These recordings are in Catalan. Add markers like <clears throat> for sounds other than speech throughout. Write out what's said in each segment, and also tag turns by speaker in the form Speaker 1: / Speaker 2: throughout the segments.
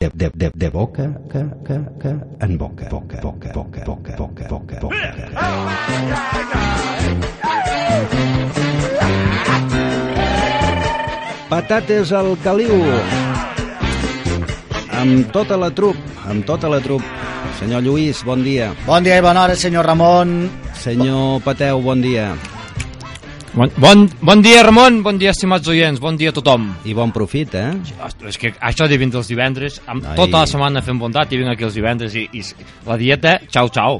Speaker 1: de, de, de boca, ca, ca, ca, en boca, boca, boca, boca, boca, boca, boca, boca. Patates al caliu. Amb tota la trup, amb tota la trup. Senyor Lluís, bon dia.
Speaker 2: Bon dia i bona hora, senyor Ramon.
Speaker 1: Senyor Pateu, bon dia.
Speaker 3: Bon, bon, bon dia, Ramon, bon dia, estimats oients, bon dia a tothom.
Speaker 1: I bon profit, eh?
Speaker 3: Ostres, és que això de vindre els divendres, amb
Speaker 1: Ai.
Speaker 3: Ai. tota la setmana fent bondat i vinc aquí els divendres i, i s- la dieta, xau, xau.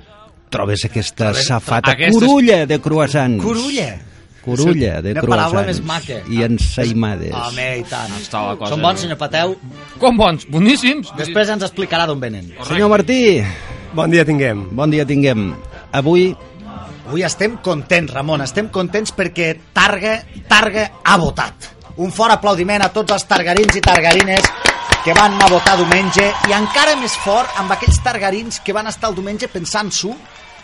Speaker 1: Trobes aquesta safata
Speaker 3: aquestes-
Speaker 1: curulla de croissants.
Speaker 2: Curulla.
Speaker 1: Curulla de
Speaker 2: Una
Speaker 1: croissants.
Speaker 2: paraula més maca.
Speaker 1: I ensaïmades.
Speaker 2: Home, i tant.
Speaker 3: Està la cosa,
Speaker 2: Són bons,
Speaker 3: no?
Speaker 2: senyor Pateu.
Speaker 3: Com bons, boníssims.
Speaker 2: Després ens explicarà d'on venen.
Speaker 1: Senyor Martí,
Speaker 4: Bon dia tinguem.
Speaker 1: bon dia tinguem. Avui
Speaker 2: Avui estem contents, Ramon. Estem contents perquè Targa, Targa ha votat. Un fort aplaudiment a tots els targarins i targarines que van anar a votar diumenge i encara més fort amb aquells targarins que van estar el diumenge pensant-s'ho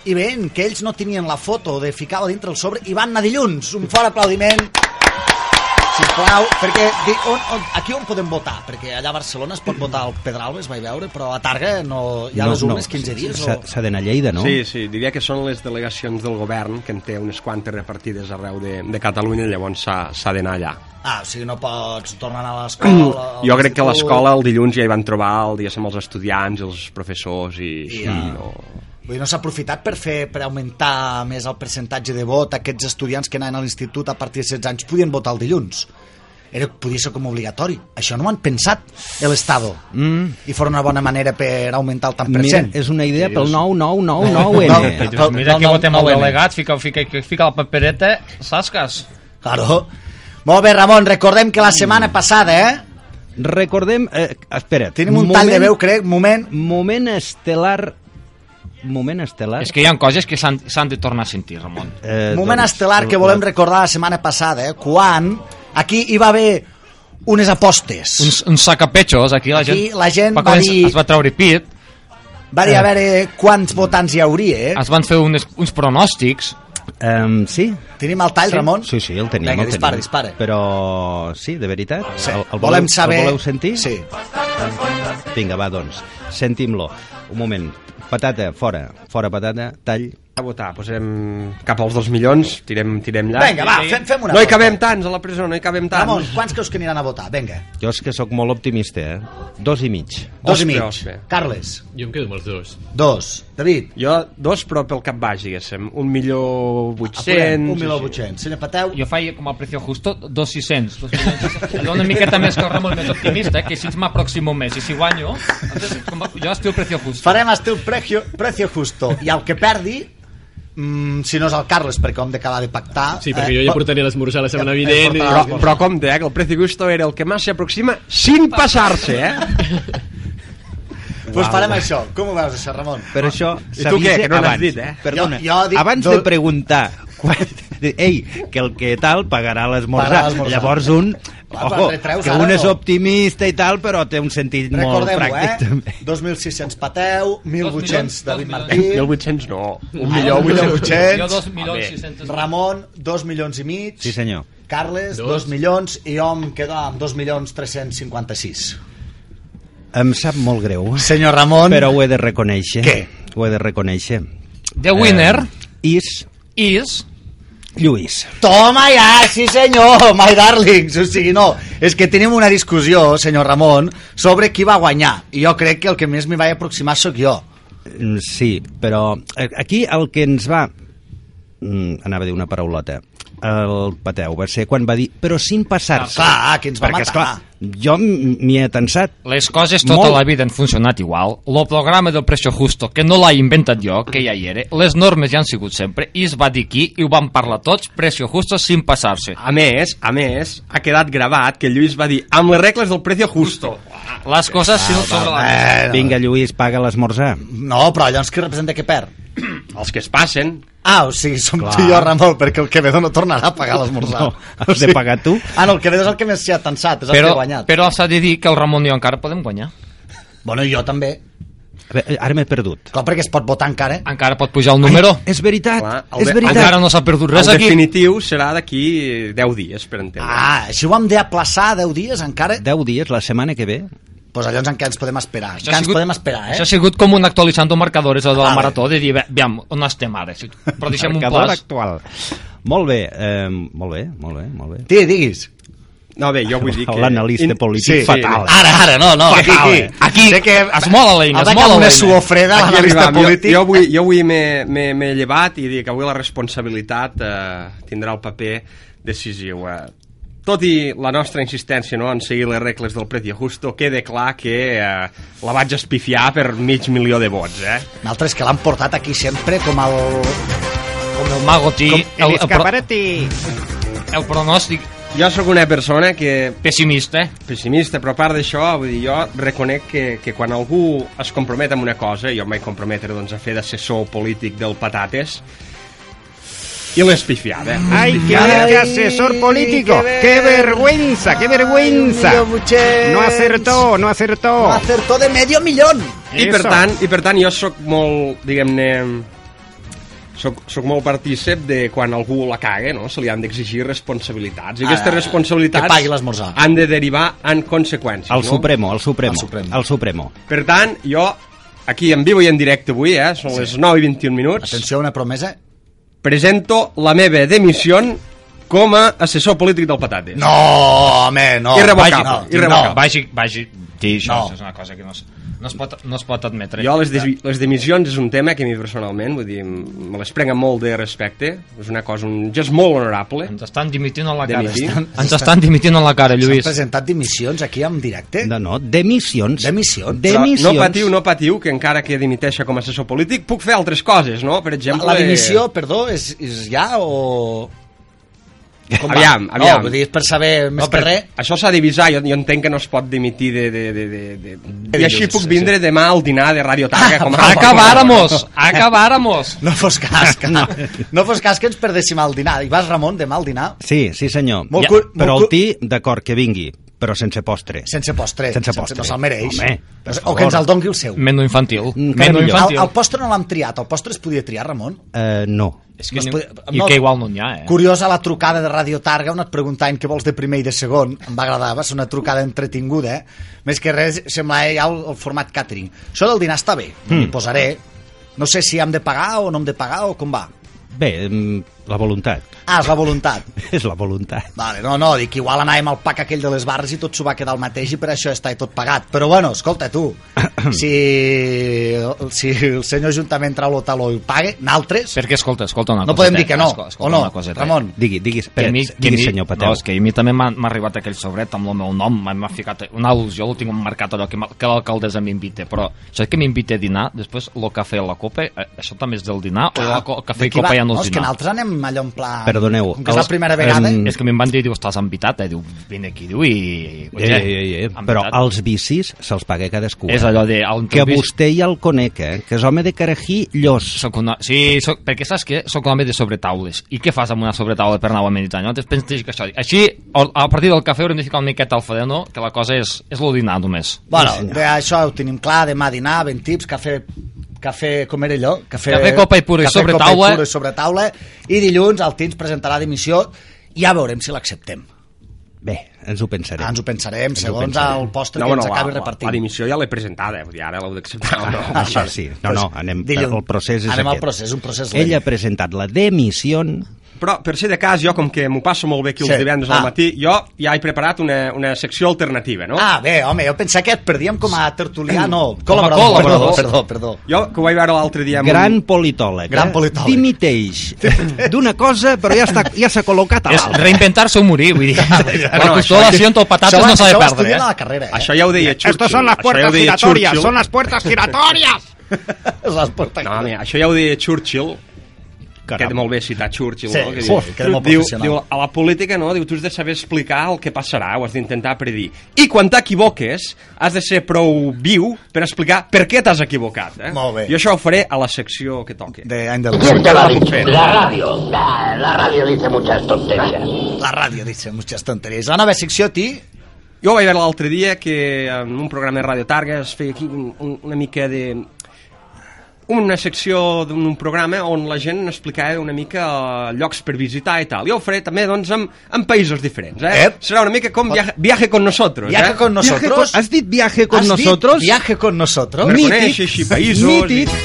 Speaker 2: i veient que ells no tenien la foto de ficar-la dintre el sobre i van anar dilluns. Un fort aplaudiment, sisplau, perquè di- on, on, aquí on podem votar? Perquè allà a Barcelona es pot votar al Pedralbes, vaig veure, però a Targa no, hi ha
Speaker 1: no,
Speaker 2: les urnes
Speaker 1: no,
Speaker 2: 15 dies.
Speaker 1: S'ha
Speaker 2: O...
Speaker 1: s'ha d'anar a Lleida, no?
Speaker 4: Sí, sí, diria que són les delegacions del govern, que en té unes quantes repartides arreu de, de Catalunya, llavors s'ha s'ha d'anar allà.
Speaker 2: Ah, o sigui, no pots tornar a anar a l'escola... a
Speaker 4: Jo crec que a
Speaker 2: l'institut.
Speaker 4: l'escola el dilluns ja hi van trobar el dia amb els estudiants, els professors i...
Speaker 2: Ja.
Speaker 4: i no.
Speaker 2: Vull dir, no s'ha aprofitat per fer per augmentar més el percentatge de vot aquests estudiants que anaven a l'institut a partir de 16 anys podien votar el dilluns. Era, podia ser com obligatori. Això no ho han pensat, l'Estado. Mm. I fora una bona manera per augmentar el tant per
Speaker 1: Mira,
Speaker 2: cent. Eh,
Speaker 1: és una idea pel 9999N.
Speaker 2: No, no,
Speaker 3: Mira que
Speaker 2: no,
Speaker 3: votem
Speaker 2: no,
Speaker 3: el
Speaker 2: no,
Speaker 3: delegat, fica, fica, fica la papereta, sasques.
Speaker 2: Claro. Molt bé, Ramon, recordem que la setmana passada, eh?
Speaker 1: Recordem... Eh, espera.
Speaker 2: Tenim un tall de veu, crec, moment...
Speaker 1: Moment estel·lar... Moment
Speaker 2: Eh?
Speaker 1: estel·lar...
Speaker 3: És que hi ha coses que s'han s'han de tornar a sentir, Ramon.
Speaker 1: Eh,
Speaker 2: Moment estel·lar que volem recordar la setmana passada, eh? quan aquí hi va haver unes apostes.
Speaker 3: Uns, uns sacapetxos, aquí la gent,
Speaker 2: Aquí la gent va
Speaker 3: començar-
Speaker 2: dir-
Speaker 3: es va treure pit,
Speaker 2: Va dir a veure quants votants hi hauria, eh?
Speaker 3: es van fer unes, uns pronòstics,
Speaker 1: Um, sí?
Speaker 2: Tenim el tall, Ramon?
Speaker 1: Sí, sí, el tenim.
Speaker 2: Vinga,
Speaker 1: el
Speaker 2: dispara,
Speaker 1: tenim.
Speaker 2: dispara.
Speaker 1: Però sí, de veritat?
Speaker 2: Sí.
Speaker 1: El, el
Speaker 2: volem saber...
Speaker 1: El voleu sentir?
Speaker 2: Sí.
Speaker 1: Vinga, va, doncs, sentim-lo. Un moment. Patata, fora. Fora patata, tall.
Speaker 4: A votar, posem cap als dos milions, tirem, tirem llarg.
Speaker 2: Vinga, va, fem, fem una
Speaker 4: No hi
Speaker 2: aposta.
Speaker 4: cabem tants a la presó, no hi cabem tants.
Speaker 2: Ramon, quants creus que aniran a votar? Vinga,
Speaker 1: Jo és que sóc molt optimista, eh? Dos i mig.
Speaker 2: dos i
Speaker 4: Ostres,
Speaker 2: mig.
Speaker 4: ostres.
Speaker 2: Carles,
Speaker 5: Jo em quedo amb els dos.
Speaker 2: dos. David,
Speaker 4: Jo, dos, però pel cap baix, diguéssim. Un milió
Speaker 2: apurem,
Speaker 4: vuit-cents...
Speaker 2: un milió vuitcents. Senyor Pateu,
Speaker 3: jo faig com a precio justo 2,600. Dos milions. Jo una miqueta més que el Ramon més optimista, que si m'aproximo més i si guanyo, entonces, com, a- jo estic precio justo.
Speaker 2: farem estil precio, precio justo. I el que perdi, mm, si no és el Carles, perquè ho hem de acabar de pactar...
Speaker 5: Sí, perquè jo ja portaré l'esmorzar la setmana vinent.
Speaker 2: Eh, porta-
Speaker 5: I...
Speaker 4: Però, però compte, eh, que el Precio Gusto era el que més s'aproxima sin passar-se,
Speaker 2: <laughs>
Speaker 4: eh?
Speaker 2: Doncs pues farem això. Com ho veus, això, Ramon?
Speaker 1: Per això
Speaker 4: I tu
Speaker 1: s'avisa
Speaker 4: què? Que no n'has
Speaker 1: abans.
Speaker 4: dit, eh?
Speaker 1: Perdona,
Speaker 2: Jo- jo dic
Speaker 1: abans
Speaker 2: do-
Speaker 1: de preguntar quan- <laughs> Ei, que el que tal pagarà
Speaker 2: Pagarà
Speaker 1: l'esmorzar.
Speaker 2: l'esmorzar.
Speaker 1: Llavors un...
Speaker 2: Va, però
Speaker 1: Ojo,
Speaker 2: retreus
Speaker 1: que
Speaker 2: ara
Speaker 1: un
Speaker 2: no.
Speaker 1: és optimista i tal, però té un sentit molt
Speaker 2: Recordem-ho,
Speaker 1: pràctic. també.
Speaker 2: eh? 2.600 Pateu, 1.800
Speaker 3: milions,
Speaker 2: David
Speaker 3: dos
Speaker 2: Martí,
Speaker 4: 1.800 no. Un
Speaker 2: milió,
Speaker 4: milió,
Speaker 2: un milió.
Speaker 4: vuit-cents.
Speaker 3: Jo 2 milions 600.
Speaker 2: Ramon, 2 milions i mig,
Speaker 1: Sí, senyor.
Speaker 2: Carles,
Speaker 5: Dos.
Speaker 2: 2 milions, i jo em quedo amb 2 milions 356.
Speaker 1: Em sap molt greu, eh?
Speaker 2: Senyor Ramon...
Speaker 1: però ho he de reconèixer.
Speaker 2: Què?
Speaker 1: Ho he de reconèixer.
Speaker 3: The winner
Speaker 1: Eh, is
Speaker 3: is...
Speaker 1: Lluís.
Speaker 2: Toma ja, sí senyor, <laughs> my darlings. O sigui, no, és que tenim una discussió, senyor Ramon, sobre qui va guanyar. I jo crec que el que més m'hi vaig aproximar sóc jo.
Speaker 1: Mm, Sí, però eh, aquí el que ens va... Mm, Anava a dir una paraulota. El Pateu va ser quan va dir però sin passar-se.
Speaker 2: Ah, clar, que ens va
Speaker 1: Perquè,
Speaker 2: matar.
Speaker 1: Esclar, jo m- m'hi he tensat.
Speaker 3: Les coses tota
Speaker 1: Molt.
Speaker 3: la vida han funcionat igual. El programa del Precio Justo, que no l'ha inventat jo, que ja hi era, les normes ja han sigut sempre, i es va dir aquí, i ho van parlar tots, Precio Justo sin passar-se.
Speaker 4: A més, a més, ha quedat gravat que Lluís va dir amb les regles del precio justo.
Speaker 3: Les coses sí, sobre la mesa.
Speaker 2: Eh,
Speaker 1: Vinga, Lluís, paga l'esmorzar.
Speaker 2: No, però llavors qui representa que perd?
Speaker 4: Els que es passen.
Speaker 2: Ah, o sigui, som tu i jo, Ramon, perquè el Quevedo no tornarà a pagar l'esmorzar.
Speaker 1: No, has de pagar tu.
Speaker 2: Ah, no, el Quevedo és el que més s'hi ha tensat, és el
Speaker 3: Eh, Però,
Speaker 2: que ha guanyat.
Speaker 3: però s'ha de dir que el Ramon i jo encara podem guanyar.
Speaker 2: Bueno, i jo també.
Speaker 1: A veure, Ara m'he perdut.
Speaker 2: Clar, perquè es pot votar encara.
Speaker 3: Encara pot pujar el número.
Speaker 1: És veritat,
Speaker 4: Clar, el
Speaker 1: és
Speaker 4: de-
Speaker 1: veritat.
Speaker 3: Encara no s'ha perdut res
Speaker 4: el
Speaker 3: aquí.
Speaker 4: definitiu serà d'aquí 10 dies, per entendre.
Speaker 2: Ah, així ho hem d'aplaçar 10 dies encara.
Speaker 1: 10 dies, la setmana que ve,
Speaker 2: pues llavors en què ens podem esperar? En
Speaker 3: Això
Speaker 2: què
Speaker 3: ha
Speaker 2: ens
Speaker 3: sigut-
Speaker 2: podem esperar, eh? Ah,
Speaker 3: Això ha sigut com un actualitzando marcadores de la
Speaker 2: Vale.
Speaker 3: marató de dir, "Ve- veam, on estem ara? Si- Però deixem un
Speaker 1: Marcador
Speaker 3: pas.
Speaker 1: actual. Molt bé, eh, molt bé, molt bé, molt bé.
Speaker 2: Ti, diguis.
Speaker 4: No, bé, jo vull dir que...
Speaker 1: L'analista polític
Speaker 4: sí,
Speaker 1: fatal.
Speaker 3: Ah,
Speaker 2: Ara, ara, no, no.
Speaker 3: Aquí,
Speaker 2: fatal,
Speaker 3: aquí,
Speaker 2: eh?
Speaker 3: aquí.
Speaker 2: Sé que
Speaker 3: Es mola l'eina,
Speaker 2: ha
Speaker 3: es
Speaker 2: de
Speaker 3: mola
Speaker 2: caure una
Speaker 3: l'eina.
Speaker 2: suor freda a
Speaker 4: Ah, Aquí
Speaker 2: l'analista
Speaker 4: arribàvem.
Speaker 2: polític.
Speaker 4: Jo, jo avui, jo avui m'he- m'he m'he llevat i dic que avui la responsabilitat eh, tindrà el paper decisiu. Eh. Tot i la nostra insistència no, en seguir les regles del Preti Justo, queda clar que eh, la vaig espifiar per mig milió de vots. Eh?
Speaker 2: D'altres que l'han portat aquí sempre com el...
Speaker 3: Com el Mago Ti, el, el, pro-
Speaker 1: escaparati.
Speaker 3: el pronòstic
Speaker 4: Jo sóc una persona que
Speaker 3: pessimista. eh?
Speaker 4: pessimista, però a part d'això, vull dir, jo reconec que, que quan algú es compromet amb una cosa, jo em vaig comprometre doncs, a fer d'assessor polític del Patates, i l'he espifiada.
Speaker 1: Ai, que
Speaker 2: Ay,
Speaker 1: verga, asesor político.
Speaker 2: qué
Speaker 1: Qué
Speaker 2: ver-
Speaker 1: vergüenza, qué vergüenza.
Speaker 2: Emilio Buchet.
Speaker 1: No acertó, no acertó.
Speaker 2: Acertó de medio millón.
Speaker 4: I per,
Speaker 1: Eso.
Speaker 4: tant, I per tant jo sóc molt, diguem-ne, soc, soc molt partícip de quan algú la caga, no? se li han d'exigir responsabilitats. I
Speaker 2: Ah,
Speaker 4: aquestes responsabilitats
Speaker 2: que pagui l'esmorzar.
Speaker 4: han de derivar en conseqüències.
Speaker 1: El
Speaker 4: no?
Speaker 1: Supremo, el Supremo.
Speaker 2: El Supremo.
Speaker 1: El Supremo.
Speaker 4: Per tant, jo, aquí en vivo i en directe avui, eh? són sí. les 9 i 21 minuts,
Speaker 2: Atenció, una promesa.
Speaker 4: presento la meva demissió com a assessor polític del Patates.
Speaker 2: No, home, no.
Speaker 4: Irrevocable,
Speaker 2: Vagi- no,
Speaker 4: irrevocable.
Speaker 2: no.
Speaker 3: Vagi, vagi, dir això,
Speaker 2: No.
Speaker 3: això és una cosa que no, es- no, es, pot, no es pot admetre.
Speaker 4: Jo les, des, les demissions és un tema que a mi personalment, vull dir, me les prenc amb molt de respecte, és una cosa, un gest molt honorable.
Speaker 3: Ens estan dimitint a la cara.
Speaker 4: Dimitir?
Speaker 3: Ens estan dimitint a la cara,
Speaker 2: S'han
Speaker 3: Lluís.
Speaker 2: presentat dimissions aquí en directe?
Speaker 1: No, no, demissions.
Speaker 2: Demissions.
Speaker 4: Però
Speaker 1: Demissions.
Speaker 4: No patiu, no patiu, que encara que dimiteixi com a assessor polític puc fer altres coses, no? Per exemple...
Speaker 2: La, la dimissió, perdó, és, és ja o... Com va?
Speaker 4: Aviam, aviam.
Speaker 2: No, vull dir, és per saber més
Speaker 4: No,
Speaker 2: no, per,
Speaker 4: perquè
Speaker 2: res.
Speaker 4: Això s'ha d'avisar, jo, jo entenc que no es pot dimitir de... de, de, de, de... I
Speaker 2: dilluns,
Speaker 4: així puc
Speaker 2: sí,
Speaker 4: vindre demà al dinar de Radio Targa. Com a...
Speaker 3: Acabáramos, acabáramos.
Speaker 2: No fos cas, que, no fos cas que ens perdéssim al dinar. I vas, Ramon, demà al dinar
Speaker 1: Sí, sí, senyor.
Speaker 2: Molt
Speaker 1: Ja,
Speaker 2: cur- molt
Speaker 1: però el
Speaker 2: cur-
Speaker 1: ti, d'acord, que vingui, però sense postre.
Speaker 2: sense postre.
Speaker 1: Sense postre.
Speaker 2: No se'l mereix.
Speaker 1: Home, per
Speaker 2: No sé, o
Speaker 1: favor.
Speaker 2: que ens el dongui el seu.
Speaker 3: Menú infantil.
Speaker 1: Encara millor.
Speaker 3: Menú
Speaker 2: El,
Speaker 3: infantil.
Speaker 2: el postre no l'hem triat, el postre es podia triar, Ramon.
Speaker 1: Eh, no.
Speaker 3: És que
Speaker 2: no es
Speaker 3: ni-
Speaker 2: podia-
Speaker 3: I
Speaker 2: no-
Speaker 3: que igual no n'hi ha, eh?
Speaker 2: Curiosa la trucada de Radio Targa on et preguntaven què vols de primer i de segon. Em va agradar, va ser una trucada entretinguda. Eh? Més que res, sembla eh, ja el, el format catering. Això del dinar està bé,
Speaker 3: Hmm.
Speaker 2: mm. hi posaré. No sé si hem de pagar o no hem de pagar o com va.
Speaker 1: Bé, mm, la voluntat. <laughs>
Speaker 2: Ah, és la voluntat.
Speaker 3: <laughs>
Speaker 1: És la voluntat.
Speaker 2: Vale, no, no, dic, igual anàvem al pack aquell de les barres i tot s'ho va quedar el mateix i per això està i tot pagat. Però bueno, escolta,
Speaker 3: <coughs>
Speaker 2: tu, si, si el senyor Ajuntament trau l'otaló i el pague, naltres...
Speaker 3: Perquè, escolta, escolta una
Speaker 2: No
Speaker 3: coseta,
Speaker 2: podem dir que no,
Speaker 3: escolta, escolta
Speaker 2: o no,
Speaker 3: una coseta. eh?
Speaker 2: Ramon.
Speaker 1: Digui, digui, espera,
Speaker 3: que
Speaker 1: digui, senyor Pateu.
Speaker 3: No, és que a mi també m'ha m'ha arribat aquell sobret amb el meu nom, m'ha- m'ha ficat una al·lusió, ho tinc marcat allò que, m'ha- que l'alcaldessa m'invite, però això que m'invite a dinar, després el cafè a la copa, eh, això també és del dinar, o el, co- el cafè i
Speaker 2: D'aquí
Speaker 3: copa
Speaker 2: Ah, va-
Speaker 3: ja no
Speaker 2: no,
Speaker 3: és
Speaker 2: és que
Speaker 3: dinar.
Speaker 2: naltres anem allò en pla...
Speaker 1: Perdoneu,
Speaker 2: Com que és la
Speaker 1: els-
Speaker 2: primera vegada... eh?
Speaker 1: em-
Speaker 3: És que a mi em van dir, diu, estàs invitat, eh? Diu, vine aquí, diu, i...
Speaker 1: Eh, eh, eh, però els vicis se'ls paga cadascú.
Speaker 3: És allò de... El
Speaker 1: Que
Speaker 3: teu vist-
Speaker 1: vostè ja el conec, eh? Que és home de carají llos.
Speaker 3: Soc una... Sí, soc... perquè saps què? Soc un home de sobretaules. I què fas amb una sobretaula per anar a meditar? No? Després penses que això... Així, or- a partir del cafè haurem de ficar una miqueta al fadeno, que la cosa és, és lo dinar només.
Speaker 2: Bueno,
Speaker 1: Sí, senyor.
Speaker 2: de, això ho tenim clar, demà dinar, ben tips, cafè, cafè com era allò? Cafè,
Speaker 3: Cafè, copa i puro i
Speaker 2: cafè,
Speaker 3: sobre
Speaker 2: copa
Speaker 3: taula.
Speaker 2: I, puro i sobre taula. I dilluns el Tins presentarà dimissió i ja veurem si l'acceptem.
Speaker 1: Bé, ens ho pensarem.
Speaker 2: Ah, ens ho pensarem,
Speaker 1: ho
Speaker 2: segons
Speaker 1: pensarem.
Speaker 2: el postre que ens acabi
Speaker 4: la,
Speaker 2: repartint.
Speaker 4: La, la dimissió ja l'he presentada, vull dir, ara l'heu d'acceptar o no.
Speaker 1: Ah, això sí. No, no, anem,
Speaker 2: Doncs Dilluns.
Speaker 1: el procés és
Speaker 2: Anem al
Speaker 1: aquest.
Speaker 2: procés, un procés lent.
Speaker 1: Ell ha presentat la demissió.
Speaker 4: Però, per si de cas, jo, com que m'ho passo molt bé aquí els
Speaker 2: Sí.
Speaker 4: divendres
Speaker 2: Ah.
Speaker 4: al matí, jo ja he preparat una, una secció alternativa, no?
Speaker 2: Ah, bé, home, jo pensava que et perdíem com a tertulià, no,
Speaker 3: Com a
Speaker 2: col·laborador,
Speaker 3: col·laborador.
Speaker 2: perdó, perdó, perdó.
Speaker 4: Jo, que ho vaig veure l'altre dia... amb
Speaker 1: Gran
Speaker 4: un-
Speaker 1: politòleg.
Speaker 2: Gran
Speaker 1: eh?
Speaker 2: politòleg. <laughs>
Speaker 1: Dimiteix d'una cosa, però ja està, ja s'ha col·locat a
Speaker 3: És
Speaker 1: l'altra.
Speaker 3: reinventar-se o morir, vull dir. La
Speaker 4: Bueno,
Speaker 3: pistola,
Speaker 4: això-
Speaker 3: siento, patates
Speaker 2: això,
Speaker 3: no s'ha de
Speaker 2: això ho
Speaker 3: perdre,
Speaker 2: estudien a
Speaker 3: eh?
Speaker 2: la carrera, eh?
Speaker 4: Això ja ho deia Churchill.
Speaker 6: Estas son las
Speaker 4: això ja ho
Speaker 6: puertas
Speaker 4: deia
Speaker 6: giratorias,
Speaker 4: Churchill.
Speaker 6: son las puertas giratorias.
Speaker 2: Les porta
Speaker 4: No, mira, això ja ho deia Churchill, Queda molt bé citar Churchill,
Speaker 2: Sí,
Speaker 4: no?
Speaker 2: sí, queda molt
Speaker 4: diu,
Speaker 2: professional.
Speaker 4: diu, a la política, no? Diu, tu has de saber explicar el que passarà, ho has d'intentar predir. I quan t'equivoques, has de ser prou viu per explicar per què t'has equivocat. Eh?
Speaker 2: Molt bé.
Speaker 4: Jo això ho faré a la secció que toque.
Speaker 2: De any del...
Speaker 7: ¿Quién te lo ha dicho?
Speaker 4: Pero-
Speaker 7: La radio. La, la radio dice muchas tonterías.
Speaker 2: La ràdio, dice, muchas tonteries. La nova secció, ti,
Speaker 4: Jo vaig veure l'altre dia que en un programa de Radio Targa es feia aquí un, un, una mica de una secció d'un programa on la gent explicava una mica eh, llocs per visitar i tal. Jo ho faré també doncs, en, en països diferents. Eh?
Speaker 2: Ep.
Speaker 4: Serà una mica com viaje, viaje con nosotros.
Speaker 2: Viaje
Speaker 4: eh?
Speaker 2: con
Speaker 1: Viaje
Speaker 2: nosotros.
Speaker 1: con- ¿Has dit viaje con
Speaker 2: Has dit
Speaker 1: nosotros?
Speaker 2: Viaje con nosotros.
Speaker 4: Per
Speaker 1: Mític.
Speaker 4: conèixer així països i-
Speaker 1: Mític.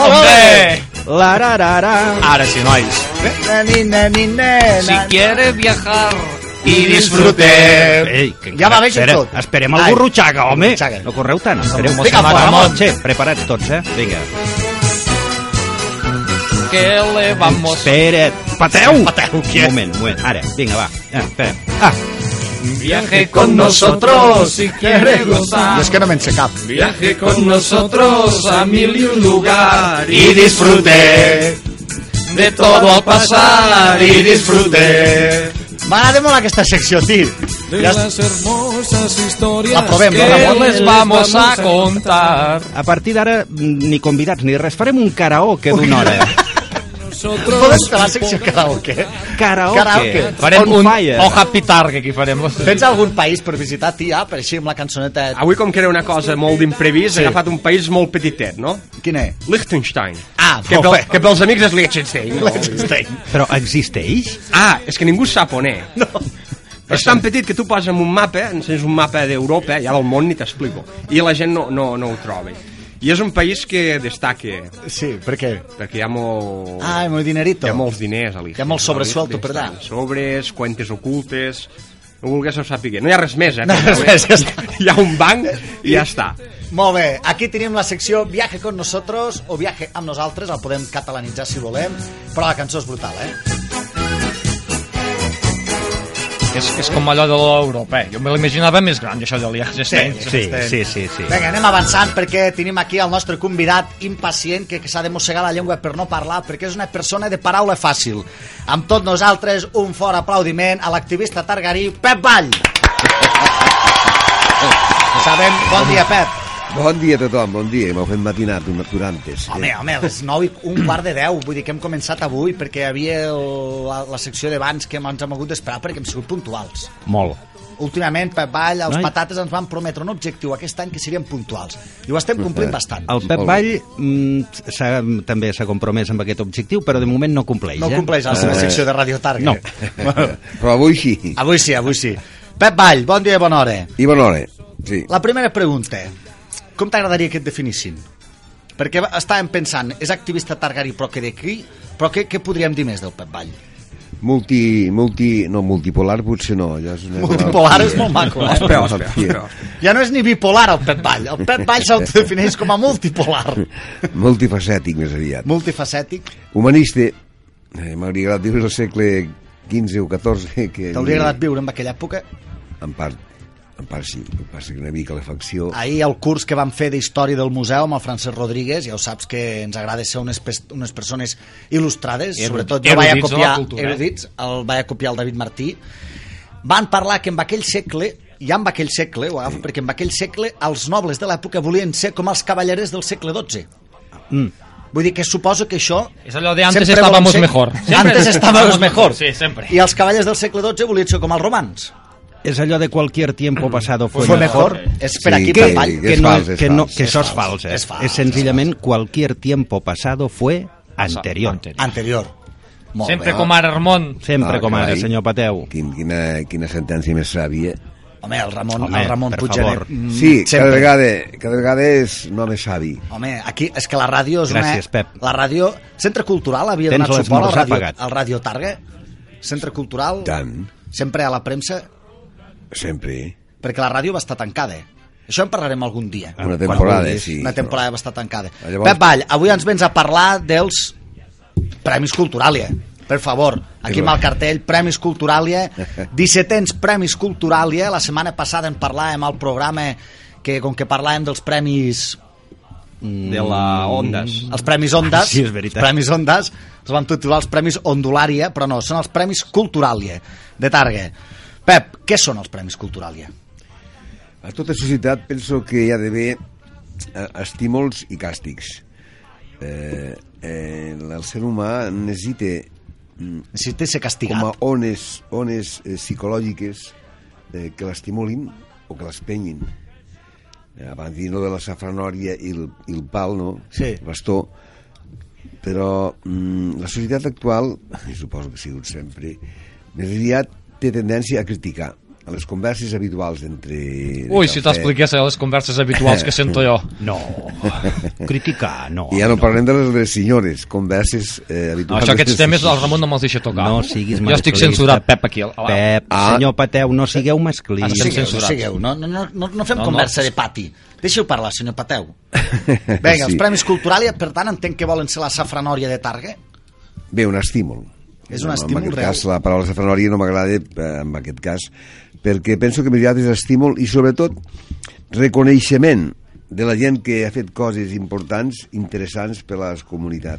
Speaker 2: Olé!
Speaker 1: Lararara.
Speaker 3: Ara sí, nois.
Speaker 2: Na, ni, na, ni, na,
Speaker 3: Si
Speaker 2: na.
Speaker 3: quiere viajar
Speaker 2: I disfrutem.
Speaker 1: Ei, Eh, que,
Speaker 2: Ja va bé,
Speaker 1: espera,
Speaker 2: tot.
Speaker 1: Esperem el Gurruchaga, home.
Speaker 2: Gurruchaga.
Speaker 1: No correu tant. Esperem
Speaker 2: Vinga,
Speaker 1: Mossèn
Speaker 2: fora,
Speaker 1: Ramon.
Speaker 2: Ramon.
Speaker 1: Sí, preparats tots, eh? Vinga.
Speaker 3: que le vamos...
Speaker 1: Espera't. Pateu! Pateu,
Speaker 2: què?
Speaker 1: Un moment, un moment. Ara, vinga, va. Ah, espera. Ah,
Speaker 3: Viaje
Speaker 2: Con nosotros,
Speaker 3: si quiere gozar.
Speaker 2: Jo és que no me'n sé cap.
Speaker 3: Viaje con nosotros a mil y un lugar
Speaker 2: I disfruté,
Speaker 3: de todo al pasar
Speaker 2: i disfruté. M'agrada molt aquesta secció, tio. Ja es-
Speaker 8: hermosas historias.
Speaker 2: La provem, no, Ramon?
Speaker 3: les vamos a contar.
Speaker 1: a partir d'ara, mm, ni convidats ni res. Farem un karaoke d'una <laughs> hora.
Speaker 2: Podem fer la secció karaoke?
Speaker 1: Karaoke.
Speaker 2: Karaoke.
Speaker 1: Farem
Speaker 3: un
Speaker 1: on fire.
Speaker 3: Oh Happy Target aquí farem.
Speaker 2: Tens algun país per visitar, tia, per així amb la cançoneta...
Speaker 4: Avui, com que era una cosa molt d'imprevist, sí. ha agafat un país molt petitet, no?
Speaker 2: Quina és?
Speaker 4: Liechtenstein.
Speaker 2: Ah,
Speaker 4: que,
Speaker 2: molt
Speaker 4: pel,
Speaker 2: bé.
Speaker 4: que pels amics és
Speaker 2: <laughs>
Speaker 4: Liechtenstein. No?
Speaker 1: Però existeix?
Speaker 4: Ah, és que ningú sap on és. No. És tan petit que tu poses en un mapa, ensenyes un mapa d'Europa, ja del món ni t'explico, i la gent no, no, no ho troba. I és un país que destaca,
Speaker 2: Sí, per què?
Speaker 4: perquè hi ha molt...
Speaker 2: Ah, molt dinerito.
Speaker 4: hi ha molts diners a l'Ixe.
Speaker 2: Hi ha molt sobresuelto per allà.
Speaker 4: Sobres, cuentes ocultes... No vulguis ho sàpiga. No hi ha res més, eh?
Speaker 2: No hi ha res més, ja està.
Speaker 4: Hi ha un banc i ja està.
Speaker 2: Molt bé, aquí tenim la secció Viaje con nosotros o Viaje amb nosaltres, el podem catalanitzar si volem, però la cançó és brutal, eh?
Speaker 3: És, és com allò de l'europa. eh? Jo me l'imaginava més gran, això de Liechtenstein.
Speaker 1: Sí, sí, sí, sí.
Speaker 2: Vinga, anem avançant perquè tenim aquí el nostre convidat impacient que, que s'ha de mossegar la llengua per no parlar perquè és una persona de paraula fàcil. Amb tot nosaltres, un fort aplaudiment a l'activista targarí Pep Vall. Sabem, bon dia, Pep.
Speaker 9: Bon dia a tothom, bon dia, m'ho hem matinat un antes.
Speaker 2: Home, home, a les 9 i un quart de 10, vull dir que hem començat avui perquè hi havia el, la, la secció d'abans que ens hem hagut d'esperar perquè hem sigut puntuals.
Speaker 1: Molt.
Speaker 2: Últimament, Pep Vall, els
Speaker 1: Noi.
Speaker 2: patates ens van prometre un objectiu aquest any que serien puntuals. I ho estem complint bastant.
Speaker 1: Eh, El Pep
Speaker 9: Molt
Speaker 1: Vall mm, s'ha- també s'ha compromès amb aquest objectiu, però de moment no compleix.
Speaker 2: No
Speaker 1: eh?
Speaker 2: compleix la seva secció de Radio Targa.
Speaker 1: No.
Speaker 9: Però avui sí,
Speaker 2: <laughs> Avui sí, avui sí. Pep Vall, bon dia i bona hora.
Speaker 9: i bona hora. Sí.
Speaker 2: La primera pregunta. Com t'agradaria que et definissin? Perquè estàvem pensant, és activista targarí però que d'aquí, però què, què podríem dir més del Pep Vall?
Speaker 9: Multi, multi, no, multipolar potser no. Ja és una
Speaker 2: Multipolar és molt maco, eh?
Speaker 4: Espera, espera, espera.
Speaker 2: Ja no és ni bipolar el Pep Vall. El Pep Vall s'autodefineix com a multipolar.
Speaker 9: Multifacètic, més aviat.
Speaker 2: Multifacètic.
Speaker 9: Humanista, eh, m'hauria agradat viure al segle XV o XIV. Que
Speaker 2: T'hauria agradat viure en aquella època?
Speaker 9: En part, en part sí, en part sí, una mica la facció.
Speaker 2: Ahir el curs que vam fer d'Història del Museu amb el Francesc Rodríguez, ja ho saps que ens agrada ser unes, pes- unes persones il·lustrades,
Speaker 3: Erudits
Speaker 2: sobretot jo vaig a
Speaker 3: de la
Speaker 2: copiar,
Speaker 3: cultura.
Speaker 2: erudits, el vaig a copiar el David Martí, van parlar que en aquell segle i amb aquell segle, ho agafo, perquè en aquell segle els nobles de l'època volien ser com els cavallerers del segle XII. Vull dir que suposo que això...
Speaker 3: Mm. És allò de antes
Speaker 2: sempre vol
Speaker 3: estábamos mejor.
Speaker 2: Antes
Speaker 3: Sempre.
Speaker 2: estábamos mejor.
Speaker 3: Sí, sempre.
Speaker 2: I els cavallers del segle XII volien ser com els romans.
Speaker 1: És allò de qualquier tiempo pasado fue,
Speaker 2: Fue mejor. És per
Speaker 9: Sí,
Speaker 2: aquí,
Speaker 9: que-
Speaker 2: per avall.
Speaker 9: És
Speaker 1: que, no,
Speaker 9: fals, és
Speaker 1: que, no,
Speaker 9: fals.
Speaker 1: que
Speaker 2: És
Speaker 1: això és
Speaker 2: fals,
Speaker 1: fals, eh?
Speaker 2: és
Speaker 1: és,
Speaker 2: fals,
Speaker 1: senzillament qualquier tiempo pasado fue anterior.
Speaker 3: Anterior.
Speaker 2: Anterior. Molt
Speaker 3: Sempre
Speaker 2: bé.
Speaker 3: com ara Ramon.
Speaker 1: Sempre
Speaker 9: Ah,
Speaker 1: com ara,
Speaker 9: carai.
Speaker 1: senyor Pateu.
Speaker 9: Quin, quina, quina sentència més sàvia.
Speaker 2: Home, el Ramon,
Speaker 1: Home,
Speaker 2: el Ramon
Speaker 1: per
Speaker 2: Puiggerer...
Speaker 1: favor.
Speaker 2: mm,
Speaker 9: Sí, cada
Speaker 2: sempre.
Speaker 9: vegada, cada vegada és un home savi.
Speaker 2: Home, aquí és que la ràdio és
Speaker 1: Gràcies,
Speaker 2: una...
Speaker 1: Pep.
Speaker 2: La ràdio... Centre Cultural havia
Speaker 1: Tens
Speaker 2: donat suport al
Speaker 1: l'esmorzar
Speaker 2: ràdio,
Speaker 1: pagat.
Speaker 2: al ràdio Targa. Centre Cultural...
Speaker 9: Tant.
Speaker 2: Sempre a la premsa,
Speaker 9: Sempre. eh?
Speaker 2: perquè la ràdio va estar tancada. eh? Això en parlarem algun dia.
Speaker 9: Una
Speaker 1: quan
Speaker 9: temporada, eh,
Speaker 1: vulguis.
Speaker 9: sí.
Speaker 2: una temporada va estar tancada.
Speaker 9: Ah, llavors-
Speaker 2: Pep Vall, avui ens vens a parlar dels Premis Culturàlia. Per favor, aquí amb el cartell, Premis Culturàlia,
Speaker 9: <laughs>
Speaker 2: 17 Premis Culturàlia. La setmana passada en parlàvem al programa que, com que parlàvem dels Premis
Speaker 4: De la Ondes.
Speaker 2: els Premis Ondas,
Speaker 9: <laughs>
Speaker 1: Ah, sí, és veritat.
Speaker 2: els Premis Ondas, els vam titular els Premis Ondulària, però no, són els Premis Culturàlia, de Targa. Pep, què són els Premis Culturàlia?
Speaker 9: A tota societat penso que hi ha d'haver eh, estímuls i càstigs. Eh, eh, el ser humà necessita
Speaker 2: Necessita ser
Speaker 9: com a
Speaker 2: castigat.
Speaker 9: ones, ones eh, psicològiques eh, que l'estimulin o que l'espenyin. eh, abans dir lo de la safranòria i el, i el pal, no?
Speaker 2: Sí.
Speaker 9: El bastó. Però mm, la societat actual, i suposo que ha sigut sempre, més aviat té tendència a criticar a les converses habituals entre... de
Speaker 3: Ui, si
Speaker 9: cafè.
Speaker 3: t'expliqués les converses habituals que sento jo.
Speaker 1: No, criticar, no.
Speaker 9: I ja no parlem de les de les senyores, converses
Speaker 3: No,
Speaker 9: eh, habituals...
Speaker 3: això, aquests
Speaker 9: de les
Speaker 3: temes el
Speaker 9: <laughs>
Speaker 3: Ramon no me'ls deixa tocar.
Speaker 1: No siguis
Speaker 3: Jo estic
Speaker 1: masclista.
Speaker 3: censurat, Pep, aquí. a la-
Speaker 1: Pep,
Speaker 9: Ah.
Speaker 1: senyor Pateu, no sigueu masclistes.
Speaker 3: Estem
Speaker 2: Sigueu,
Speaker 3: censurats.
Speaker 2: sigueu. No, no, no, no, no fem
Speaker 3: No, no.
Speaker 2: conversa de pati. Deixeu parlar, senyor Pateu. Vinga, els Premis Culturalia, per tant, entenc que volen ser la safranòria de Targa.
Speaker 9: Bé, un estímul.
Speaker 2: És un
Speaker 9: No,
Speaker 2: estímul
Speaker 9: En aquest
Speaker 2: real.
Speaker 9: cas, la paraula safranòria no m'agrada, eh, en aquest cas, perquè penso que mediat és estímul i, sobretot, reconeixement de la gent que ha fet coses importants, interessants per a la comunitat.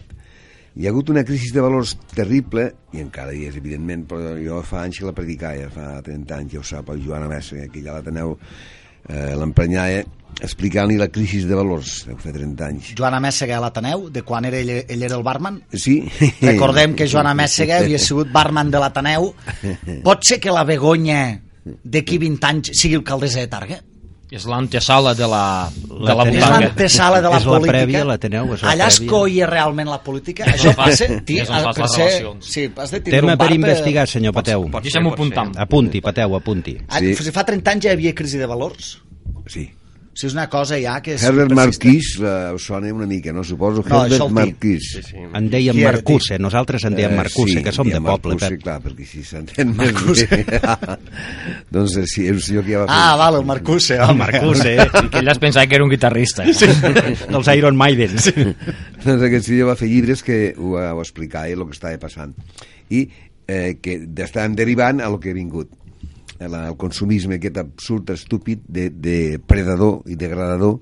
Speaker 9: Hi ha hagut una crisi de valors terrible, i encara hi és, evidentment, però jo fa anys que la predicava, fa 30 anys, ja ho sap, el Joan Amessa, que ja la teneu, eh, l'emprenyava, explicant-li la crisi de valors, deu fer 30 anys.
Speaker 2: Joana Mèssega a l'Ateneu, de quan era ell, ell era el barman.
Speaker 9: Sí?
Speaker 2: Recordem que Joana
Speaker 9: <laughs>
Speaker 2: Mèssega havia sigut barman de l'Ateneu. Pot ser que la Begonya d'aquí 20 anys sigui alcaldessa de Targa?
Speaker 3: És l'antesala de la, de la
Speaker 1: L'Ateneu.
Speaker 2: És
Speaker 3: butaca.
Speaker 2: l'antesala de
Speaker 1: <laughs>
Speaker 2: la
Speaker 1: És la
Speaker 2: política.
Speaker 1: prèvia, l'Ateneu, és la
Speaker 2: Allà es
Speaker 1: prèvia.
Speaker 2: coia realment la política. Això
Speaker 3: on fas-
Speaker 2: passa.
Speaker 3: és on
Speaker 2: has-
Speaker 3: fas
Speaker 2: per
Speaker 3: les
Speaker 2: ser-
Speaker 3: relacions.
Speaker 2: Sí, has de tindre
Speaker 1: Tema
Speaker 2: un bar
Speaker 1: per investigar, senyor Pateu.
Speaker 4: pot
Speaker 3: Deixa'm-ho
Speaker 4: ser, pot ser.
Speaker 3: apuntar.
Speaker 1: Apunti, Pateu, apunti.
Speaker 2: Ah,
Speaker 9: Sí.
Speaker 2: si fa 30 anys ja hi havia crisi de valors.
Speaker 9: Sí.
Speaker 2: O sigui, és una cosa ja que... és
Speaker 9: Herbert
Speaker 2: persistent.
Speaker 9: Marquis, la, us sona una mica, no?
Speaker 2: No,
Speaker 9: Suposo Herbert
Speaker 2: això el tinc.
Speaker 9: Marquis.
Speaker 4: Sí, sí.
Speaker 1: En deien
Speaker 2: Qui era,
Speaker 1: Marcuse, nosaltres en
Speaker 9: Eh,
Speaker 1: dèiem Marcuse, que som
Speaker 9: diem
Speaker 1: de poble,
Speaker 9: Marcuse,
Speaker 1: Pep.
Speaker 9: clar, perquè si s'entén Marcuse. <laughs> doncs eh, sí, és un senyor que ja va fer...
Speaker 2: Ah, val, el Marcuse.
Speaker 1: El Marcuse,
Speaker 3: Que ell es pensava que era un guitarrista. eh? Sí.
Speaker 1: dels Iron Maiden.
Speaker 9: <laughs> doncs aquest senyor va fer llibres que ho, eh, ho explicava el que estava passant. I eh, que estàvem derivant a lo que he vingut. Eh, La, el consumisme aquest absurd, estúpid, de, de predador i degradador,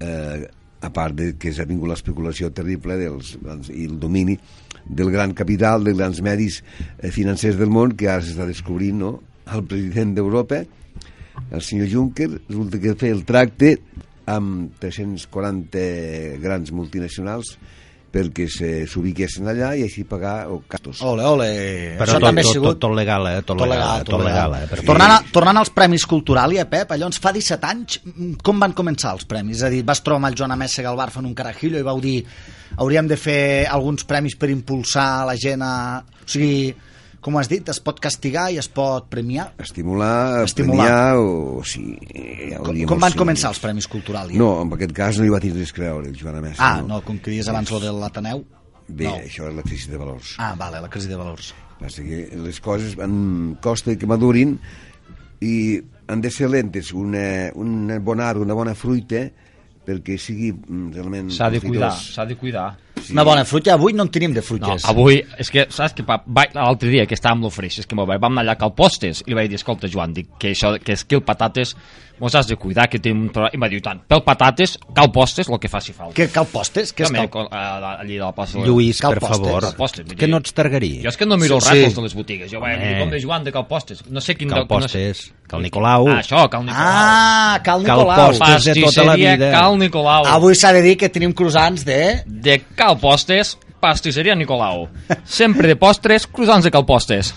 Speaker 9: eh, a part de que s'ha vingut l'especulació terrible dels, dels, i el domini del gran capital, dels grans medis eh, financers del món, que ara s'està descobrint, no?, el president d'Europa, el senyor Juncker resulta que fer el tracte amb 340 grans multinacionals perquè se- s'ubiquessin allà i així pagar o gastos.
Speaker 2: Ole, ole.
Speaker 1: Però
Speaker 2: Eh? Això
Speaker 1: tot,
Speaker 2: també ha
Speaker 1: tot,
Speaker 2: sigut...
Speaker 1: tot, tot legal, eh? Tot,
Speaker 2: Tot legal, tot legal.
Speaker 1: eh? Perquè-
Speaker 2: Tornant, a, tornant als Premis Culturalia, Pep, allò ens fa 17 anys, mm, com van començar els premis? És a dir, vas trobar amb el Joan Amèssega al bar fent un carajillo i vau dir hauríem de fer alguns premis per impulsar la gent a... O sigui, com has dit, es pot castigar i es pot premiar.
Speaker 9: Estimular,
Speaker 2: Estimular.
Speaker 9: premiar o... Sí, eh,
Speaker 2: Com,
Speaker 9: hauríem-
Speaker 2: com van començar els Premis Culturalia?
Speaker 9: No, en aquest cas no hi va tenir res a creure, el Joan Amès.
Speaker 2: Ah, no, com que dies abans lo de l'Ateneu.
Speaker 9: Bé,
Speaker 2: no.
Speaker 9: això és la crisi de valors.
Speaker 2: Ah, vale, la crisi de valors.
Speaker 9: Passa que les coses van, costa que madurin i han de ser lentes, una, una bona arbre, una bona fruita, perquè sigui mm, realment...
Speaker 3: S'ha de cuidar,
Speaker 9: profitós.
Speaker 3: s'ha de cuidar.
Speaker 9: Sí.
Speaker 2: Una bona fruita, avui no en tenim de
Speaker 3: No,
Speaker 2: fruites.
Speaker 3: avui, és que, saps que pa- vaig- l'altre dia que estàvem a l'Ofreix, és que me'n vaig, vam anar allà a Cal Postes i li vaig dir, escolta, Joan, dic, que això, que és que el patates, mos has de cuidar, que tenim un problema. I em va dir, "I tant, pel patates, Cal Postes, el que faci falta.
Speaker 2: Que cal postes? Que és
Speaker 3: També,
Speaker 2: cal...
Speaker 3: a- a- allí de eh, la plaça de-
Speaker 1: Lluís,
Speaker 2: Cal
Speaker 1: per
Speaker 2: postes,
Speaker 1: favor,
Speaker 3: cal postes, vull
Speaker 1: que
Speaker 3: dir-
Speaker 1: no ets targarí.
Speaker 3: Jo és que no
Speaker 2: Sí,
Speaker 3: miro els rètols
Speaker 2: sí.
Speaker 3: de les botigues. Jo vaig dir,
Speaker 1: Home.
Speaker 3: com de Joan de Cal Postes. No sé quin...
Speaker 1: Eh. Cal
Speaker 3: lloc- no sé-
Speaker 1: Postes, Cal Nicolau.
Speaker 3: Ah, això, Cal Nicolau.
Speaker 2: Ah,
Speaker 1: Cal
Speaker 2: cal Nicolau.
Speaker 1: postes. de tota la
Speaker 3: Pastisseria
Speaker 1: vida.
Speaker 3: Cal Nicolau.
Speaker 2: Avui s'ha de dir que tenim croissants de...
Speaker 3: De Cal Postes, pastisseria Nicolau. Sempre de postres, croissants de Cal Postes.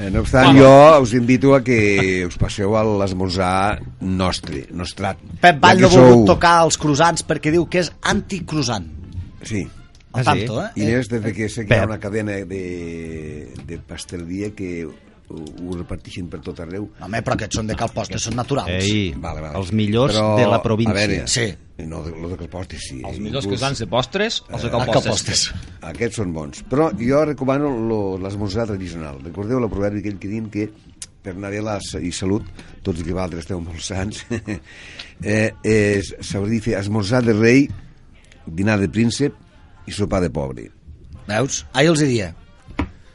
Speaker 9: Eh, No obstant,
Speaker 3: Bueno.
Speaker 9: jo us invito a que us passeu a l'esmorzar nostre, nostrat.
Speaker 2: Pep Vall
Speaker 9: Ja
Speaker 2: no
Speaker 9: que
Speaker 2: ha volgut
Speaker 9: sou-
Speaker 2: tocar els croissants perquè diu que és anticroissant.
Speaker 9: Sí.
Speaker 2: A
Speaker 1: Ah, sí?
Speaker 2: tanto, eh?
Speaker 9: Inés, des de que sé que hi ha
Speaker 1: Pep.
Speaker 9: una cadena de, de pasteleria que ho, ho reparteixen per tot arreu.
Speaker 2: Eh, Home, però aquests són de cal postre, són naturals.
Speaker 1: Ei, els millors de la província.
Speaker 9: A veure,
Speaker 2: Sí.
Speaker 9: No, de, lo de Calpostes, sí. eh,
Speaker 3: Els millors
Speaker 9: Inclús
Speaker 3: croissants de postres, els de
Speaker 2: A
Speaker 3: Cal
Speaker 2: Eh, cal
Speaker 3: Postes.
Speaker 2: postres.
Speaker 9: Aquests són bons. Però jo recomano lo- l'esmorzar tradicional. Recordeu la proverbi aquell que diuen que per Nadela i salut, tots i que vosaltres esteu molt sants, <laughs> eh, és, s'hauria de fer esmorzar de rei, dinar de príncep i sopar de pobre.
Speaker 2: Veus? Ahir els hi dia.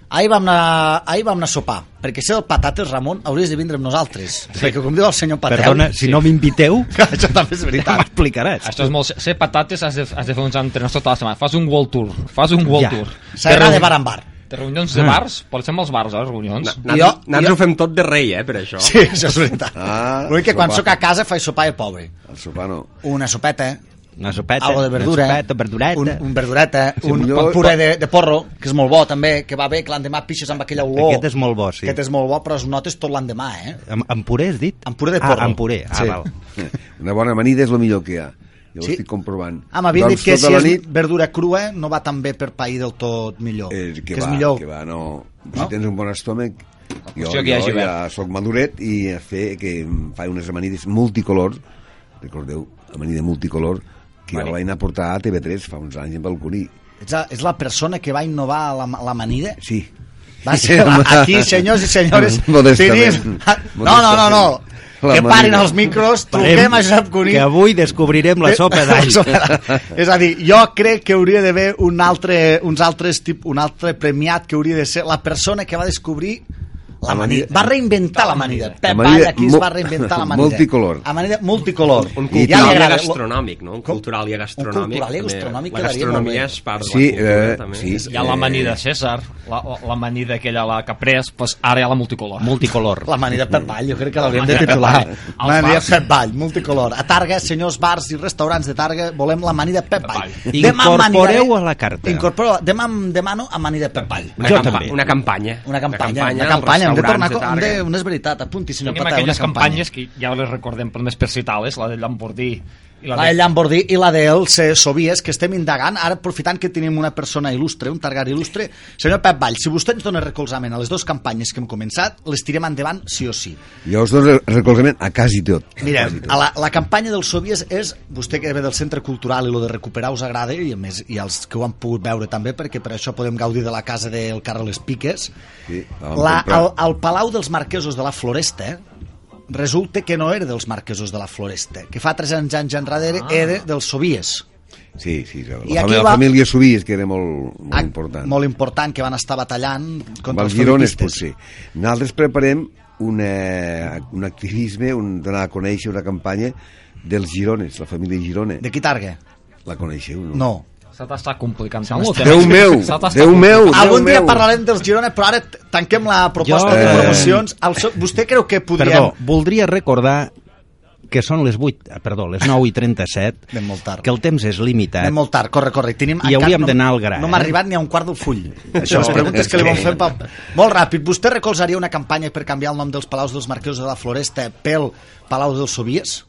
Speaker 2: Ahir vam, anar, ahir vam anar a sopar, perquè ser el patates, Ramon, hauries de vindre amb nosaltres. Sí. Perquè, com diu el senyor Pateu...
Speaker 1: Perdona, si no <laughs> m'inviteu,
Speaker 2: Això també és
Speaker 1: ja
Speaker 2: veritat.
Speaker 1: <laughs> m'explicaràs.
Speaker 3: Això és molt... Ser patates has de, has de fer uns entrenors tota la setmana. Fas un world tour. Fas un world
Speaker 1: Ja.
Speaker 3: tour.
Speaker 2: S'ha d'anar de bar en bar.
Speaker 3: De reunions de bars, potser amb els bars, eh, les reunions.
Speaker 4: Na-
Speaker 2: Jo-
Speaker 4: Nosaltres nosaltres
Speaker 2: jo-
Speaker 4: ho fem tot de rei, eh, per això.
Speaker 2: Sí, això és veritat.
Speaker 9: Ah,
Speaker 2: L'únic que quan
Speaker 9: sopar.
Speaker 2: sóc a casa faig sopar de pobre.
Speaker 9: El sopar no.
Speaker 2: Una sopeta, eh?
Speaker 1: Una sopeta.
Speaker 2: Algo de verdura.
Speaker 1: Una sopeta, verdureta.
Speaker 2: Un, un verdureta,
Speaker 9: Sí,
Speaker 2: un,
Speaker 9: millor-
Speaker 2: un puré de, de porro, que és molt bo també, que va bé, que l'endemà pixes amb aquella olor.
Speaker 1: Aquest és molt bo, sí.
Speaker 2: Aquest és molt bo, però es notes tot l'endemà, eh?
Speaker 1: Amb, amb puré, has dit?
Speaker 2: Amb puré de porro.
Speaker 1: Ah, amb puré. Ah,
Speaker 9: Sí.
Speaker 1: val.
Speaker 9: <laughs> Una bona amanida és el millor que hi ha. Jo
Speaker 2: Sí.
Speaker 9: ho estic comprovant.
Speaker 2: Ah, m'havien dit que
Speaker 9: tota
Speaker 2: si
Speaker 9: la
Speaker 2: és
Speaker 9: nit,
Speaker 2: verdura crua no va tan bé per pair del tot millor.
Speaker 9: Eh, que,
Speaker 2: que
Speaker 9: va,
Speaker 2: és millor. Ah.
Speaker 9: Que va, no. Si
Speaker 2: No?
Speaker 9: tens un bon estómac, jo,
Speaker 3: qüestió que hi hagi
Speaker 9: jo ja
Speaker 3: verd.
Speaker 9: sóc maduret i a fer que em faig unes amanides multicolors, recordeu, amanida multicolor, que jo la vaig anar a portar a TV3 fa uns anys amb el Cuní.
Speaker 2: És, la, és la persona que va innovar la- l'amanida?
Speaker 9: Sí.
Speaker 2: Va ser la- aquí, senyors i senyores,
Speaker 9: <laughs> Modestament.
Speaker 2: tenim... <laughs> No, no, no, no. Que
Speaker 9: L'amanida.
Speaker 2: parin els micros, truquem a Josep Cuní.
Speaker 1: Que avui descobrirem <laughs> la sopa d'all.
Speaker 2: Eh, La sopa d'all. És a dir, jo crec que hauria d'haver un altre, uns altres tip, un altre premiat que hauria de ser la persona que va descobrir l'amanida. Va reinventar l'amanida. Pep
Speaker 9: Amanida
Speaker 2: Vall aquí es
Speaker 9: mu-
Speaker 2: va reinventar l'amanida.
Speaker 9: multicolor.
Speaker 2: Amanida multicolor. I ja
Speaker 4: Un
Speaker 2: li
Speaker 4: cultural i
Speaker 2: agrada.
Speaker 4: gastronòmic, no? Un cultural i gastronòmic.
Speaker 2: cultural i
Speaker 4: també.
Speaker 2: gastronòmic
Speaker 4: La
Speaker 2: quedaria molt bé.
Speaker 4: gastronomia és part de la
Speaker 9: Sí,
Speaker 4: cultura,
Speaker 9: eh,
Speaker 4: també.
Speaker 9: sí.
Speaker 3: Hi ha l'amanida César, la- la- l'amanida aquella la que ha pres, doncs ara hi ha la multicolor.
Speaker 1: Multicolor.
Speaker 2: L'amanida Pep Vall, jo crec que l'hauríem de
Speaker 3: L'amanida Pep
Speaker 2: titular.
Speaker 3: Vall. Els
Speaker 2: L'amanida
Speaker 3: bars.
Speaker 2: Pep Vall, multicolor. A Targa, senyors, bars i restaurants de Targa, volem l'amanida Pep Vall.
Speaker 1: Vall.
Speaker 2: Demà amaniré-
Speaker 1: Incorporeu a la carta.
Speaker 2: Incorporeu, demà em demano amanida Pep Vall.
Speaker 4: Una,
Speaker 1: Jo
Speaker 4: campa
Speaker 1: també.
Speaker 4: una campanya.
Speaker 2: Una campanya, una
Speaker 4: dels
Speaker 2: campanya, hem de tornar...
Speaker 4: restaurants
Speaker 2: com- Hem
Speaker 4: Targa.
Speaker 2: de, una és veritat, apunti, senyor
Speaker 3: Tenim
Speaker 2: Patà, una
Speaker 3: aquelles
Speaker 2: campanya.
Speaker 3: campanyes que ja les recordem per més per citar-les, la de Llambordí i la
Speaker 2: La de
Speaker 3: de...
Speaker 2: Llambordí i la d'El se Sobies, que estem indagant, ara aprofitant que tenim una persona il·lustre, un targar il·lustre. Senyor Pep Vall, si vostè ens dona recolzament a les dues campanyes que hem començat, les tirem endavant sí o sí.
Speaker 9: Jo us dono recolzament a quasi tot.
Speaker 2: Mira,
Speaker 9: Quasi tot.
Speaker 2: a la, la campanya dels Sobies és, vostè que ve del centre cultural i lo de recuperar us agrada, i a més, i els que ho han pogut veure també, perquè per això podem gaudir de la casa del Carles Piques,
Speaker 9: Sí, la vam
Speaker 2: la,
Speaker 9: comprar.
Speaker 2: el, el Palau dels Marquesos de la Floresta resulta que no era dels Marquesos de la Floresta, que fa 300 anys enrere ah. era dels Sobies.
Speaker 9: Sí, sí, la,
Speaker 2: I aquí
Speaker 9: la, família,
Speaker 2: va-
Speaker 9: la família Subís, que era molt, molt
Speaker 2: Ah,
Speaker 9: important.
Speaker 2: Molt important, que van estar batallant
Speaker 9: Amb
Speaker 2: contra els
Speaker 9: els girones,
Speaker 2: felipistes.
Speaker 9: potser. Nosaltres preparem una, un activisme, un, donar a conèixer una campanya dels girones, la família Girona.
Speaker 2: De qui targa?
Speaker 9: La coneixeu, no?
Speaker 2: No.
Speaker 3: Se t'està complicant.
Speaker 9: Déu meu!
Speaker 3: Se t'està
Speaker 9: Déu meu!
Speaker 2: Algun
Speaker 9: Déu
Speaker 2: dia
Speaker 9: meu.
Speaker 2: parlarem dels Girona, però ara t- tanquem la proposta
Speaker 1: Jo-
Speaker 2: jo, de
Speaker 1: Eh.
Speaker 2: promocions. El, so- vostè creu que podríem...
Speaker 1: Perdó, voldria recordar que són les 8, eh, perdó, les 9 i 37,
Speaker 2: Anem molt tard.
Speaker 1: que el temps és limitat.
Speaker 2: Anem molt tard, corre, corre. Tenim
Speaker 1: I
Speaker 2: encara
Speaker 1: hauríem
Speaker 2: no-
Speaker 1: d'anar al gra,
Speaker 2: No m'ha
Speaker 1: eh?
Speaker 2: arribat ni a un quart del full. Això
Speaker 9: Això
Speaker 2: les preguntes
Speaker 9: és
Speaker 2: que li
Speaker 9: que-
Speaker 2: vam fer... Pa... Molt ràpid, vostè recolzaria una campanya per canviar el nom dels Palaus dels Marqueus de la Floresta pel Palau dels Sobies?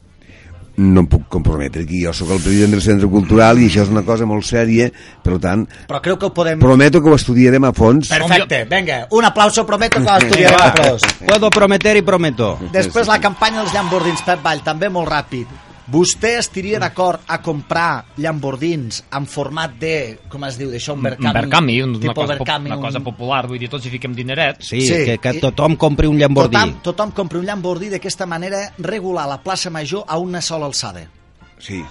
Speaker 9: No em puc comprometre aquí, jo sóc el president del Centre Cultural i això és una cosa molt sèria, per tant,
Speaker 2: Però creu que ho podem...
Speaker 9: prometo que ho estudiarem a fons.
Speaker 2: Perfecte, vinga, un aplauso,
Speaker 1: <laughs>
Speaker 2: prometo que estudiarem
Speaker 1: Vinga, va.
Speaker 2: aplaus.
Speaker 1: Puedo prometer i prometo.
Speaker 2: Després la campanya dels llambordins, Pep Vall, també molt ràpid. Vostè estaria d'acord a comprar llambordins en format de, com es diu, d'això, un
Speaker 3: Un
Speaker 2: verkami?
Speaker 3: Berkami, una,
Speaker 2: tipus
Speaker 3: cosa, pop-
Speaker 2: Berkami,
Speaker 3: una cosa
Speaker 2: un-
Speaker 3: popular, vull dir, tots hi fiquem dinerets.
Speaker 1: Sí,
Speaker 2: Sí.
Speaker 1: sí. Que, que tothom compri un llambordí.
Speaker 2: Tothom, tothom compri un Llambordí d'aquesta manera regular la plaça major a una sola alçada.
Speaker 9: Sí.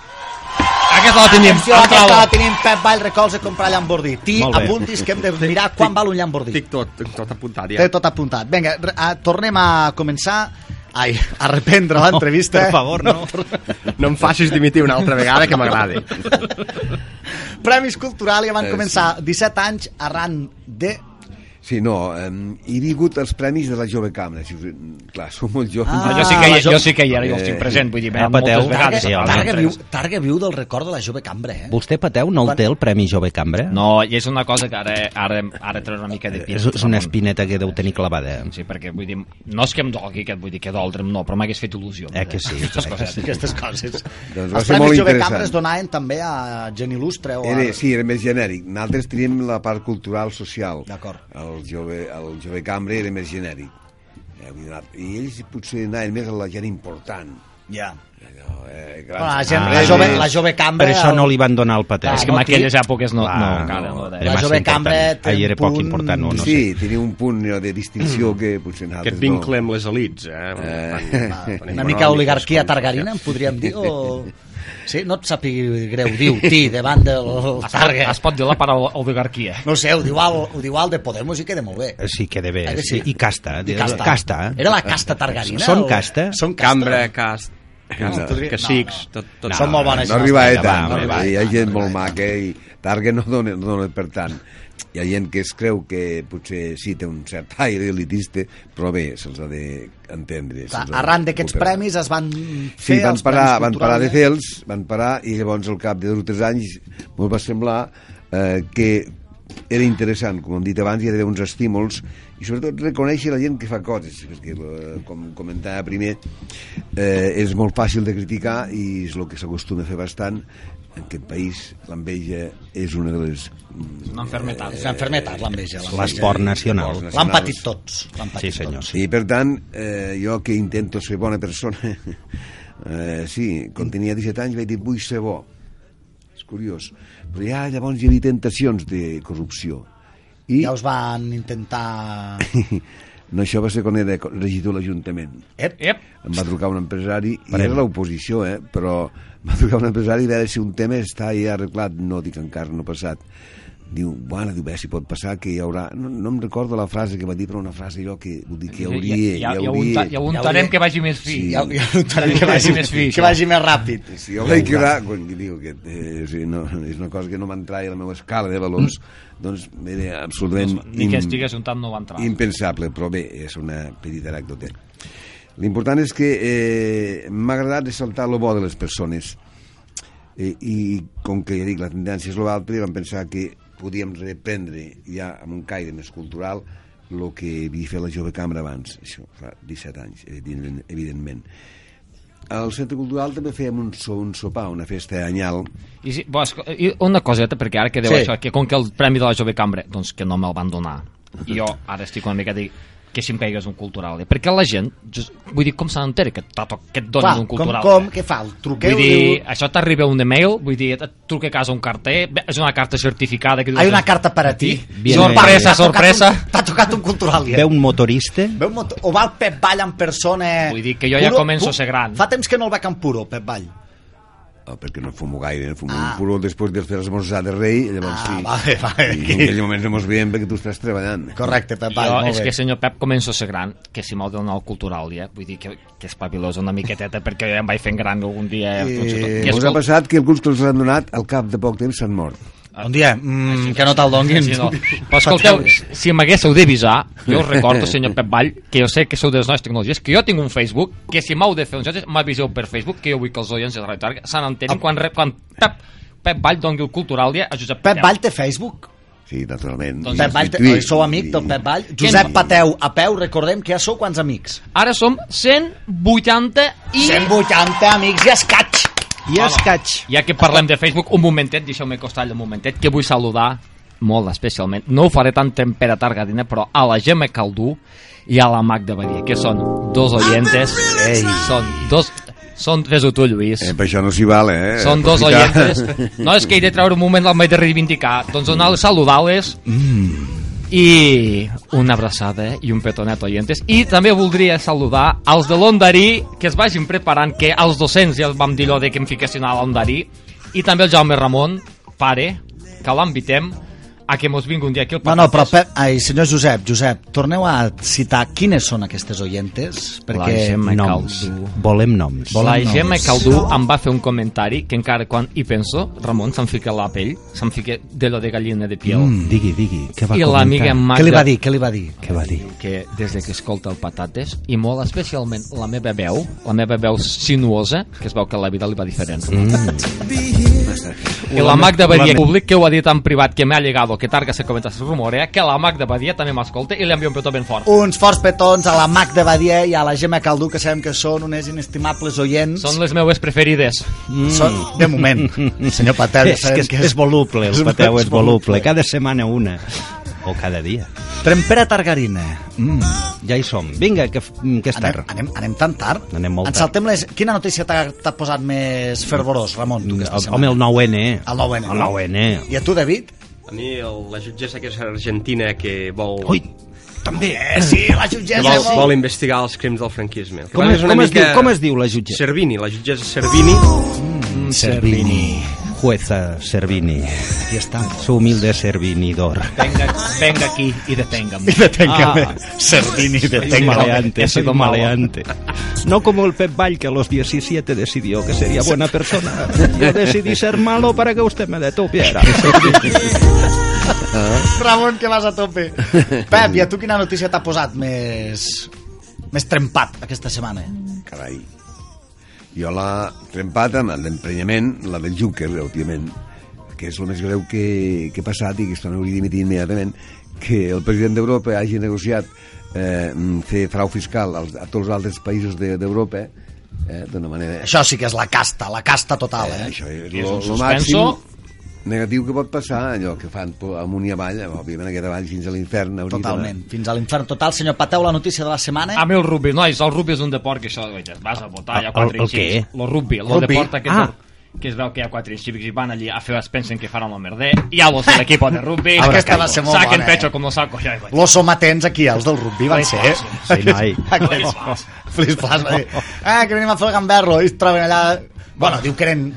Speaker 3: Aquesta la tenim,
Speaker 2: Atenció, aquesta
Speaker 3: entrava.
Speaker 2: la tenim, Pep Vall recolza comprar Llambordí. Ti,
Speaker 1: Molt bé.
Speaker 2: apuntis que hem de mirar quan val un Llambordí.
Speaker 4: Tinc tot, tinc tot apuntat, ja.
Speaker 2: Té tot apuntat. Vinga, re- a, tornem a començar Ai, a reprendre l'entrevista.
Speaker 1: Per favor, no.
Speaker 4: No em facis dimitir una altra vegada, que
Speaker 2: <laughs>
Speaker 4: m'agrada.
Speaker 2: Premis Cultural ja van
Speaker 9: Eh,
Speaker 2: començar 17 anys arran de...
Speaker 9: Sí, no, eh, he vingut als premis de la Jove Cambra. Si, us- clar, som molt joves.
Speaker 2: Ah.
Speaker 3: Jo sí que, hi,
Speaker 2: la jo-
Speaker 3: jo sí que hi era, jo els tinc present, vull dir,
Speaker 1: Ah,
Speaker 3: m'he anat
Speaker 1: pateu.
Speaker 3: moltes vegades.
Speaker 1: Sí,
Speaker 3: a
Speaker 1: home.
Speaker 3: parlar
Speaker 2: Targa,
Speaker 3: amb
Speaker 2: viu,
Speaker 3: tres.
Speaker 2: Targa viu del record de la jove cambra, eh?
Speaker 1: <laughs> Vostè, Pateu, no el té el Premi Jove Cambra? Eh,
Speaker 3: No, i és una cosa que ara, ara, ara treu una mica de pit.
Speaker 1: És, és una espineta que deu tenir clavada.
Speaker 3: Sí, perquè vull dir, no és que em dolgui, que vull dir que doldre'm, no, però m'hagués fet il·lusió.
Speaker 1: Eh que sí?
Speaker 3: Aquestes
Speaker 1: Eh que
Speaker 3: coses.
Speaker 2: Aquestes coses.
Speaker 9: Doncs va
Speaker 2: Els
Speaker 9: ser molt
Speaker 2: Premis Jove
Speaker 9: interessant.
Speaker 2: Cambra es donaven també a gent il·lustre o a...
Speaker 9: Era, sí, era més genèric. Nosaltres teníem la part cultural social.
Speaker 2: D'acord.
Speaker 9: El jove, el jove cambrer era més genèric. Eh, vull dir, I ells potser anaven més a la gent important.
Speaker 2: Ja.
Speaker 9: Allò, eh, grans
Speaker 2: Bueno, la, gent,
Speaker 1: Ah,
Speaker 2: la,
Speaker 9: empreses.
Speaker 2: jove, la jove cambra...
Speaker 1: Per això no
Speaker 2: el-
Speaker 1: li van donar el Pateu.
Speaker 3: És que
Speaker 2: no,
Speaker 3: en
Speaker 2: aquí-
Speaker 3: aquelles èpoques no, no,
Speaker 1: Ah,
Speaker 3: encara no.
Speaker 1: era
Speaker 3: eh?
Speaker 1: massa
Speaker 2: jove
Speaker 1: important.
Speaker 2: cambra té
Speaker 1: Ahir era
Speaker 2: un
Speaker 1: poc
Speaker 2: punt-
Speaker 1: important, no, no
Speaker 9: sí,
Speaker 1: sé.
Speaker 9: tenia un punt allò, de distinció
Speaker 2: Mm.
Speaker 9: que potser nosaltres
Speaker 4: Aquest vincle
Speaker 9: no.
Speaker 4: amb les elites, eh?
Speaker 9: Eh,
Speaker 2: Una mica oligarquia targarina, en podríem dir,
Speaker 1: <laughs>
Speaker 2: o... Sí, no et sàpigui greu, diu, ti, davant del Targa.
Speaker 3: Es pot dir la paraula oligarquia.
Speaker 2: No ho sé, ho diu, al, ho diu al de Podemos i queda molt bé.
Speaker 1: Sí, que de bé.
Speaker 2: Eh que
Speaker 1: Sí.
Speaker 2: sí?
Speaker 1: I casta.
Speaker 2: I
Speaker 1: casta. casta. eh?
Speaker 2: Era la casta targarina.
Speaker 1: Són
Speaker 2: o-
Speaker 1: casta?
Speaker 2: Són casta.
Speaker 4: Cambra, cast... Que, que sics, tot, tot
Speaker 2: Són molt bones.
Speaker 9: No arriba a
Speaker 2: nostres,
Speaker 9: tant.
Speaker 2: va,
Speaker 9: No,
Speaker 2: va, va,
Speaker 9: hi ha
Speaker 2: va,
Speaker 9: gent
Speaker 2: va,
Speaker 9: molt
Speaker 2: va.
Speaker 9: maca i Targa no dona, no dona per tant. Hi ha gent que es creu que potser sí té un cert aire elitista, però bé, se'ls ha d'entendre.
Speaker 2: Clar,
Speaker 9: se'ls ha de
Speaker 2: Arran d'aquests
Speaker 9: recuperar.
Speaker 2: premis es van
Speaker 9: Sí,
Speaker 2: fer
Speaker 9: van
Speaker 2: els
Speaker 9: parar,
Speaker 2: premis
Speaker 9: van parar de
Speaker 2: culturals. eh?
Speaker 9: fer-los, van parar, i llavors al cap de dos o tres anys ens va semblar eh, que era interessant, com hem dit abans, hi ha d'haver uns estímuls i sobretot reconèixer la gent que fa coses, perquè, eh, com comentava primer, eh, és molt fàcil de criticar i és el que s'acostuma a fer bastant en aquest país l'enveja és una de les... mm,
Speaker 3: Una enfermetat.
Speaker 2: És enfermetat, l'enveja. l'enveja.
Speaker 1: L'esport nacional.
Speaker 9: L'esport
Speaker 2: L'han patit tots. L'han
Speaker 1: Sí,
Speaker 2: patit
Speaker 1: senyor.
Speaker 2: tots.
Speaker 1: Sí.
Speaker 9: I per tant, eh, jo que intento ser bona persona, <laughs> eh, sí, quan tenia 17 anys vaig dir vull ser bo. És curiós. Però ja llavors hi havia tentacions de corrupció. I
Speaker 2: Ja us van
Speaker 1: <laughs>
Speaker 2: intentar...
Speaker 9: <laughs> no, això va ser quan era co- regidor a l'Ajuntament.
Speaker 2: Ep,
Speaker 3: Ep,
Speaker 9: Em va trucar un empresari, i
Speaker 1: Parem.
Speaker 9: era l'oposició, eh? però em va trucar un empresari a veure si un tema està ja arreglat. No, dic, encara no ha passat. Diu, bueno, diu, a veure si pot passar, que hi haurà... No, no em recordo la frase que va dir, però una frase jo que, vull dir, que hi hauria...
Speaker 3: ja, ja,
Speaker 9: hi
Speaker 3: ja,
Speaker 9: hauria...
Speaker 3: unta- ja untarem
Speaker 2: hauria-
Speaker 3: que vagi més fi.
Speaker 9: Sí.
Speaker 2: ja, ja ho
Speaker 3: Que vagi més
Speaker 2: que
Speaker 3: fi, això.
Speaker 2: vagi més ràpid.
Speaker 9: Si jo vaig quedar, quan diu que eh, si no, és una cosa que no m'entraia a la meva escala de valors, doncs era absolutament
Speaker 3: Mm. Ni que
Speaker 9: im-
Speaker 3: estigués un tant no va entrar.
Speaker 9: impensable, però bé, és una petita anècdota. L'important és que eh, m'ha agradat ressaltar el bo de les persones eh, i com que ja dic, la tendència és l'altra, vam pensar que podíem reprendre ja amb un caire més cultural el que havia fet la jove cambra abans, això fa 17 anys, evidentment. evidentment. Al Centre Cultural també fèiem un, so, un sopar, una festa anyal,
Speaker 3: I, si, bo, esco- i una coseta, perquè ara que deu
Speaker 2: Sí.
Speaker 3: sí. això, que com que el Premi de la Jove Cambra, doncs que no me'l van donar, i jo ara estic una mica dic que si em caigués un cultural, eh? perquè la gent, just, vull dir, com se n'entera que, t'ha to- que et donen
Speaker 2: Clar,
Speaker 3: un
Speaker 2: com,
Speaker 3: cultural?
Speaker 2: com,
Speaker 3: eh?
Speaker 2: què fa? El truqueu?
Speaker 3: Vull dir,
Speaker 2: Diu...
Speaker 3: això t'arriba un email, vull dir, et truca a casa un carter, bé, és una carta certificada. Que dius-
Speaker 2: Hay una carta per a ti.
Speaker 1: Bien,
Speaker 3: sorpresa,
Speaker 2: T'ha tocat
Speaker 3: sorpresa.
Speaker 2: un- T'ha tocat un cultural. Ja.
Speaker 1: Veu un motorista
Speaker 2: Veu molt... O va el Pep Vall en persona... eh,
Speaker 3: Vull dir que jo ja començo a ser gran.
Speaker 2: Fa temps que no el veig en puro, Pep Vall.
Speaker 9: Oh, perquè no fumo gaire, fumo
Speaker 2: Ah.
Speaker 9: ah. un puro després de fer esmorzar de rei,
Speaker 3: Doncs
Speaker 9: llavors
Speaker 2: Ah,
Speaker 9: sí.
Speaker 2: vale, vale.
Speaker 9: I en aquell moment no mos veiem perquè tu estàs treballant.
Speaker 2: Correcte, Pep Vall,
Speaker 3: jo,
Speaker 2: molt
Speaker 3: és
Speaker 2: bé.
Speaker 3: que senyor Pep començo a ser gran, que si m'ha de donar el cultural, ja, vull dir que, que espavilós una miqueteta, perquè jo ja em vaig fent gran algun dia.
Speaker 9: Eh,
Speaker 3: fins i tot. I
Speaker 9: us ha
Speaker 3: escolta-
Speaker 9: passat que alguns que els han donat al cap de poc temps s'han mort.
Speaker 2: Bon dia, mm, que no te'l donguin.
Speaker 3: Sí, no. Però escolteu, si m'haguéssiu d'avisar, jo us recordo, senyor Pep Vall, que jo sé que sou de les noves tecnologies, que jo tinc un Facebook, que si m'heu de fer uns jocs, m'aviseu per Facebook, que jo vull que els oients de la Retarga se n'entenin quan, re- quan Pep, Pep Vall doni el cultural dia a Josep
Speaker 2: Pep Vall té Facebook?
Speaker 9: Sí, naturalment.
Speaker 3: Doncs
Speaker 9: I-
Speaker 2: Pep Vall,
Speaker 9: i
Speaker 2: té...
Speaker 9: Twitter,
Speaker 2: oi, sou amic del
Speaker 9: i-
Speaker 2: Pep Vall?
Speaker 9: i-
Speaker 2: Josep Pateu, a peu, recordem que ja sou quants amics?
Speaker 3: Ara som 180 i...
Speaker 2: 180 amics i escaig.
Speaker 1: i escaig.
Speaker 3: Ja que parlem de Facebook, un momentet, deixeu-me costar un momentet, que vull saludar molt especialment, no ho faré tant en Pere Targadina, però a la Gemma Caldú i a la Magda Badia, que són dos oyentes, Ei. són dos... Són, fes-ho tu, Lluís.
Speaker 9: Eh, per això no s'hi val, eh?
Speaker 3: Són dos
Speaker 9: Aprofitar.
Speaker 3: oyentes. No, és que he de treure un moment, l'hem de reivindicar. Doncs donar-les, saludar-les.
Speaker 9: Mm.
Speaker 3: I una abraçada eh, i un petonet oyentes. I també voldria saludar als de l'Ondarí, que es vagin preparant, que als 200 ja vam dir allò de que em fiquessin a l'Ondarí. I també el Jaume Ramon, pare, que l'invitem a que mos vingui un dia aquí al
Speaker 2: No, no, però
Speaker 3: Patates.
Speaker 2: Pep, ai, senyor Josep, Josep, torneu a citar quines són aquestes oyentes,
Speaker 3: La
Speaker 2: perquè...
Speaker 3: Gemma
Speaker 1: Noms.
Speaker 3: Caldú.
Speaker 1: Volem noms.
Speaker 2: Vol-
Speaker 3: La
Speaker 2: Volem
Speaker 3: Gemma
Speaker 2: noms.
Speaker 3: Caldú em va fer un comentari que encara quan hi penso, Ramon, se'm fica la pell, se'm fica de lo de gallina de piel. Mm.
Speaker 1: Mm, digui, digui. Què va
Speaker 3: I
Speaker 1: comentar?
Speaker 3: l'amiga Magda...
Speaker 2: Què li va dir, què li va dir?
Speaker 1: Què va dir?
Speaker 3: que des de que escolta el Patates i molt especialment la meva veu la meva veu sinuosa que es veu que la vida li va diferent mm. i la Magda Badia públic que ho ha dit en privat que m'ha llegado que targa se comenta se rumorea que la Magda Badia també m'escolta i li envia un petó ben fort
Speaker 2: Uns forts petons a la Magda Badia i a la Gemma Caldú, que sabem que són unes inestimables oients.
Speaker 3: són les meues preferides
Speaker 2: Mm. Són, de moment, senyor Patel,
Speaker 1: Mm. <laughs> és que és, és
Speaker 3: <laughs>
Speaker 1: voluble, el pateu és voluble. Cada setmana una. O cada dia.
Speaker 2: Trempera Targarina.
Speaker 1: Mm, ja hi som. Vinga, que, f- mm, que és
Speaker 2: Anem,
Speaker 1: tard.
Speaker 2: anem, anem tan tard?
Speaker 1: Anem molt
Speaker 2: Ens
Speaker 1: tard.
Speaker 2: saltem les... Quina notícia t'ha t'ha posat més fervorós, Ramon, tu, aquesta
Speaker 1: Mm, El-
Speaker 2: setmana?
Speaker 1: Home, el 9N.
Speaker 2: El 9N,
Speaker 1: El eh?
Speaker 2: no?
Speaker 1: 9N.
Speaker 2: I a tu, David?
Speaker 4: A mi el, la jutgessa que és argentina que vol...
Speaker 1: Ui, també.
Speaker 2: Eh, sí, la
Speaker 4: Que
Speaker 2: jutgessa
Speaker 4: vol, vol investigar els crims del franquisme. El que
Speaker 1: Com,
Speaker 4: passa
Speaker 1: es,
Speaker 4: és una
Speaker 1: com, es
Speaker 4: mica-
Speaker 1: diu, com es diu la jutgessa?
Speaker 4: Servini, la jutgessa Servini.
Speaker 1: Servini. Jueza Servini.
Speaker 2: Aquí està.
Speaker 1: Su humilde servinidor.
Speaker 3: venga, venga aquí i detenga'm
Speaker 2: Deténgame. Ah. Servini,
Speaker 1: Soy
Speaker 2: deténgame.
Speaker 1: maleante, soy maleante. No como el Pep Vall, que a los 17 decidió que sería buena persona. Yo decidí ser malo para que usted me detuviera.
Speaker 2: Ramon, que vas a
Speaker 1: <laughs>
Speaker 2: tope. Pep, i a tu quina notícia t'ha posat més... més trempat aquesta setmana?
Speaker 9: <laughs> Carai. Jo la trempat amb l'emprenyament, la del Juncker, òbviament, que és el més greu que, que ha passat i que se n'hauria dimitit immediatament, que el president d'Europa hagi negociat eh, fer frau fiscal als, a tots els altres països de- d'Europa eh, d'una manera...
Speaker 2: Això sí que és la casta, la casta total,
Speaker 9: Eh,
Speaker 2: eh?
Speaker 9: això és
Speaker 3: És un
Speaker 9: lo, lo
Speaker 3: suspenso.
Speaker 9: màxim negatiu que pot passar, allò que fan po- amunt i avall, òbviament aquest avall fins a l'infern. hauria d'anar.
Speaker 2: Totalment. Fins a l'infern total. Senyor Pateu, la notícia de la setmana...
Speaker 3: Amb el Ah, rugby, nois, el rugby és un deport que això, oita, vas a votar, hi ha quatre
Speaker 1: Ah, El- el què?
Speaker 3: incívics. El rugby, el
Speaker 2: Rugby.
Speaker 3: deport aquest
Speaker 1: Ah.
Speaker 3: del- que es veu que hi ha quatre incívics i van allí a fer, es pensen que faran el merder, i ja
Speaker 1: <laughs>
Speaker 3: los de l'equip de rugby,
Speaker 2: Aquesta va ser molt
Speaker 3: saquen
Speaker 2: bona, eh?
Speaker 3: pecho com lo saco, ja, oita.
Speaker 2: Los som atents aquí, els del rugby van ser. eh?
Speaker 1: Sí,
Speaker 2: <laughs>
Speaker 1: noi.
Speaker 2: Aquests- Flis-flas va dir, ah, que venim a fer el gamberro, i es troben allà... Bueno, diu que eren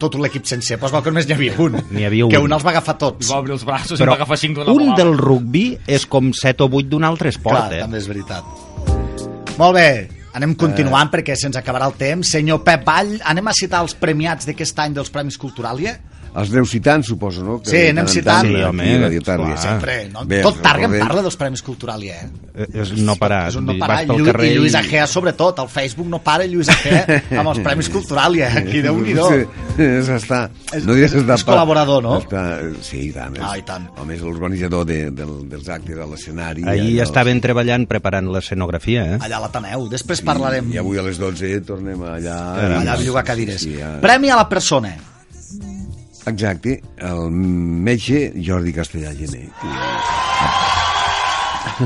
Speaker 2: tot l'equip sencer, però es veu que només n'hi havia un.
Speaker 1: N'hi havia un.
Speaker 2: Que un els va agafar tots.
Speaker 3: va obrir els braços i
Speaker 1: Però
Speaker 3: va agafar cinc d'una
Speaker 1: un
Speaker 3: volada.
Speaker 1: del rugby és com 7 o 8 d'un altre
Speaker 2: Clar,
Speaker 1: esport, eh?
Speaker 2: també és veritat. Molt bé, anem continuant perquè se'ns acabarà el temps. Senyor Pep Vall, anem a citar els premiats d'aquest any dels Premis Culturalia?
Speaker 9: Els aneu citant, suposo, no?
Speaker 2: Sí, anem
Speaker 9: tant en
Speaker 2: citant.
Speaker 9: tant,
Speaker 2: Sí,
Speaker 1: home,
Speaker 9: aquí, Radio Tàrrega.
Speaker 1: clar.
Speaker 2: Sempre, no?
Speaker 9: Ah, Bé,
Speaker 2: Tot Targa en
Speaker 9: recordem-
Speaker 2: parla dels Premis Culturalia, eh?
Speaker 1: Eh, És no parar.
Speaker 2: És un no
Speaker 1: Vas
Speaker 2: parar.
Speaker 1: pel
Speaker 2: Llu
Speaker 1: carrer
Speaker 2: I Lluís Agea, sobretot, al Facebook no para Lluís Agea amb els Premis
Speaker 9: <laughs>
Speaker 2: Culturalia. Aquí, Déu-n'hi-do.
Speaker 9: Sí, és estar...
Speaker 2: És-
Speaker 9: No diràs estar
Speaker 2: és col·laborador, no?
Speaker 9: Està, sí, i tant.
Speaker 2: Ah, i tant.
Speaker 9: Home, és l'organitzador de, del, dels actes a l'escenari.
Speaker 1: Ahir
Speaker 9: allò.
Speaker 1: estaven treballant preparant l'escenografia, eh?
Speaker 2: Allà a l'Ateneu. Després parlarem.
Speaker 9: I, I avui a les 12 tornem allà...
Speaker 2: Allà a llogar cadires.
Speaker 9: Sí, sí, ja.
Speaker 2: Premi a la persona.
Speaker 9: Exacte, el metge Jordi Castellà Gené.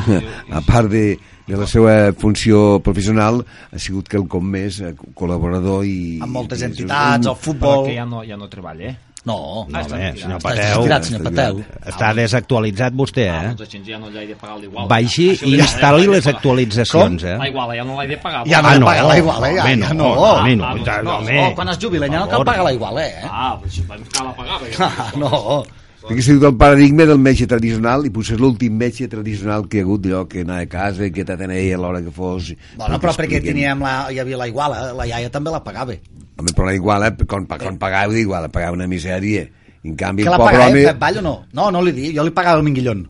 Speaker 9: que- A part de, de la seva funció professional, ha sigut quelcom més eh, col·laborador i...
Speaker 2: Amb moltes
Speaker 9: i-
Speaker 2: entitats, el
Speaker 3: Però
Speaker 2: futbol...
Speaker 3: que ja no, ja no treballa, eh?
Speaker 2: No, no.
Speaker 1: No, bé, senyor
Speaker 2: Estàs
Speaker 1: Pateu,
Speaker 2: desesperat, senyor Pateu.
Speaker 1: està desactualitzat vostè,
Speaker 3: Ah,
Speaker 1: eh?
Speaker 3: doncs la gent ja no li ha de pagar l'igual.
Speaker 1: Baixi
Speaker 3: Això
Speaker 1: i
Speaker 3: ja-
Speaker 1: instal·li
Speaker 3: ja no l'he
Speaker 1: les
Speaker 3: de pagar.
Speaker 1: actualitzacions,
Speaker 3: La
Speaker 1: eh?
Speaker 3: iguala, ja no l'he de pagar.
Speaker 2: Ja no
Speaker 1: Ah,
Speaker 2: cal
Speaker 1: no,
Speaker 2: pagar la iguala, ja,
Speaker 1: home,
Speaker 2: ja
Speaker 1: no,
Speaker 2: no.
Speaker 1: home, no,
Speaker 2: Ah,
Speaker 1: ja no,
Speaker 2: no,
Speaker 1: home.
Speaker 2: quan es jubila ja no
Speaker 1: Per
Speaker 2: cal
Speaker 1: favor.
Speaker 2: pagar la iguala, eh?
Speaker 3: Ah, però això vam cal pagar. perquè-
Speaker 2: Ah, <laughs> no.
Speaker 9: Perquè ha sigut el paradigma del metge tradicional i potser és l'últim metge tradicional que hi ha hagut, allò que anava a casa, que t'atenia a l'hora que fos...
Speaker 2: Bueno, però perquè
Speaker 9: expliquen.
Speaker 2: teníem la, hi havia la iguala, la iaia també la pagava.
Speaker 9: Home, però la iguala, quan, quan pagava, igual, pagava una misèria. I en canvi,
Speaker 2: Eh. Que
Speaker 9: el
Speaker 2: la
Speaker 9: pobre
Speaker 2: pagava eh,
Speaker 9: home...
Speaker 2: el Pep Vall o no? No, no li di, jo li pagava el Minguillón.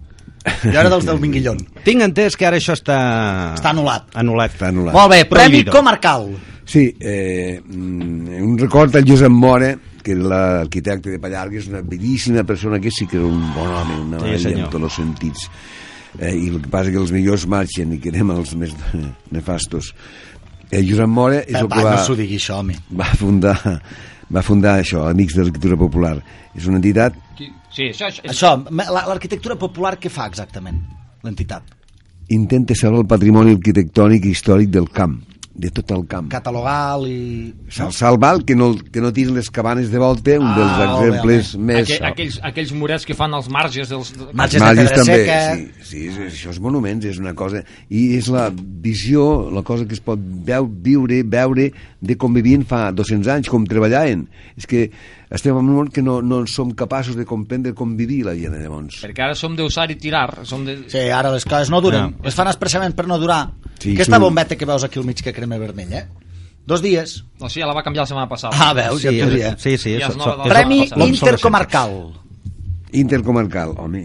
Speaker 2: Jo era dels del
Speaker 9: <laughs>
Speaker 2: Minguillón.
Speaker 1: Tinc entès que ara això està...
Speaker 2: Està anul·lat.
Speaker 1: Anul·lat.
Speaker 9: Està anul·lat.
Speaker 2: Molt bé, premi
Speaker 1: Prohibido.
Speaker 2: comarcal.
Speaker 9: Sí, eh, mm, un record al Josep Mora, que era l'arquitecte de Pallargues, una bellíssima persona que sí que era un bon home, una
Speaker 1: Sí,
Speaker 9: meravella
Speaker 1: senyor.
Speaker 9: en tots els sentits. Eh, I el que passa és que els millors marxen i quedem els més nefastos. Eh, Josep Mora és el
Speaker 2: Pep
Speaker 9: que
Speaker 2: Vall,
Speaker 9: va,
Speaker 2: no s'ho digui això, home.
Speaker 9: va fundar va fundar això, Amics de l'Arquitectura Popular. És una entitat
Speaker 3: Qui- Sí, això, això,
Speaker 2: Això, me- la- l'arquitectura popular què fa exactament, l'entitat?
Speaker 9: intenta salvar el patrimoni arquitectònic i històric del camp, de tot el camp.
Speaker 2: Catalogar i...
Speaker 9: Se'l salva el que no, el que no tira les cabanes de volta, un
Speaker 2: Ah,
Speaker 9: dels
Speaker 2: molt bé,
Speaker 9: exemples
Speaker 3: Aquell-
Speaker 9: més...
Speaker 3: aquells, aquells murets que fan als marges dels...
Speaker 2: Marges de
Speaker 9: Els magis
Speaker 2: pedra
Speaker 9: també,
Speaker 2: seca.
Speaker 9: sí, sí, és, és- això és monuments, és una cosa... I és la visió, la cosa que es pot veu, viure, veure, de com vivien fa 200 anys, com treballaven. És que estem en un món que no, no som capaços de comprendre com vivia la gent llavors.
Speaker 3: Perquè ara som d'usar i tirar, som de...
Speaker 2: Sí, ara les coses no duren. No. Les fan expressament per no durar.
Speaker 9: Ah. Sí,
Speaker 2: Sí, Aquesta
Speaker 9: tu-
Speaker 2: bombeta que veus aquí al mig que crema vermell, eh? Dos dies.
Speaker 3: No, sí, ja la va canviar la setmana passada.
Speaker 2: Ah, veus, sí, ja t'ho diré.
Speaker 1: Sí, sí. so-
Speaker 3: Ja és nova
Speaker 1: so-
Speaker 3: del-
Speaker 1: és-
Speaker 2: Premi
Speaker 1: són obsolescents.
Speaker 2: Intercomarcal.
Speaker 9: Intercomarcal, home,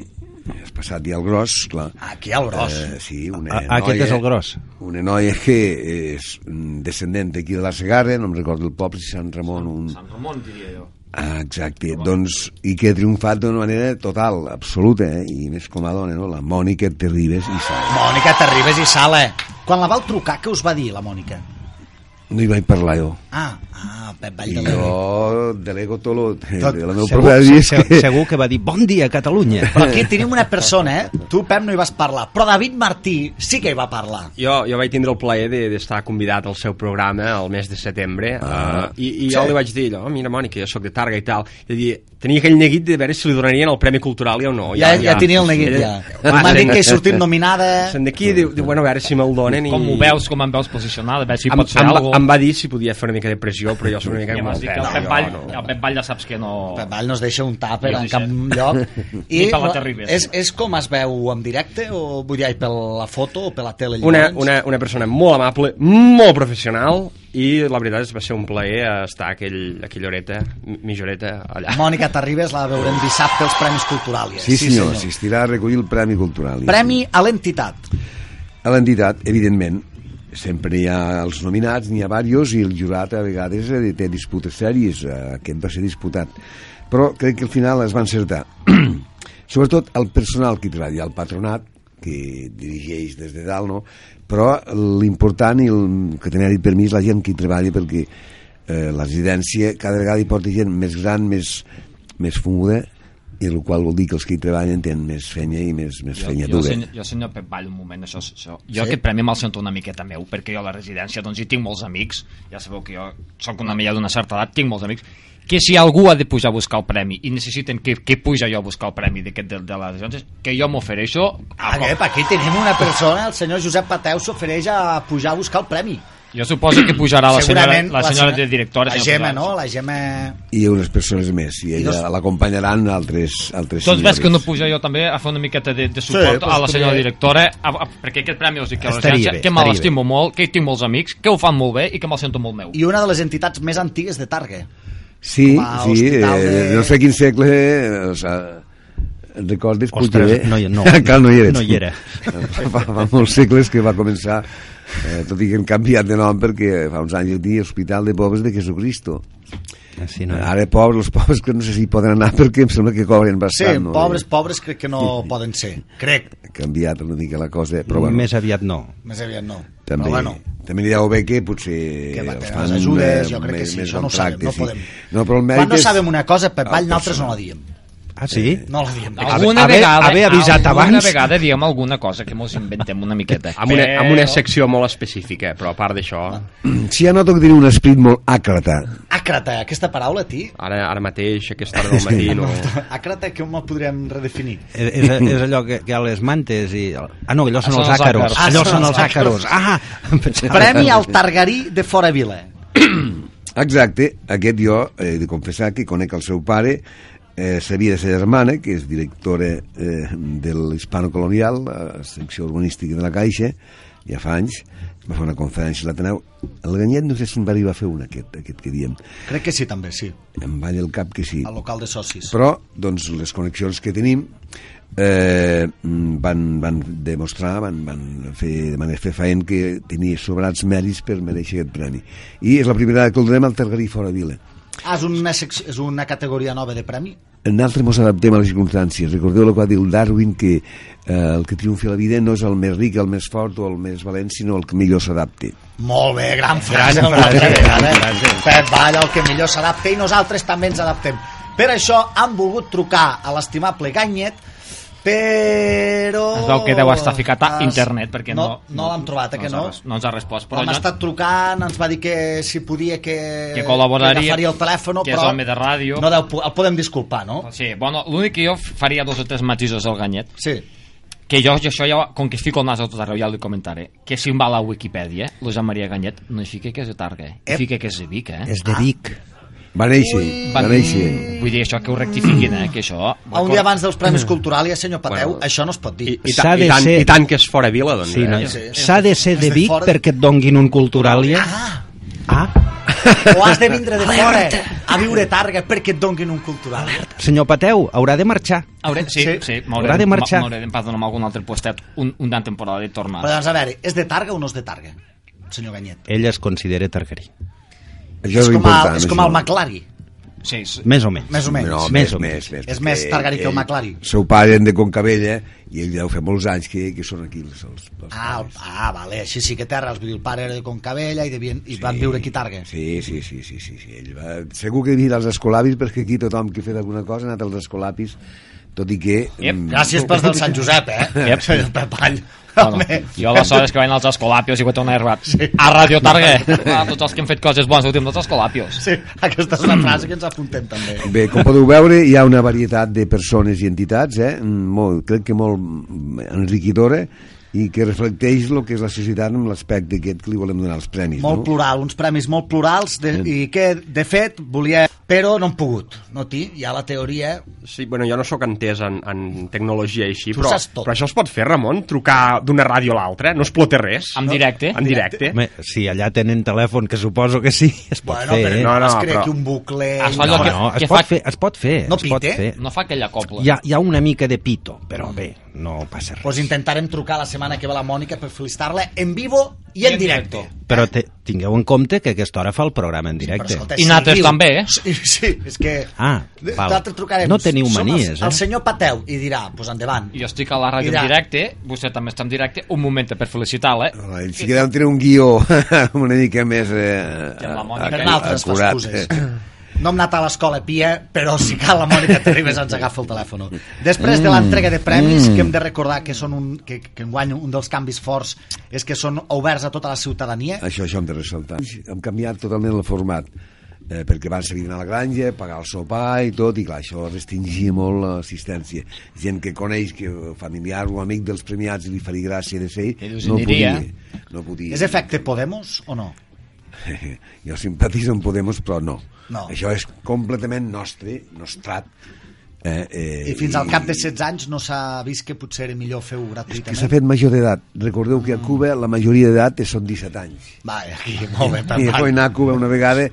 Speaker 9: has passat ja el gros, clar.
Speaker 2: Aquí al gros.
Speaker 9: Eh, sí, una
Speaker 1: Ah, ah, aquest
Speaker 9: noia-
Speaker 1: és el gros.
Speaker 9: Una noia que és mm, descendent aquí de la Segarra, no em recordo el poble, si Sant Ramon... Un...
Speaker 3: Sant Ramon, diria jo.
Speaker 9: Ah, exacte, doncs, i que ha triomfat d'una manera total, absoluta, eh? i més com a dona, no? la Mònica Terribes i Sala.
Speaker 2: Mònica, t'arribes i sala. Quan la vau trucar, què us va dir, la Mònica?
Speaker 9: No hi vaig parlar jo.
Speaker 2: Ah, ah, Pep Vall
Speaker 9: I
Speaker 2: de l'Ebre.
Speaker 9: jo delego tot lo de
Speaker 2: Tot.
Speaker 9: la meva
Speaker 1: Segur,
Speaker 9: pròpia vida. és
Speaker 1: se-
Speaker 9: que-
Speaker 1: segur que va dir bon dia,
Speaker 2: <laughs>
Speaker 1: Catalunya.
Speaker 2: Però aquí tenim una persona, eh? Tu, Pep, no hi vas parlar, però David Martí sí que hi va parlar.
Speaker 4: Jo, jo vaig tindre el plaer de- d'estar de, convidat al seu programa el mes de setembre ah. uh, i, i jo li vaig dir allò, mira Mònica, jo sóc de Targa i tal, i dir, tenia aquell neguit de veure si li donarien el Premi Cultural o no.
Speaker 2: Ja, ja, ja tenia el neguit, ja. M'han dit que hi sortim nominada...
Speaker 4: Se'n d'aquí diu, diu, bueno, a veure si me'l donen i...
Speaker 3: Com ho veus, com em veus posicionada, a veure si
Speaker 4: Em,
Speaker 3: pot ser
Speaker 4: em, va-
Speaker 3: alguna
Speaker 4: em em va dir si podia fer una mica de pressió, però jo soc una mica...
Speaker 3: Ja
Speaker 4: com
Speaker 3: m'has dit que el
Speaker 4: no,
Speaker 3: Pep
Speaker 4: jo
Speaker 3: Vall,
Speaker 4: no.
Speaker 3: el Pep Vall ja saps que no...
Speaker 2: Pep Vall no es deixa un tàper
Speaker 3: No
Speaker 2: en
Speaker 3: es
Speaker 2: cap lloc.
Speaker 3: Ni per la Terribas.
Speaker 2: és, és com es veu en directe o vull dir, per la foto o per la tele?
Speaker 4: una,
Speaker 2: llavors?
Speaker 1: doncs-
Speaker 4: una, una persona molt amable, molt professional, i la veritat és que va ser un plaer estar aquell, aquella horeta, mi- mitjoreta, allà.
Speaker 2: Mònica Terribas la veurem dissabte als Premis Culturalis.
Speaker 9: Sí, senyor, assistirà a recollir el Premi Cultural.
Speaker 2: Premi a l'entitat.
Speaker 9: A l'entitat, evidentment, sempre hi ha els nominats, n'hi ha diversos, i el jurat a vegades eh, té disputes sèries, eh, aquest va ser disputat. Però crec que al final es va encertar. <clears throat> Sobretot el personal que hi treballa, el patronat, que dirigeix des de dalt, no? però l'important i el que tenia dit per mi és la gent que hi treballa perquè eh, la residència cada vegada hi porta gent més gran, més, més funguda, i el qual vol dir que els que hi treballen tenen més fenya i més, més fenya
Speaker 3: jo,
Speaker 9: dura.
Speaker 3: senyor, jo, senyor Pep Vall, un moment, això, això. Jo sí? aquest premi me'l sento una miqueta meu, perquè jo a la residència doncs, hi tinc molts amics, ja sabeu que jo sóc una meia d'una certa edat, tinc molts amics, que si algú ha de pujar a buscar el premi i necessiten que, que puja jo a buscar el premi d'aquest de, de la residència, que jo m'ofereixo a cop-
Speaker 2: Aquest, aquí tenim una persona, el senyor Josep Pateu s'ofereix a pujar a buscar el premi.
Speaker 3: Jo suposo que pujarà la senyora, la senyora de directora.
Speaker 2: La
Speaker 3: senyor
Speaker 2: Gemma,
Speaker 3: Pujals.
Speaker 2: no? La Gemma...
Speaker 9: i unes persones més i
Speaker 2: dos-
Speaker 9: ella l'acompanyaran altres, altres
Speaker 3: Doncs ves
Speaker 9: senyores.
Speaker 3: que no puja jo també a fer una miqueta de, de suport
Speaker 2: Sí,
Speaker 3: sí,
Speaker 2: però
Speaker 3: a la senyora
Speaker 2: estaria-
Speaker 3: directora, a, a, perquè aquest premi els dic que, a la
Speaker 1: Estaria
Speaker 3: residència,
Speaker 1: bé,
Speaker 3: que me
Speaker 1: estaria
Speaker 3: l'estimo molt, que hi tinc molts amics, que ho fan molt bé i que me'l sento molt meu.
Speaker 2: I una de les entitats més antigues de Targa.
Speaker 9: Sí,
Speaker 2: com a
Speaker 9: sí, eh,
Speaker 2: hospital de-
Speaker 9: de... no sé quin segle... Eh, o sea, et recordes,
Speaker 1: Ostres,
Speaker 2: eh?
Speaker 9: Puigdebé?
Speaker 1: no hi-
Speaker 2: <laughs>
Speaker 1: no.
Speaker 9: <laughs> Encara no hi eres.
Speaker 1: No hi era.
Speaker 9: <laughs> fa, fa molts segles que va començar, eh, tot i que hem canviat de nom perquè fa uns anys jo dia Hospital de Pobres de Jesucristo.
Speaker 1: Sí,
Speaker 9: No.
Speaker 2: Ah,
Speaker 1: no.
Speaker 9: Ara, pobres, els pobres que no sé si hi poden anar <laughs> perquè em sembla que cobren
Speaker 2: Sí,
Speaker 9: bastant. Ah, no?
Speaker 2: pobres, pobres crec que no poden ser. Crec,
Speaker 9: Ha canviat una mica la cosa, però bueno.
Speaker 1: Més aviat no.
Speaker 2: més aviat no.
Speaker 9: També,
Speaker 2: Però bueno,
Speaker 9: també n'hi deu haver que potser...
Speaker 2: que va,
Speaker 9: els
Speaker 2: que
Speaker 9: fan,
Speaker 2: les ajudes,
Speaker 9: eh,
Speaker 2: jo crec que
Speaker 9: més-
Speaker 2: sí,
Speaker 9: més
Speaker 2: això no ho sabem, no
Speaker 9: contractes, sí.
Speaker 2: podem.
Speaker 9: No, però el mèrit
Speaker 2: Quan no
Speaker 9: és-
Speaker 2: sabem una cosa, per
Speaker 9: el
Speaker 2: Vall, nosaltres no
Speaker 9: personal.
Speaker 2: la diem.
Speaker 1: Ah, sí?
Speaker 2: No la diem.
Speaker 3: Alguna
Speaker 1: Haver-
Speaker 3: vegada,
Speaker 1: haver avisat
Speaker 3: alguna
Speaker 1: abans.
Speaker 3: vegada diem alguna cosa que mos inventem una miqueta. Eh,
Speaker 4: Amb una, amb una secció molt específica, però a part d'això,
Speaker 9: Si ja noto que teniu un esprit molt àcrata.
Speaker 2: Àcrata, aquesta paraula, ti?
Speaker 4: ara, ara mateix, a aquesta hora del matí, no...
Speaker 2: <laughs> Àcrata, com la podríem redefinir?
Speaker 9: <laughs>
Speaker 1: Eh, És, és allò que, que hi ha les mantes i... Ah, no, allò són
Speaker 3: són
Speaker 1: els
Speaker 3: els
Speaker 1: àcaros.
Speaker 3: àcars.
Speaker 2: Ah,
Speaker 1: Allò
Speaker 2: són
Speaker 1: són
Speaker 2: els
Speaker 1: els àcaros. Ah! em pensava-
Speaker 2: Premi al Targarí de Fora Vila.
Speaker 9: Exacte, aquest jo eh, he de confessar que conec el seu pare, eh, sabia de sa germana, que és directora eh, de l'Hispano Colonial, la secció urbanística de la Caixa, ja fa anys, va fer una conferència a l'Ateneu. El Ganyet no sé si en va arribar a fer una, aquest, aquest que diem.
Speaker 2: Crec que sí, també, sí.
Speaker 9: Em balla el cap que sí.
Speaker 2: Al local de socis.
Speaker 9: Però, doncs, les connexions que tenim eh, mm, van, van demostrar, van, van fer, van fer faent que tenia sobrats mèrits per mereixer aquest premi. I és la primera vegada que el donem al Targarí fora Vila.
Speaker 2: Ah, és una, sec- és una categoria nova de premi?
Speaker 9: Nosaltres ens adaptem a les circumstàncies. Recordeu el que va dir el Darwin, que eh, el que triomfi a la vida no és el més ric, el més fort o el més valent, sinó el que millor s'adapti.
Speaker 2: Molt bé, gran frase. Gran frase, gran frase. Pep Vall, el que millor s'adapta i nosaltres també ens adaptem. Per això han volgut trucar a l'estimable Ganyet, però...
Speaker 3: Es veu que deu estar ficat a internet, perquè no...
Speaker 2: No, no l'hem trobat, eh, que
Speaker 3: ens ha
Speaker 2: no?
Speaker 3: res- No ens ha respost, però
Speaker 2: Però hem
Speaker 3: jo,
Speaker 2: estat trucant, ens va dir que si podia que...
Speaker 3: Que col·laboraria,
Speaker 2: Que agafaria el telèfon,
Speaker 3: que és
Speaker 2: però...
Speaker 3: home de ràdio.
Speaker 2: No deu, po- el podem disculpar, no?
Speaker 3: Sí, bueno, l'únic que jo faria dos o tres matisos al Ganyet,
Speaker 2: Sí.
Speaker 3: que jo, jo això ja, com que fico el nas a tot arreu, ja li comentaré, que si em va a la Wikipedia, la Jean Maria Ganyet no hi fica que és de Targa,
Speaker 2: Ep.
Speaker 3: hi fica que és de Vic, eh?
Speaker 1: És de Vic.
Speaker 9: Va néixer, va néixer.
Speaker 3: Vull dir, això que ho rectifiquin, eh, que això...
Speaker 2: Un dia abans dels
Speaker 3: Mm.
Speaker 2: Premis Culturals, senyor Pateu,
Speaker 4: Bueno.
Speaker 2: això no es pot dir.
Speaker 4: I, i,
Speaker 1: S'ha
Speaker 4: ta,
Speaker 1: de
Speaker 4: i, tant,
Speaker 1: ser-
Speaker 4: I tant que és fora vila, doncs.
Speaker 1: Sí, no?
Speaker 4: eh?
Speaker 2: sí.
Speaker 1: S'ha de ser de
Speaker 2: Has de
Speaker 1: Vic
Speaker 2: fora-
Speaker 1: perquè et donguin un culturalia.
Speaker 2: Ah,
Speaker 1: Ah,
Speaker 2: o has de vindre de fora a viure a Targa perquè et donguin un cultural.
Speaker 1: senyor Pateu, haurà de marxar.
Speaker 3: Hauré,
Speaker 2: Sí.
Speaker 3: sí, sí, sí
Speaker 1: Haurà
Speaker 3: m'hauré
Speaker 1: de marxar.
Speaker 3: m'hauré d'empadronar amb algun altre postet un, una temporada i tornar.
Speaker 2: Però doncs, a veure, és de Targa o no és de Targa, senyor Ganyet?
Speaker 1: Ell es considera targarí.
Speaker 9: Això és,
Speaker 2: com,
Speaker 9: l'important,
Speaker 2: el, és
Speaker 9: això.
Speaker 2: com el McLari,
Speaker 3: Sí, és,
Speaker 1: Més o menys.
Speaker 2: més o menys.
Speaker 9: No,
Speaker 1: Més
Speaker 9: més,
Speaker 1: o
Speaker 9: més,
Speaker 1: menys.
Speaker 9: més.
Speaker 2: És més
Speaker 9: perquè
Speaker 2: Targaryen que el
Speaker 9: ell-
Speaker 2: McLaren.
Speaker 9: El seu pare era de Concabella i ell deu fer molts anys que, que són aquí els, els, els
Speaker 2: Ah, el,
Speaker 9: pares.
Speaker 2: ah, vale, així sí que terres. Vull dir, el pare era de Concabella i, devien, i van viure aquí a Targa.
Speaker 9: Sí, sí, sí, sí, sí, sí. Ell va... Segur que he vist els escolapis perquè aquí tothom que ha fet alguna cosa ha anat als escolapis, tot i que...
Speaker 3: Ep,
Speaker 9: mm,
Speaker 2: Gràcies pels del Sant Josep, <laughs> eh?
Speaker 3: Ep.
Speaker 2: Senyor Pepall.
Speaker 3: No, no.
Speaker 2: Home.
Speaker 3: Eh, Jo les hores que veien els escolapios i que tornen a sí. A Radio Targa, a tots els que han fet coses bones, ho diuen tots els escolapios.
Speaker 2: Sí, aquesta és la frase que ens apuntem també.
Speaker 9: Bé, com podeu veure, hi ha una varietat de persones i entitats, eh? Mm, Molt, crec que molt mm, enriquidora i que reflecteix el que és la societat en l'aspecte aquest que li volem donar els premis.
Speaker 2: Molt
Speaker 9: no?
Speaker 2: plural, uns premis molt plurals de, i que, de fet, volia... Però no hem pogut. No tinc, hi ha la teoria...
Speaker 4: Sí, bueno, jo no sóc entès en, en tecnologia i així,
Speaker 2: Tu
Speaker 4: però,
Speaker 2: saps tot.
Speaker 4: però això es pot fer, Ramon? Trucar d'una ràdio a l'altra? eh? No es plota res?
Speaker 3: En directe.
Speaker 4: En directe.
Speaker 1: Home, si allà tenen telèfon, que suposo que sí, es pot
Speaker 2: Bueno,
Speaker 1: fer.
Speaker 2: però
Speaker 1: eh?
Speaker 2: no,
Speaker 4: No,
Speaker 2: no,
Speaker 4: no,
Speaker 2: es crea
Speaker 4: però-
Speaker 2: aquí un bucle...
Speaker 3: Es fa
Speaker 1: No,
Speaker 3: allò
Speaker 1: no,
Speaker 3: que-
Speaker 1: es,
Speaker 3: que
Speaker 1: pot
Speaker 3: fa-
Speaker 1: fer, es pot fer.
Speaker 2: No
Speaker 1: es pot
Speaker 2: pite?
Speaker 1: fer.
Speaker 3: No fa aquella copla.
Speaker 1: Hi ha, hi ha una mica de pito, però bé, no passa res.
Speaker 2: Pues Doncs intentarem trucar la setmana que ve la Mònica per felicitar-la en vivo i en directe.
Speaker 1: Però te, tingueu en compte que a aquesta hora fa el programa en directe.
Speaker 3: I nosaltres també, eh?
Speaker 2: Sí, sí, és que...
Speaker 1: Ah, val.
Speaker 2: Nosaltres trucarem.
Speaker 1: No teniu
Speaker 2: Som
Speaker 1: manies,
Speaker 2: els,
Speaker 1: eh?
Speaker 2: El senyor Pateu i dirà, doncs pues endavant.
Speaker 3: Jo estic a la ràdio
Speaker 2: Mira.
Speaker 3: en directe, vostè també està en directe, un moment per felicitar-la. eh?
Speaker 9: Ah, Ells sí que deuen tenir un guió <laughs> una mica més eh,
Speaker 3: I amb la Mònica.
Speaker 2: Per altres
Speaker 9: acurat.
Speaker 2: excuses. No hem anat a l'escola Pia, però si cal la Mònica Terribas ens agafa el telèfon. Després
Speaker 1: Mm.
Speaker 2: de l'entrega de premis, que hem de recordar que són un, que, que enguany un dels canvis forts és que són oberts a tota la ciutadania.
Speaker 9: <laughs> Això, això hem de ressaltar. Hem canviat totalment el format, eh, perquè van seguir a la granja, pagar el sopar i tot, i clar, això restringia molt l'assistència. Gent que coneix, que familiar o amic dels premiats li faria gràcia de ser,
Speaker 3: Que dius,
Speaker 9: no podia.
Speaker 3: aniria.
Speaker 9: No podia.
Speaker 2: És efecte Podemos o no?
Speaker 9: <laughs> Jo simpatitzo amb Podemos, però no.
Speaker 2: No.
Speaker 9: Això és completament nostre, nostrat. Eh, eh,
Speaker 2: I fins al cap de 16 anys no s'ha vist que potser era millor fer-ho
Speaker 9: És que s'ha
Speaker 2: gratuïtament.
Speaker 9: fet major d'edat. Recordeu
Speaker 2: Mm.
Speaker 9: que a Cuba la majoria d'edat són 17 anys.
Speaker 2: Va, aquí, molt bé, per
Speaker 9: I vaig
Speaker 2: tant.
Speaker 9: anar a Cuba una vegada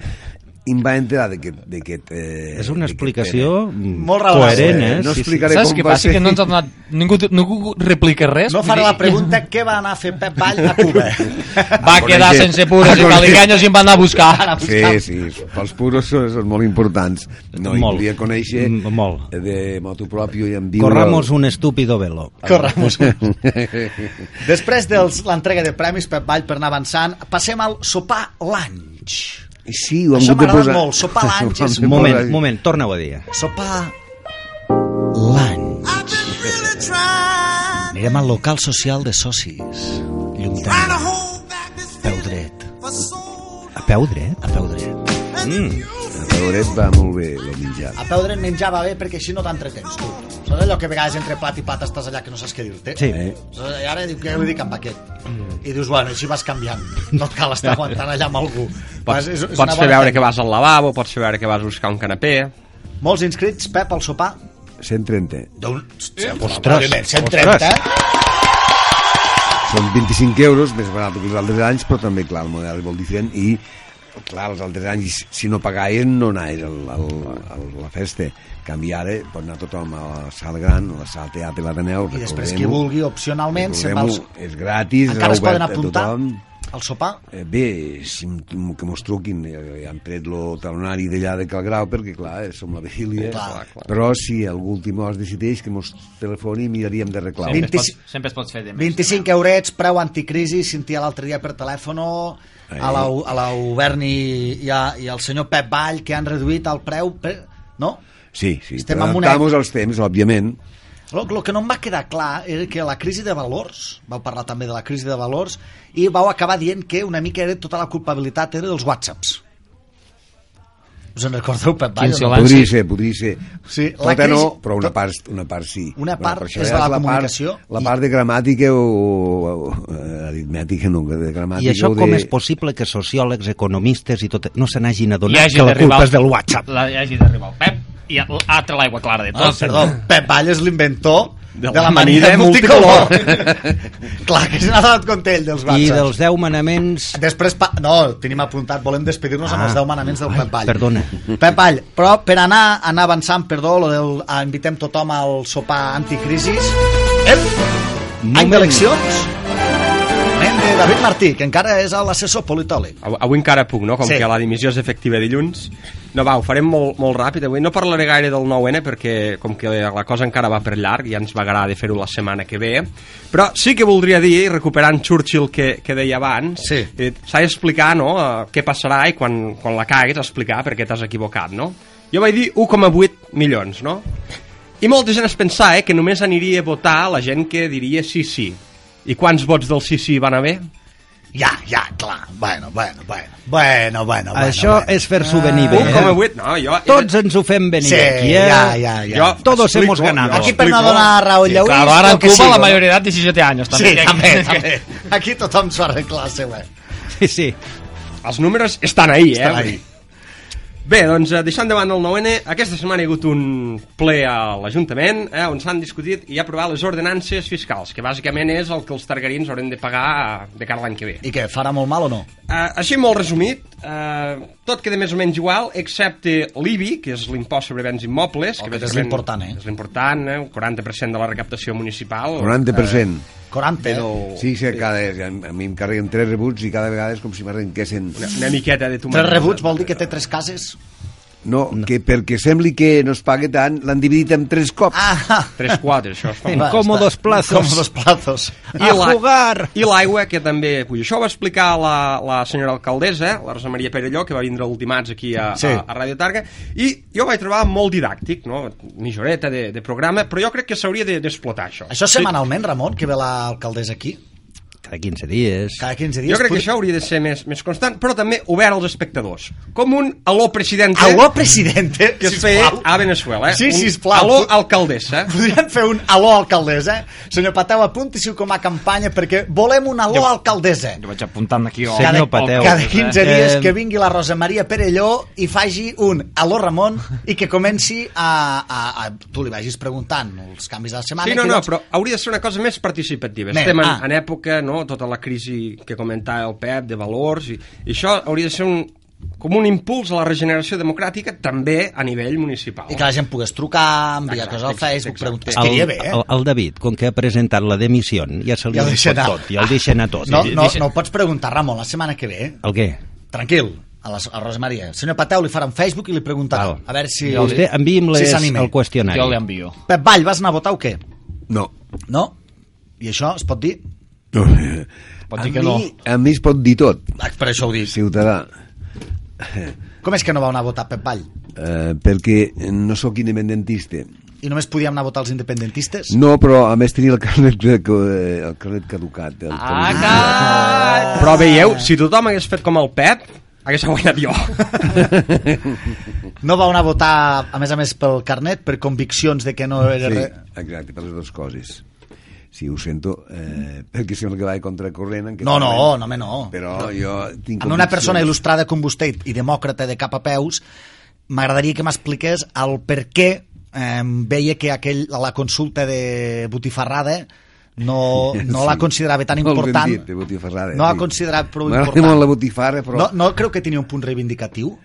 Speaker 9: i em va enterar d'aquest... d'aquest, Eh,
Speaker 1: És una
Speaker 9: d'aquest
Speaker 1: explicació mm,
Speaker 2: Molt raonable.
Speaker 1: coherent, eh?
Speaker 9: No
Speaker 1: Sí, sí.
Speaker 9: explicaré
Speaker 3: Saps
Speaker 9: com
Speaker 3: què
Speaker 9: va
Speaker 3: passa?
Speaker 9: ser.
Speaker 3: Que no ens ha donat... Ningú, ningú replica res.
Speaker 2: No faré
Speaker 3: vull
Speaker 2: la
Speaker 3: dir-
Speaker 2: pregunta què va anar a fer Pep Vall a Cuba.
Speaker 9: <laughs>
Speaker 3: Va
Speaker 9: Coneix-
Speaker 3: quedar sense pures i
Speaker 9: Coneix-
Speaker 3: caliganyes i em va anar a buscar.
Speaker 9: Sí, sí, pels puros són, són molt importants. No, i
Speaker 1: Molt.
Speaker 9: volia conèixer
Speaker 1: Mm, molt.
Speaker 9: de motu propio i en viure...
Speaker 1: Corramos
Speaker 9: <laughs>
Speaker 1: un estúpido velo.
Speaker 2: Corramos. Després de l'entrega de premis Pep Vall per anar avançant, passem al sopar l'anys.
Speaker 9: Sí, ho hem
Speaker 2: Això
Speaker 9: hagut de
Speaker 2: m'agrada
Speaker 9: posar-
Speaker 2: molt, sopar a l'Anx és
Speaker 9: <laughs>
Speaker 1: Un
Speaker 9: Ho hem de
Speaker 1: moment,
Speaker 9: posar-
Speaker 1: un moment, torna-ho a dir.
Speaker 2: Sopar l'anys. Anirem al local social de socis. Llum tendre, peu dret,
Speaker 1: A peu dret?
Speaker 2: a peu dret.
Speaker 9: A Pedret va molt bé el menjar.
Speaker 2: A peu dret menjar va bé perquè així no t'entretens, tu. Saps allò que a vegades entre plat i plat estàs allà que no saps què dir-te?
Speaker 1: Sí.
Speaker 9: Eh?
Speaker 2: I ara diu que li dic amb aquest. I dius, bueno, així vas canviant. No et cal estar aguantant allà amb algú.
Speaker 4: Pots,
Speaker 2: Vas- és- és una
Speaker 4: pots fer
Speaker 2: bona
Speaker 4: veure que
Speaker 2: tècnica.
Speaker 4: vas al lavabo, pots fer veure que vas a buscar un canapé...
Speaker 2: Molts inscrits, Pep, al sopar.
Speaker 9: 130.
Speaker 2: D'un... Eh? Ostres, 130.
Speaker 9: Són 25 euros, més barat que els altres anys, però també, clar, el model és molt diferent i, clar, els altres anys, si no pagaven, no anaves al, al, al, a la festa. En canvi, ara pot anar tothom a la sala gran, a la sala teatre i l'Ateneu,
Speaker 2: I després qui vulgui, opcionalment, se'n va als...
Speaker 9: És gratis,
Speaker 2: Encara es
Speaker 9: és obert
Speaker 2: poden apuntar
Speaker 9: a tothom.
Speaker 2: al sopar.
Speaker 9: Eh, Bé, si, em- que mos truquin, eh, han tret el talonari d'allà de Calgrau, perquè, clar, eh, som la vigília,
Speaker 2: Clar, clar.
Speaker 9: però si algú últim hora es decideix que mos telefoni, miraríem d'arreglar-ho.
Speaker 3: Sempre, es pot,
Speaker 2: 25
Speaker 3: sempre es pot fer de més.
Speaker 2: 25 eurets, preu anticrisi, sentia l'altre dia per telèfono a la, a la Uberni i, a, i al senyor Pep Vall que han reduït el preu per... No?
Speaker 9: Sí, sí,
Speaker 2: Estem
Speaker 9: però
Speaker 2: en una-
Speaker 9: adaptar-nos als temps, òbviament.
Speaker 2: El que no em va quedar clar era que la crisi de valors, vau parlar també de la crisi de valors, i vau acabar dient que una mica era tota la culpabilitat era dels whatsapps. Us en recordeu, Pep Vall? o
Speaker 3: Quin
Speaker 2: no?
Speaker 3: silenci.
Speaker 9: Podria ser, podria ser.
Speaker 2: Sí,
Speaker 9: Tota
Speaker 2: la crisi-
Speaker 9: no, però una
Speaker 2: tot-
Speaker 9: part, una part sí.
Speaker 2: Una
Speaker 9: Bueno,
Speaker 2: part
Speaker 9: per això
Speaker 2: és la de
Speaker 9: ja
Speaker 2: la
Speaker 9: part-
Speaker 2: comunicació
Speaker 9: La
Speaker 2: i-
Speaker 9: part de gramàtica o, o, eh, aritmètica, no, de
Speaker 2: Ah,
Speaker 9: gramàtica
Speaker 1: I això
Speaker 9: o de...
Speaker 1: com és possible que sociòlegs, economistes i tot no se n'hagin
Speaker 3: Hi
Speaker 1: adonat
Speaker 3: hagi
Speaker 1: que la
Speaker 3: d'arribar
Speaker 1: culpa
Speaker 3: el-
Speaker 1: és del WhatsApp?
Speaker 3: La, hi hagi d'arribar el Pep i l'altre l'aigua clara de
Speaker 2: Ah,
Speaker 3: tot.
Speaker 2: perdó, Pep Vall és l'inventor de, la manida
Speaker 4: l'amanida
Speaker 2: multicolor.
Speaker 4: multicolor.
Speaker 2: <laughs> clar, que se n'ha donat compte ell dels
Speaker 1: I
Speaker 2: whatsapps.
Speaker 1: dels 10 manaments...
Speaker 2: Després, pa... no, tenim apuntat, volem despedir-nos amb
Speaker 1: Ah.
Speaker 2: els 10 manaments del
Speaker 1: Ai,
Speaker 2: Pep Vall.
Speaker 1: perdona.
Speaker 2: Pep Vall, però per anar, anar avançant, perdó, lo del, ah, invitem tothom al sopar anticrisis. Ep! Any
Speaker 1: Moment.
Speaker 2: d'eleccions. Moment de David Martí, que encara és l'assessor politòleg.
Speaker 4: Av- Avui encara puc, no? Com
Speaker 2: Sí.
Speaker 4: sí. que la dimissió és efectiva dilluns. No, va, ho farem molt, molt ràpid. Avui no parlaré gaire del 9-N perquè com que la cosa encara va per llarg, ja ens va agradar de fer-ho la setmana que ve. Però sí que voldria dir, i recuperant Churchill que, que deia abans,
Speaker 2: Sí.
Speaker 4: eh, s'ha d'explicar no, eh, què passarà i quan, quan la caguis explicar per què t'has equivocat, no? Jo vaig dir 1,8 milions, no? I molta gent es pensava eh, que només aniria a votar la gent que diria sí, sí. I quants vots del sí, sí van haver?
Speaker 2: ja, ja, clar. Bueno, bueno, bueno. Bueno, bueno, bueno.
Speaker 1: Això
Speaker 2: bueno.
Speaker 1: és fer-s'ho venir bé. eh?
Speaker 4: 1,8, no, jo...
Speaker 1: Tots ens ho fem venir
Speaker 2: Sí,
Speaker 1: aquí, eh?
Speaker 2: ja, ja, ja.
Speaker 4: Jo
Speaker 1: Todos
Speaker 4: explico,
Speaker 1: hemos ganado.
Speaker 4: jo
Speaker 2: Aquí per no
Speaker 4: explico-
Speaker 2: donar raó a Lleuís...
Speaker 3: Claro, ara
Speaker 2: el
Speaker 3: en
Speaker 2: que
Speaker 3: Cuba
Speaker 2: sigui,
Speaker 3: la
Speaker 2: no?
Speaker 3: maioria d'edat 17 anys.
Speaker 2: Sí,
Speaker 3: També,
Speaker 2: també, també. Aquí tothom s'ho arregla la seva.
Speaker 1: Sí, sí.
Speaker 4: Els números estan ahí, eh?
Speaker 2: Estan ahí.
Speaker 4: Bé, doncs eh, deixant davant el 9N, aquesta setmana hi ha hagut un ple a l'Ajuntament eh, on s'han discutit i aprovat les ordenances fiscals, que bàsicament és el que els targarins hauran de pagar eh, de cara a l'any que ve.
Speaker 2: I què, farà molt mal o no?
Speaker 4: Uh, així molt resumit, uh, tot queda més o menys igual, excepte l'IBI, que és l'impost sobre béns immobles.
Speaker 2: Oh, que és
Speaker 4: bàsicament
Speaker 2: l'important, eh?
Speaker 4: És l'important, eh? un 40% de la recaptació municipal.
Speaker 9: 90%.
Speaker 2: 40,
Speaker 4: Però...
Speaker 2: eh?
Speaker 9: Sí, sí, cada, a mi em carreguen tres rebuts i cada vegada és com si m'arrenquessin...
Speaker 4: Una, una miqueta de tomata.
Speaker 2: Tres rebuts vol dir que té tres cases?
Speaker 9: No, que perquè sembli que no es pague tant, l'han dividit en tres cops.
Speaker 2: Ah,
Speaker 4: Tres, quatre, això es fa molt.
Speaker 2: va,
Speaker 1: Incómodos
Speaker 2: està.
Speaker 1: plazos.
Speaker 2: Incómodos plazos.
Speaker 1: A
Speaker 4: la-
Speaker 1: jugar!
Speaker 4: I l'aigua, que també... Puja. Això ho va explicar la, la senyora alcaldessa, eh, la Rosa Maria Perelló, que va vindre l'ultimats aquí a,
Speaker 2: Sí.
Speaker 4: sí. a, a Ràdio Targa, i jo ho vaig trobar molt didàctic, no? mitjoreta de, de programa, però jo crec que s'hauria de- d'explotar, això.
Speaker 2: Això setmanalment, Ramon, que ve l'alcaldessa aquí?
Speaker 1: Cada 15 dies.
Speaker 2: Cada 15 dies?
Speaker 4: Jo crec que
Speaker 2: Podri-
Speaker 4: això hauria de ser més, més constant, però també obert als espectadors. Com un aló presidente
Speaker 2: Aló, presidente,
Speaker 4: que eh? es feia
Speaker 2: sisplau.
Speaker 4: a Venezuela. Eh?
Speaker 2: Sí,
Speaker 4: Un
Speaker 2: sisplau.
Speaker 4: Aló alcaldessa.
Speaker 2: Podríem fer un aló alcaldessa? eh? Senyor Pateu, apunti-s'ho com a campanya perquè volem un aló alcaldessa.
Speaker 3: Jo vaig apuntant aquí. Oh,
Speaker 1: Senyor
Speaker 3: oh,
Speaker 1: Pateu.
Speaker 2: Cada 15 dies
Speaker 1: Eh,
Speaker 2: que vingui la Rosa Maria Perelló i faci un Aló Ramon i que comenci a... a, a tu li vagis preguntant els canvis de la setmana.
Speaker 4: Sí,
Speaker 2: que
Speaker 4: no, no,
Speaker 2: llavors-
Speaker 4: però hauria de ser una cosa més participativa.
Speaker 2: Més,
Speaker 4: Estem en,
Speaker 2: ah.
Speaker 4: en època, no?, tota la crisi que comentava el Pep, de valors, i, i això hauria de ser un, com un impuls a la regeneració democràtica també a nivell municipal.
Speaker 2: I que la gent pogués trucar, enviar
Speaker 4: Exacte,
Speaker 2: coses al
Speaker 4: exacte,
Speaker 2: Facebook,
Speaker 4: exacte.
Speaker 2: preguntar...
Speaker 4: El-
Speaker 2: Estaria bé, eh?
Speaker 1: el, el David, com que ha presentat la demissió, ja se li
Speaker 2: Ja el
Speaker 1: ha
Speaker 2: deixa
Speaker 1: deixat
Speaker 2: anar.
Speaker 1: tot, ja el deixa anar tot.
Speaker 2: No, no, no ho pots preguntar, Ramon, la setmana que ve. eh?
Speaker 1: El què?
Speaker 2: Tranquil, a la, a Rosa Maria. El senyor Pateu li farà un Facebook i li preguntarà.
Speaker 1: Val.
Speaker 2: A veure si...
Speaker 1: I vostè enviï'm les,
Speaker 2: si s'anima.
Speaker 1: el qüestionari.
Speaker 3: eh? Jo l'envio.
Speaker 2: Pep Vall, vas anar a votar o què?
Speaker 9: No.
Speaker 2: No? I això es pot dir?
Speaker 3: Pot
Speaker 9: A
Speaker 3: dir que no.
Speaker 9: mi, a mi es pot dir tot,
Speaker 2: Ah, Per això ho dic.
Speaker 9: ciutadà,
Speaker 2: Com és que no va anar a votar Pep Vall?
Speaker 9: eh, perquè no sóc independentista.
Speaker 2: I només podíem anar a votar els independentistes?
Speaker 9: No, però a més tenia el carnet, eh, el carnet caducat. El ah,
Speaker 4: Però veieu, si tothom hagués fet com el Pep, hagués guanyat jo.
Speaker 2: No vau anar a votar, a més a més, pel carnet, per conviccions de que no era...
Speaker 9: Sí,
Speaker 2: Sí.
Speaker 9: exacte, per les dues coses. Sí, ho sento, eh, perquè sembla que va contra corrent. En
Speaker 2: No, no,
Speaker 9: moment,
Speaker 2: no, home, no.
Speaker 9: Però jo tinc
Speaker 2: A mi una persona
Speaker 9: conviccions.
Speaker 2: il·lustrada com vostè i demòcrata de cap a peus, m'agradaria que m'expliqués el per què eh, veia que aquell, la consulta de Botifarrada no, no
Speaker 9: <laughs> Sí.
Speaker 2: la considerava tan
Speaker 9: Molt ben
Speaker 2: important.
Speaker 9: dit, de botifarrada,
Speaker 2: no la
Speaker 9: sí.
Speaker 2: considerava prou
Speaker 9: M'agrada
Speaker 2: important.
Speaker 9: molt la botifarra, però-
Speaker 2: No, no creu que tenia un punt reivindicatiu?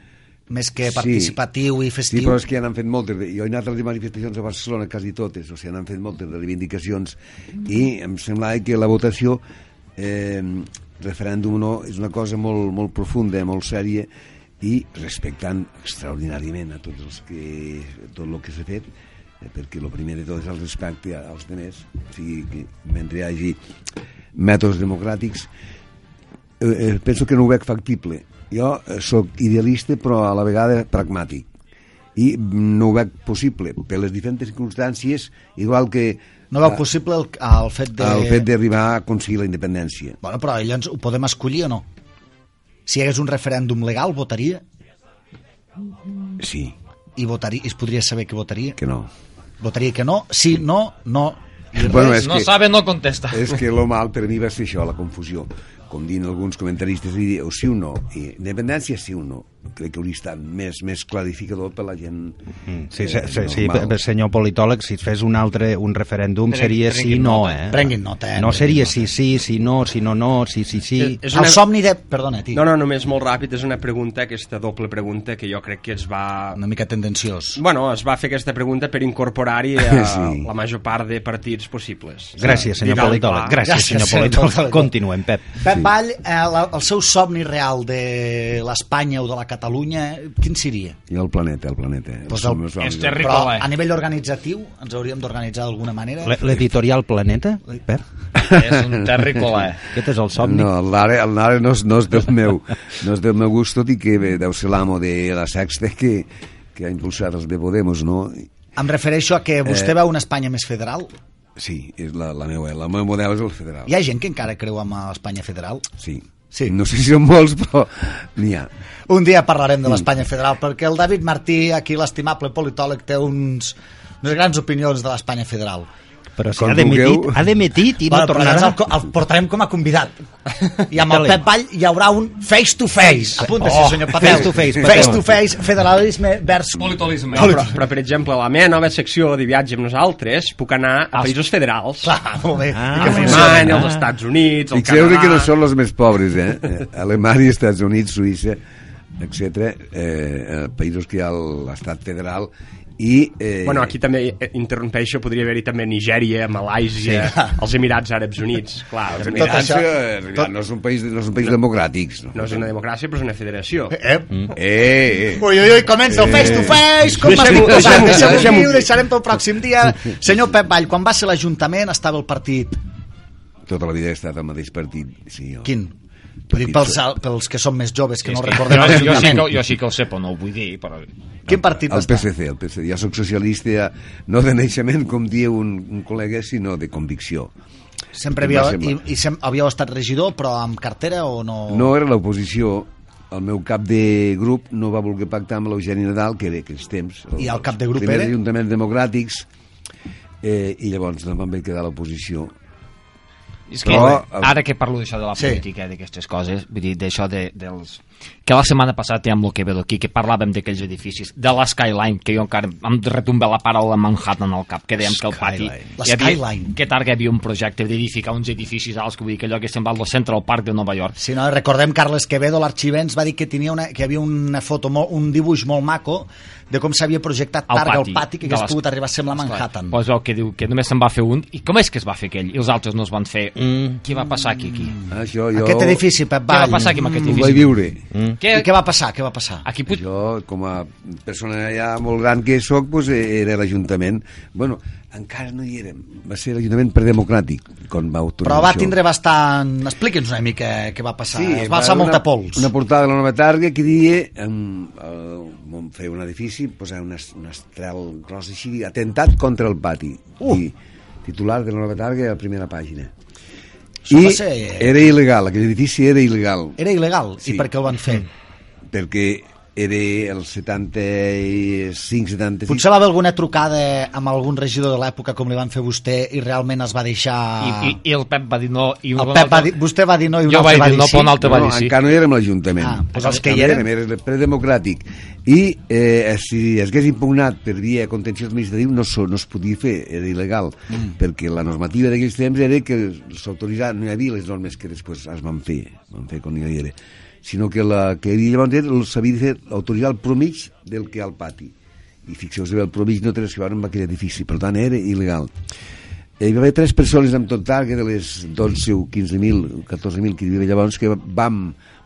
Speaker 2: Més que
Speaker 9: Sí.
Speaker 2: participatiu i
Speaker 9: Sí,
Speaker 2: festiu?
Speaker 9: però és que ja n'han fet moltes. de- Jo he anat a les manifestacions a Barcelona, quasi totes, o sigui, n'han fet moltes de reivindicacions i em semblava que la votació eh, referèndum o no és una cosa molt, molt profunda, eh, molt sèria i respectant extraordinàriament a tots els que, tot el que s'ha fet eh, perquè el primer de tot és el respecte a- als demés, o sigui, que mentre hi hagi mètodes democràtics eh, eh, penso que no ho veig factible. Jo eh, sóc idealista però a la vegada pragmàtic i no ho veig possible per les diferents circumstàncies igual que
Speaker 2: No veu possible el, el fet de...
Speaker 9: el fet d'arribar a aconseguir la independència
Speaker 2: Bueno, però llavors ho podem escollir o no? Si hi hagués un referèndum legal, votaria?
Speaker 9: sí,
Speaker 2: I votaria, i es podria saber que votaria?
Speaker 9: que
Speaker 2: <laughs>
Speaker 9: no
Speaker 2: Votaria que no? Sí, no, no. I
Speaker 9: Bueno,
Speaker 2: res.
Speaker 9: és
Speaker 3: No
Speaker 9: que-
Speaker 3: sabe, no contesta.
Speaker 9: és que lo mal per mi va ser això, la confusió com dint alguns comentaristes i dir, o sí o no, i independència sí o no crec que hauria estat més, més clarificador per la gent
Speaker 1: Sí,
Speaker 2: Mm.
Speaker 9: eh,
Speaker 1: sí, sí, sí
Speaker 9: normal.
Speaker 1: per- senyor politòleg, si es fes un altre un referèndum seria sí no, eh?
Speaker 2: Prenguin nota, eh?
Speaker 1: No seria sí
Speaker 2: Prenguin
Speaker 1: sí, sí no, sí no no, sí sí sí.
Speaker 4: És
Speaker 2: El somni de... Perdona, tio.
Speaker 4: No, no, només molt ràpid, és una pregunta, aquesta doble pregunta, que jo crec que es va
Speaker 2: Una mica tendenciós.
Speaker 4: Bueno, es va fer aquesta pregunta per incorporar-hi
Speaker 1: <laughs>
Speaker 4: eh,
Speaker 9: Sí.
Speaker 4: la major part de partits possibles.
Speaker 1: Gràcies, senyor
Speaker 4: Vidal i
Speaker 1: politòleg.
Speaker 4: Pla.
Speaker 1: Gràcies,
Speaker 2: Gràcies,
Speaker 1: senyor
Speaker 2: senyor
Speaker 1: politòleg.
Speaker 2: politòleg.
Speaker 1: Continuem, Pep.
Speaker 2: Pep sí. Vall, eh, la, el seu somni real de l'Espanya o de la Catalunya, quin seria?
Speaker 9: i el planeta, el planeta
Speaker 2: Pues
Speaker 9: Els
Speaker 2: el-
Speaker 9: meus somnis.
Speaker 3: és terrible.
Speaker 2: Però
Speaker 3: Ricola.
Speaker 2: a nivell organitzatiu ens hauríem d'organitzar d'alguna manera.
Speaker 1: L- L'editorial Planeta, Pep?
Speaker 3: És un terrícola, eh?
Speaker 1: Aquest <laughs> és el somni.
Speaker 9: No, el Nare, el Nare no, és, no és del meu no és del meu gust, tot i que bé, deu ser l'amo de la Sexta que, que ha impulsat els de Podemos, no?
Speaker 2: Em refereixo a que vostè
Speaker 9: Eh.
Speaker 2: veu una Espanya més federal.
Speaker 9: Sí, és la, la meva, la meu model és el federal.
Speaker 2: Hi ha gent que encara creu en l'Espanya federal?
Speaker 9: Sí.
Speaker 2: Sí.
Speaker 9: No sé si són molts, però n'hi ha.
Speaker 2: Un dia parlarem de l'Espanya federal, perquè el David Martí, aquí l'estimable politòleg, té uns, unes grans opinions de l'Espanya federal.
Speaker 1: Però si
Speaker 9: Quan
Speaker 1: ha demitit,
Speaker 9: vulgueu.
Speaker 1: ha demitit i no
Speaker 2: Bueno, però
Speaker 1: tornarà.
Speaker 2: llavors el, co- el portarem com a convidat.
Speaker 3: <laughs>
Speaker 2: I amb el
Speaker 1: Calent.
Speaker 2: Pep Vall hi haurà un face to face. Apunta-s'hi,
Speaker 1: Oh,
Speaker 2: senyor Pateu.
Speaker 1: face to face,
Speaker 2: Face
Speaker 1: Pateu.
Speaker 2: to face, federalisme vers...
Speaker 3: Politolisme.
Speaker 4: No, però, però, per exemple, la meva nova secció de viatge amb nosaltres puc anar a
Speaker 3: Als-
Speaker 4: països federals.
Speaker 2: Ah, Clar, molt bé.
Speaker 1: Ah,
Speaker 2: I
Speaker 4: A
Speaker 2: que
Speaker 1: molt bé.
Speaker 2: funcioni.
Speaker 4: Alemanya, els Estats Units, el
Speaker 9: Fixeu-vos
Speaker 4: Canadà...
Speaker 9: que no són els més pobres, eh? Eh, Alemanya, Estats Units, Suïssa, etc. Eh, eh, països que hi ha a l'estat federal i... Eh,
Speaker 4: Bueno, aquí també eh, interrompeixo, podria haver-hi també Nigèria, Malàisia, sí. els Emirats Àrabs Units,
Speaker 9: <laughs>
Speaker 4: clar, els
Speaker 9: Tot
Speaker 4: Emirats
Speaker 9: això,
Speaker 2: això-
Speaker 9: tot... eh, no és un país, no és un país no. democràtic. No.
Speaker 4: no és una democràcia, però és una federació.
Speaker 2: Eh?
Speaker 9: Eh, eh.
Speaker 2: Ui, ui, ui, comença el face to face, com m'estic
Speaker 4: Deixem-ho-
Speaker 2: posant,
Speaker 4: deixem-ho-
Speaker 2: deixem-ho
Speaker 4: deixem-ho
Speaker 2: viu,
Speaker 4: viu.
Speaker 2: deixarem pel pròxim dia. <laughs> Senyor Pep Vall, quan va ser l'Ajuntament estava el partit
Speaker 9: Tota la vida he estat al mateix partit. Sí, jo.
Speaker 2: Quin? Vull dir, pels, pels que som més joves, que no recordem
Speaker 3: Jo, jo, sí que,
Speaker 2: l'Ajuntament.
Speaker 3: jo sí que el sé, però no ho vull dir, però...
Speaker 2: Quin partit va
Speaker 9: El
Speaker 2: estar?
Speaker 9: PSC, el PSC. Jo sóc socialista, no de naixement, com diu un, un col·lega, sinó de convicció.
Speaker 2: Oh. Sempre
Speaker 9: Em va
Speaker 2: havíeu, i,
Speaker 9: semblar.
Speaker 2: i sem, havíeu estat regidor, però amb cartera o no?
Speaker 9: No era l'oposició, el meu cap de grup no va voler pactar amb l'Eugeni Nadal, que era aquells temps.
Speaker 2: I el cap de grup
Speaker 9: primers
Speaker 2: era?
Speaker 9: ajuntaments democràtics, eh, i llavors no em vaig quedar a l'oposició.
Speaker 3: És que
Speaker 9: Però-
Speaker 3: ara que parlo d'això de la
Speaker 2: eh, Sí.
Speaker 3: política, eh, d'aquestes coses, vull dir, d'això de, dels... Que la setmana passada amb lo que ve d'aquí, que parlàvem d'aquells edificis, de la Skyline, que jo encara em retomba la paraula Manhattan al cap, que dèiem que el pati...
Speaker 1: Skyline.
Speaker 2: La
Speaker 3: hi
Speaker 2: Skyline.
Speaker 3: Que targa hi havia un projecte d'edificar uns edificis alts, que vull dir que allò que sembla el Central Park de Nova York.
Speaker 2: Si no, recordem Carles Quevedo, l'arxivens, va dir que, tenia una, que hi havia una foto, molt, un dibuix molt maco de com s'havia projectat
Speaker 3: Al
Speaker 2: Targa al
Speaker 3: pati
Speaker 2: pati, que
Speaker 3: de
Speaker 2: hagués
Speaker 3: les-
Speaker 2: pogut arribar a semblar Manhattan.
Speaker 3: Pues veu que diu que només se'n va fer un. I com és que es va fer aquell? I els altres no es van fer.
Speaker 1: Mm.
Speaker 3: Què va passar aquí? aquí?
Speaker 2: Mm.
Speaker 9: Això jo...
Speaker 2: Aquest edifici, Pep
Speaker 3: Què
Speaker 2: Vall.
Speaker 3: va passar aquí amb aquest
Speaker 9: Ho
Speaker 3: edifici?
Speaker 9: vaig viure.
Speaker 3: Què,
Speaker 2: I què va passar? Què va passar?
Speaker 3: Aquí pot...
Speaker 9: Jo, com a persona ja molt gran que sóc, doncs, eh, era l'Ajuntament. bueno, encara no hi érem. Va ser l'Ajuntament predemocràtic, quan va tornar
Speaker 2: Però va
Speaker 9: això.
Speaker 2: tindre bastant... Expliqui'ns una mica què va passar. es va
Speaker 9: va
Speaker 2: alçar
Speaker 9: haver
Speaker 2: molta
Speaker 9: una-
Speaker 2: pols.
Speaker 9: Una portada de la nova targa que dia em, em fer un edifici, posar un, es- un estrel gros així, atentat contra el pati. Uh! I, titular de la nova targa a la primera pàgina.
Speaker 2: Això
Speaker 9: I
Speaker 2: va ser-
Speaker 9: era il·legal, aquell edifici era il·legal,
Speaker 2: Era il·legal,
Speaker 9: Sí.
Speaker 2: i per què el van fer?
Speaker 3: Mm.
Speaker 9: perquè era el 75, 76...
Speaker 2: Potser va haver alguna trucada amb algun regidor de l'època com li van fer a vostè i realment es va deixar...
Speaker 3: I, i, I el Pep va dir no. I
Speaker 2: El
Speaker 3: un
Speaker 2: Pep va
Speaker 3: altre-
Speaker 2: dir, vostè va dir no i un
Speaker 3: Jo
Speaker 2: altre
Speaker 3: vaig
Speaker 2: va
Speaker 3: dir
Speaker 2: dir
Speaker 3: no,
Speaker 2: sí.
Speaker 3: però un altre va
Speaker 9: no,
Speaker 3: dir sí.
Speaker 9: encara no érem a l'Ajuntament.
Speaker 2: Ah, doncs els que hi
Speaker 9: Encara
Speaker 2: eren.
Speaker 9: Érem, era predemocràtic. I eh, si es hagués impugnat per via contenciós administratiu no, so, no es podia fer, era il·legal, mm. perquè la normativa d'aquells temps era que s'autoritzava, no hi havia les normes que després es van fer, van fer quan hi era, sinó que la que hi havia llavors era, el- s'havia de fer autoritzar el promig del que hi ha al pati. I fixeu-vos bé, el promig no té res a veure amb aquell edifici, per tant era il·legal. Eh, Hi va haver tres persones en total, que de les 12 o 15.000, 14.000 que hi havia llavors, que vam,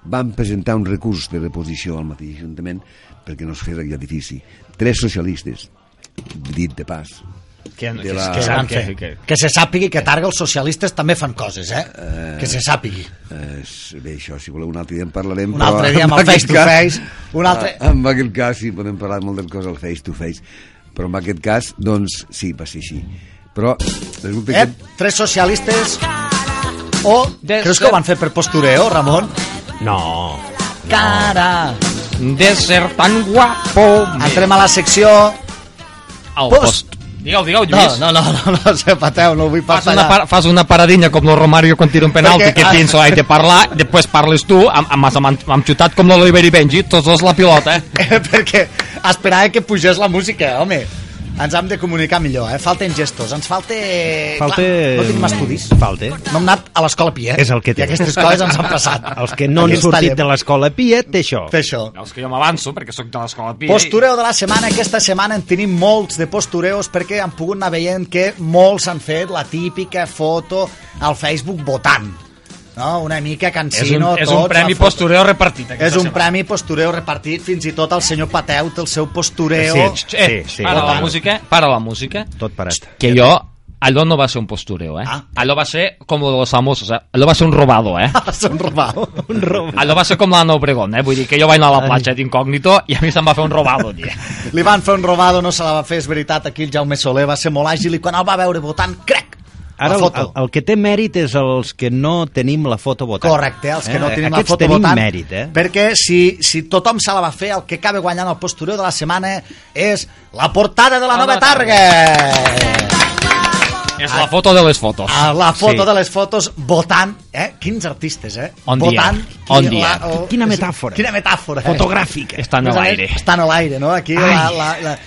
Speaker 9: vam presentar un recurs de reposició al mateix Ajuntament perquè no es fes aquell edifici. Tres socialistes, dit de pas.
Speaker 3: Que,
Speaker 9: de la-
Speaker 2: Que, van fer. Que, se sàpigui que a Targa els socialistes també fan coses, eh? Que se sàpigui.
Speaker 9: Eh, s- bé, això, si voleu, un altre dia en parlarem.
Speaker 2: Un
Speaker 9: però
Speaker 2: altre dia,
Speaker 9: en
Speaker 2: amb el
Speaker 9: aquest
Speaker 2: face to face, un altre-
Speaker 9: Ah, En aquest cas, sí, podem parlar molt del cos al face to face, però en aquest cas, doncs, sí, va ser així. Però resulta
Speaker 2: Eh?
Speaker 9: que...
Speaker 2: Tres socialistes... O... Creus que ho van fer per postureo, Ramon?
Speaker 3: No.
Speaker 2: Cara!
Speaker 3: De ser tan guapo. me-
Speaker 2: Entrem a la secció...
Speaker 3: Al
Speaker 2: post.
Speaker 3: post. Digue'l, digue'l,
Speaker 2: No,
Speaker 3: Lluís.
Speaker 2: no, no, no, no, <laughs> no pateu, no ho vull
Speaker 3: Fas una,
Speaker 2: <laughs> passar.
Speaker 3: par fas una paradinha com el Romario quan tira un penalti
Speaker 2: Perquè- eh,
Speaker 3: que tens l'haig de parlar, després parles tu, amb, amb, amb, amb, amb xutat com l'Oliver i Benji, tots dos la pilota. eh.
Speaker 2: Eh, perquè esperava que pugés la música, home. Ens hem de comunicar millor, eh? Falten gestos, ens falta...
Speaker 1: Falta...
Speaker 2: Clar, no tinc estudis.
Speaker 1: Falta.
Speaker 2: No hem anat a l'escola Piet.
Speaker 1: És el que té.
Speaker 2: I aquestes coses ens han passat.
Speaker 1: Els que no han
Speaker 2: Aquest
Speaker 1: sortit
Speaker 2: taller.
Speaker 1: de l'escola Pia, té això.
Speaker 2: Fer això.
Speaker 3: Veus que jo m'avanço perquè sóc de l'escola Pia.
Speaker 2: Postureo de la setmana. Aquesta setmana en tenim molts de postureos perquè han pogut anar veient que molts han fet la típica foto al Facebook votant. No? Una mica
Speaker 3: és un,
Speaker 2: cansino.
Speaker 3: és
Speaker 2: tots,
Speaker 3: un premi
Speaker 2: la foto.
Speaker 3: postureo repartit. aquesta
Speaker 2: És un
Speaker 3: setmana.
Speaker 2: premi postureo repartit, fins i tot el senyor Pateu té el seu postureo. <laughs>
Speaker 1: Sí,
Speaker 3: Xxt, Eh,
Speaker 1: Sí, sí.
Speaker 3: para la
Speaker 1: Votant.
Speaker 3: música, para la música.
Speaker 1: Tot parat.
Speaker 3: Que jo, allò no va ser un postureo, eh?
Speaker 2: Ah.
Speaker 3: Allò va ser com lo de los famosos, eh? Allò va ser un robado,
Speaker 2: <laughs>
Speaker 3: eh?
Speaker 2: Són robado.
Speaker 1: Un roba.
Speaker 3: Allò va ser com l'Anna Obregón, eh? Vull dir que jo vaig anar a la platja d'incògnito i a mi se'm va fer
Speaker 2: <laughs>
Speaker 3: un robado, tia.
Speaker 2: Li van fer un robado, no se la va fer, és veritat, aquí el Jaume Soler va ser molt àgil i quan el va veure votant, crec,
Speaker 1: Ara
Speaker 2: La
Speaker 1: el,
Speaker 2: foto.
Speaker 1: el, el que té mèrit és els que no tenim la foto votant.
Speaker 2: Correcte, els
Speaker 3: Eh,
Speaker 2: que no tenim la
Speaker 1: Aquests
Speaker 2: foto
Speaker 1: tenim
Speaker 2: votant.
Speaker 1: mèrit, eh?
Speaker 2: Perquè si, si tothom se la va fer, el que acaba guanyant el postureo de la setmana és la portada de la nova Targa.
Speaker 3: És la foto de les fotos.
Speaker 2: A la foto
Speaker 3: Sí.
Speaker 2: de les fotos, votant, eh? Quins artistes, eh?
Speaker 3: On dia,
Speaker 2: votant.
Speaker 3: on
Speaker 2: qui-
Speaker 3: dia.
Speaker 2: el-
Speaker 1: Quina metàfora.
Speaker 2: Quina metàfora. eh?
Speaker 1: Fotogràfica.
Speaker 3: Estan a
Speaker 2: Més a
Speaker 3: l'aire.
Speaker 2: més, Estan a l'aire, no? Aquí la,
Speaker 3: Ai.
Speaker 2: la, la...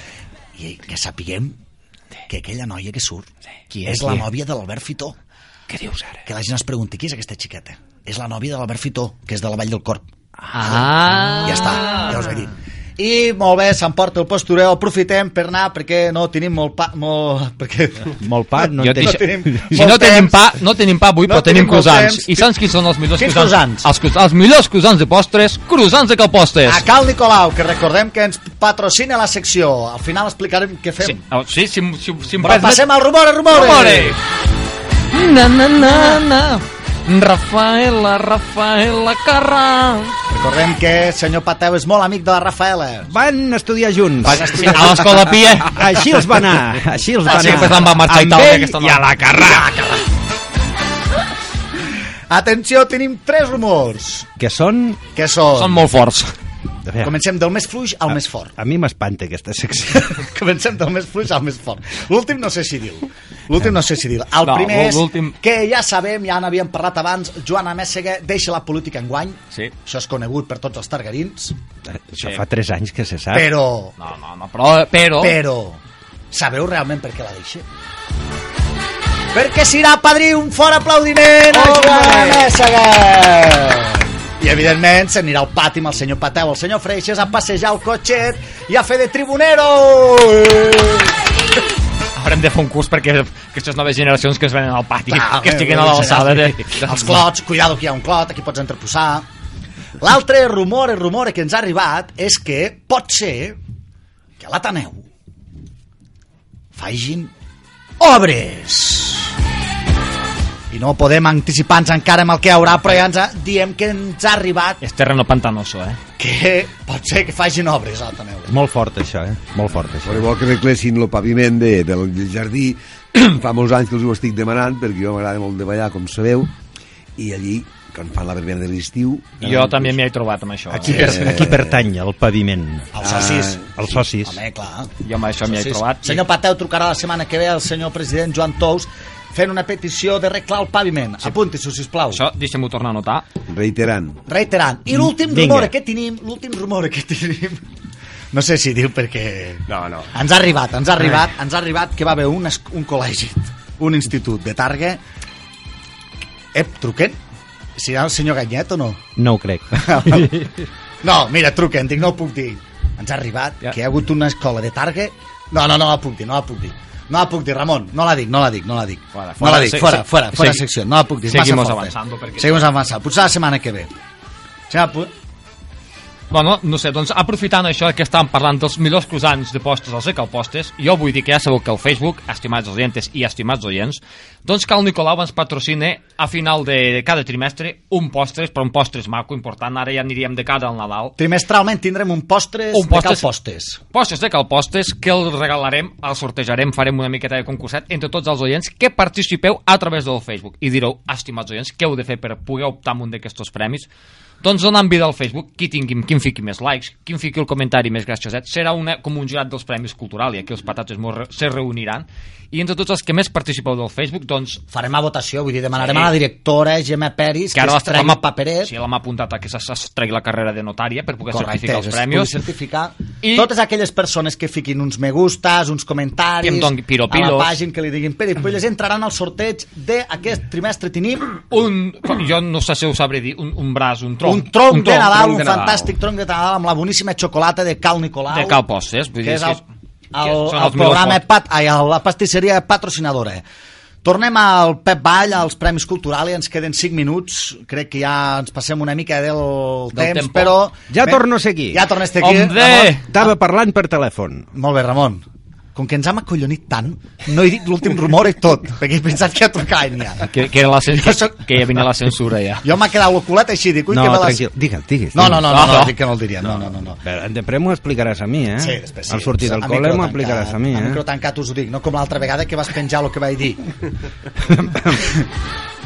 Speaker 2: I que sapiguem que aquella noia que surt Ah, qui és la nòvia de l'Albert Fitó.
Speaker 3: Què dius ara?
Speaker 2: Que la gent es pregunti qui és aquesta xiqueta. És la nòvia de l'Albert Fitó, que és de la Vall del Corp.
Speaker 3: Ah!
Speaker 2: Ja està, ja us ho he dit. I molt bé, s'emporta el postureu, aprofitem per anar perquè no tenim molt pa... Molt, <laughs> perquè...
Speaker 1: Molt part, no
Speaker 3: Jo
Speaker 1: en tenim.
Speaker 3: deixo-
Speaker 2: tenim
Speaker 3: <laughs> Si
Speaker 2: molt
Speaker 3: no tenim
Speaker 2: temps.
Speaker 3: pa, no tenim pa avui,
Speaker 2: No
Speaker 3: però tenim
Speaker 2: tenim molt
Speaker 3: croissants.
Speaker 2: temps.
Speaker 3: I saps qui són els millors
Speaker 2: Quins croissants? Ah.
Speaker 3: Els, cro- els millors croissants de postres, croissants de calpostres.
Speaker 2: A Cal Nicolau, que recordem que ens patrocina la secció. Al final explicarem què
Speaker 3: Sí,
Speaker 2: fem.
Speaker 3: oh, sí, si, si, si em
Speaker 2: Però
Speaker 3: permet-
Speaker 2: passem al rumor, rumor!
Speaker 3: Rumore! Na, na, na, na. Rafaela, Rafaela Carrà.
Speaker 2: Recordem que el senyor Pateu és molt amic de la Rafaela.
Speaker 1: Van estudiar junts.
Speaker 2: Van
Speaker 3: Sí,
Speaker 2: estudiar...
Speaker 3: a l'escola Pia.
Speaker 1: Així els va anar. Així els va
Speaker 3: Així
Speaker 1: anar.
Speaker 3: que se'n va marxar a
Speaker 1: Amb
Speaker 3: Itàlia,
Speaker 1: ell
Speaker 3: aquesta
Speaker 1: I
Speaker 3: dona.
Speaker 1: a la carrà.
Speaker 2: Atenció, tenim tres rumors.
Speaker 1: Que són...
Speaker 2: Què són?
Speaker 3: Són molt Ah. forts.
Speaker 1: A veure,
Speaker 2: Comencem del més fluix al més fort.
Speaker 1: A mi m'espanta aquesta secció.
Speaker 2: <laughs> Comencem del més fluix al més fort. L'últim no sé si diu. L'últim no sé si diu. El
Speaker 3: No,
Speaker 2: primer és
Speaker 3: l'últim-
Speaker 2: que ja sabem, ja n'havíem parlat abans, Joana Mèssega deixa la política enguany.
Speaker 3: Sí.
Speaker 2: Això és conegut per tots els targarins.
Speaker 1: Això fa 3 anys que se sap.
Speaker 2: Però,
Speaker 3: Eh? No, no, no, però... Però...
Speaker 2: però, sabeu realment per què la deixa? Perquè serà padrí un fort aplaudiment a
Speaker 3: Ole!
Speaker 2: Joana Mèssega! I, evidentment, s'anirà al pati amb el senyor Pateu, el senyor Freixes, a passejar el cotxet i a fer de tribunero!
Speaker 3: Haurem de fer un curs perquè aquestes noves generacions que ens venen al pati,
Speaker 2: Clar,
Speaker 3: que estiguin a l'alçada de...
Speaker 2: Els clots, cuidado que hi ha un clot, aquí pots entreposar. L'altre rumor, el rumor que ens ha arribat és que pot ser que a l'Ateneu fagin obres. I no podem anticipar-nos encara amb el que hi haurà, però ja ens ha, diem que ens ha arribat
Speaker 3: És terreno pantanoso, eh?
Speaker 2: que pot ser que fagin obres a l'Ateneu.
Speaker 1: És molt fort, això, eh? Molt fort, això.
Speaker 9: Però vol que arreglessin el paviment de, del jardí. <clears throat> Fa molts anys que els ho estic demanant, perquè jo m'agrada molt de ballar, com sabeu, i allí, quan fan la verbena de l'estiu...
Speaker 3: Jo també m'hi he trobat amb això. eh?
Speaker 1: Qui, per, qui Eh, pertany al paviment? Ah,
Speaker 2: Els socis.
Speaker 1: Els socis.
Speaker 2: Home, clar.
Speaker 3: Jo amb això m'hi he
Speaker 2: Sí, sí.
Speaker 3: trobat.
Speaker 2: Senyor Pateu trucarà la setmana que ve al senyor president Joan Tous fent una petició de arreglar el paviment. Apunti-s'ho, sisplau.
Speaker 3: Això, deixa'm-ho tornar a notar.
Speaker 9: Reiterant.
Speaker 2: Reiterant.
Speaker 3: Mm,
Speaker 2: I l'últim
Speaker 1: Vinga.
Speaker 2: rumor que tenim, l'últim rumor que tenim... <laughs> No sé si diu perquè...
Speaker 4: No, no.
Speaker 2: Ens ha arribat, ens ha arribat,
Speaker 3: Eh.
Speaker 2: ens ha arribat que va haver un, es- un col·legi, un institut de Targa. Ep, truquen? Serà el senyor Ganyet o no?
Speaker 1: No ho
Speaker 2: <laughs>
Speaker 1: crec.
Speaker 2: No, mira, truquen, dic, no ho puc dir. Ens ha arribat
Speaker 3: Ja.
Speaker 2: que hi ha hagut una escola de Targa... No, no, no la puc dir, no la puc dir. No la puc dir, Ramon, no la dic, no la dic, no la dic.
Speaker 3: Fora,
Speaker 2: no la dic,
Speaker 3: se-
Speaker 2: fora,
Speaker 3: se-
Speaker 2: fora, fora
Speaker 3: segui-
Speaker 2: secció, no la puc dir. és massa
Speaker 3: seguimos
Speaker 2: forta.
Speaker 3: avanzando, perquè-
Speaker 2: Seguimos avançant, potser la setmana que ve. Si la pu...
Speaker 3: Bueno, no sé, doncs aprofitant això que estàvem parlant dels millors croissants de postres als recalpostes, jo vull dir que ja sabeu que al Facebook, estimats oients i estimats oients, doncs que el Nicolau ens patrocina a final de cada trimestre un postres, però un postres maco, important, ara ja aniríem de cara al Nadal,
Speaker 2: Trimestralment tindrem un postres,
Speaker 3: Un
Speaker 2: de
Speaker 3: postres.
Speaker 2: cal postres.
Speaker 3: postres de calpostes que el regalarem, el sortejarem, farem una miqueta de concurset entre tots els oients que participeu a través del Facebook. I direu, estimats oients, què heu de fer per poder optar en un d'aquests premis? Doncs donant vida al Facebook, qui tingui, qui en fiqui més likes, qui en fiqui el comentari més gracioset, serà una, com un jurat dels Premis Cultural i aquí els patates mos re, se reuniran. I entre tots els que més participeu del Facebook, doncs
Speaker 2: Farem a votació, vull dir, demanarem
Speaker 3: Sí.
Speaker 2: a la directora Gemma Peris que,
Speaker 3: que ara
Speaker 2: es tregui el paperet.
Speaker 3: Sí, l'hem apuntat a que se- se tregui la carrera de notària per poder
Speaker 2: Correcte,
Speaker 3: certificar
Speaker 2: es
Speaker 3: els
Speaker 2: pugui
Speaker 3: premis.
Speaker 2: certificar I...
Speaker 3: I-
Speaker 2: totes aquelles persones que fiquin uns me gustas, uns comentaris
Speaker 3: Que em doni
Speaker 2: a la
Speaker 3: piropilos.
Speaker 2: pàgina que li diguin piripilles entraran al sorteig d'aquest trimestre tenim
Speaker 3: un, jo no sé si ho sabré dir, un, un braç, un tronc.
Speaker 2: un tronc, de Nadal,
Speaker 4: tronc
Speaker 2: un
Speaker 4: de Nadal.
Speaker 2: fantàstic tronc de Nadal amb la boníssima xocolata de Cal Nicolau
Speaker 3: De Cal Postes, vull
Speaker 2: que
Speaker 3: dir
Speaker 2: és
Speaker 3: que
Speaker 2: el,
Speaker 3: és-
Speaker 2: el,
Speaker 3: que són
Speaker 2: el
Speaker 3: els millors
Speaker 2: programa
Speaker 3: pot-
Speaker 2: pat, ai, a la pastisseria patrocinadora Tornem al Pep Vall, als Premis Cultural, i ens queden 5 minuts. Crec que ja ens passem una mica del,
Speaker 3: Del
Speaker 2: temps,
Speaker 3: tempo.
Speaker 2: però...
Speaker 1: Ja torno a ser aquí.
Speaker 2: Ja tornes a ser aquí.
Speaker 3: Hombre!
Speaker 2: Ramon.
Speaker 1: Estava parlant per telèfon.
Speaker 2: Molt bé, Ramon. com que ens hem acollonit tant, no he dit l'últim rumor i tot, perquè he pensat que a trucar hi ha.
Speaker 3: Que, que, era la, cen-
Speaker 2: Jo soc-
Speaker 3: que, que <laughs> ja venia la censura ja.
Speaker 2: Jo m'ha quedat l'oculat així, dic, ui,
Speaker 1: No,
Speaker 2: que me les...
Speaker 1: tranquil, digues, digues.
Speaker 2: No, no, no, no, no,
Speaker 3: No.
Speaker 2: dic que no el diria, no, no, no. no.
Speaker 1: Però Després m'ho explicaràs a mi, eh?
Speaker 2: Sí, després sí.
Speaker 1: Al sortir del
Speaker 2: A
Speaker 1: col·le
Speaker 2: micro
Speaker 1: m'ho
Speaker 2: tancat,
Speaker 1: explicaràs a mi,
Speaker 2: A micro
Speaker 1: eh?
Speaker 2: tancat us ho dic, no com l'altra vegada que vas penjar el que vaig dir. <laughs>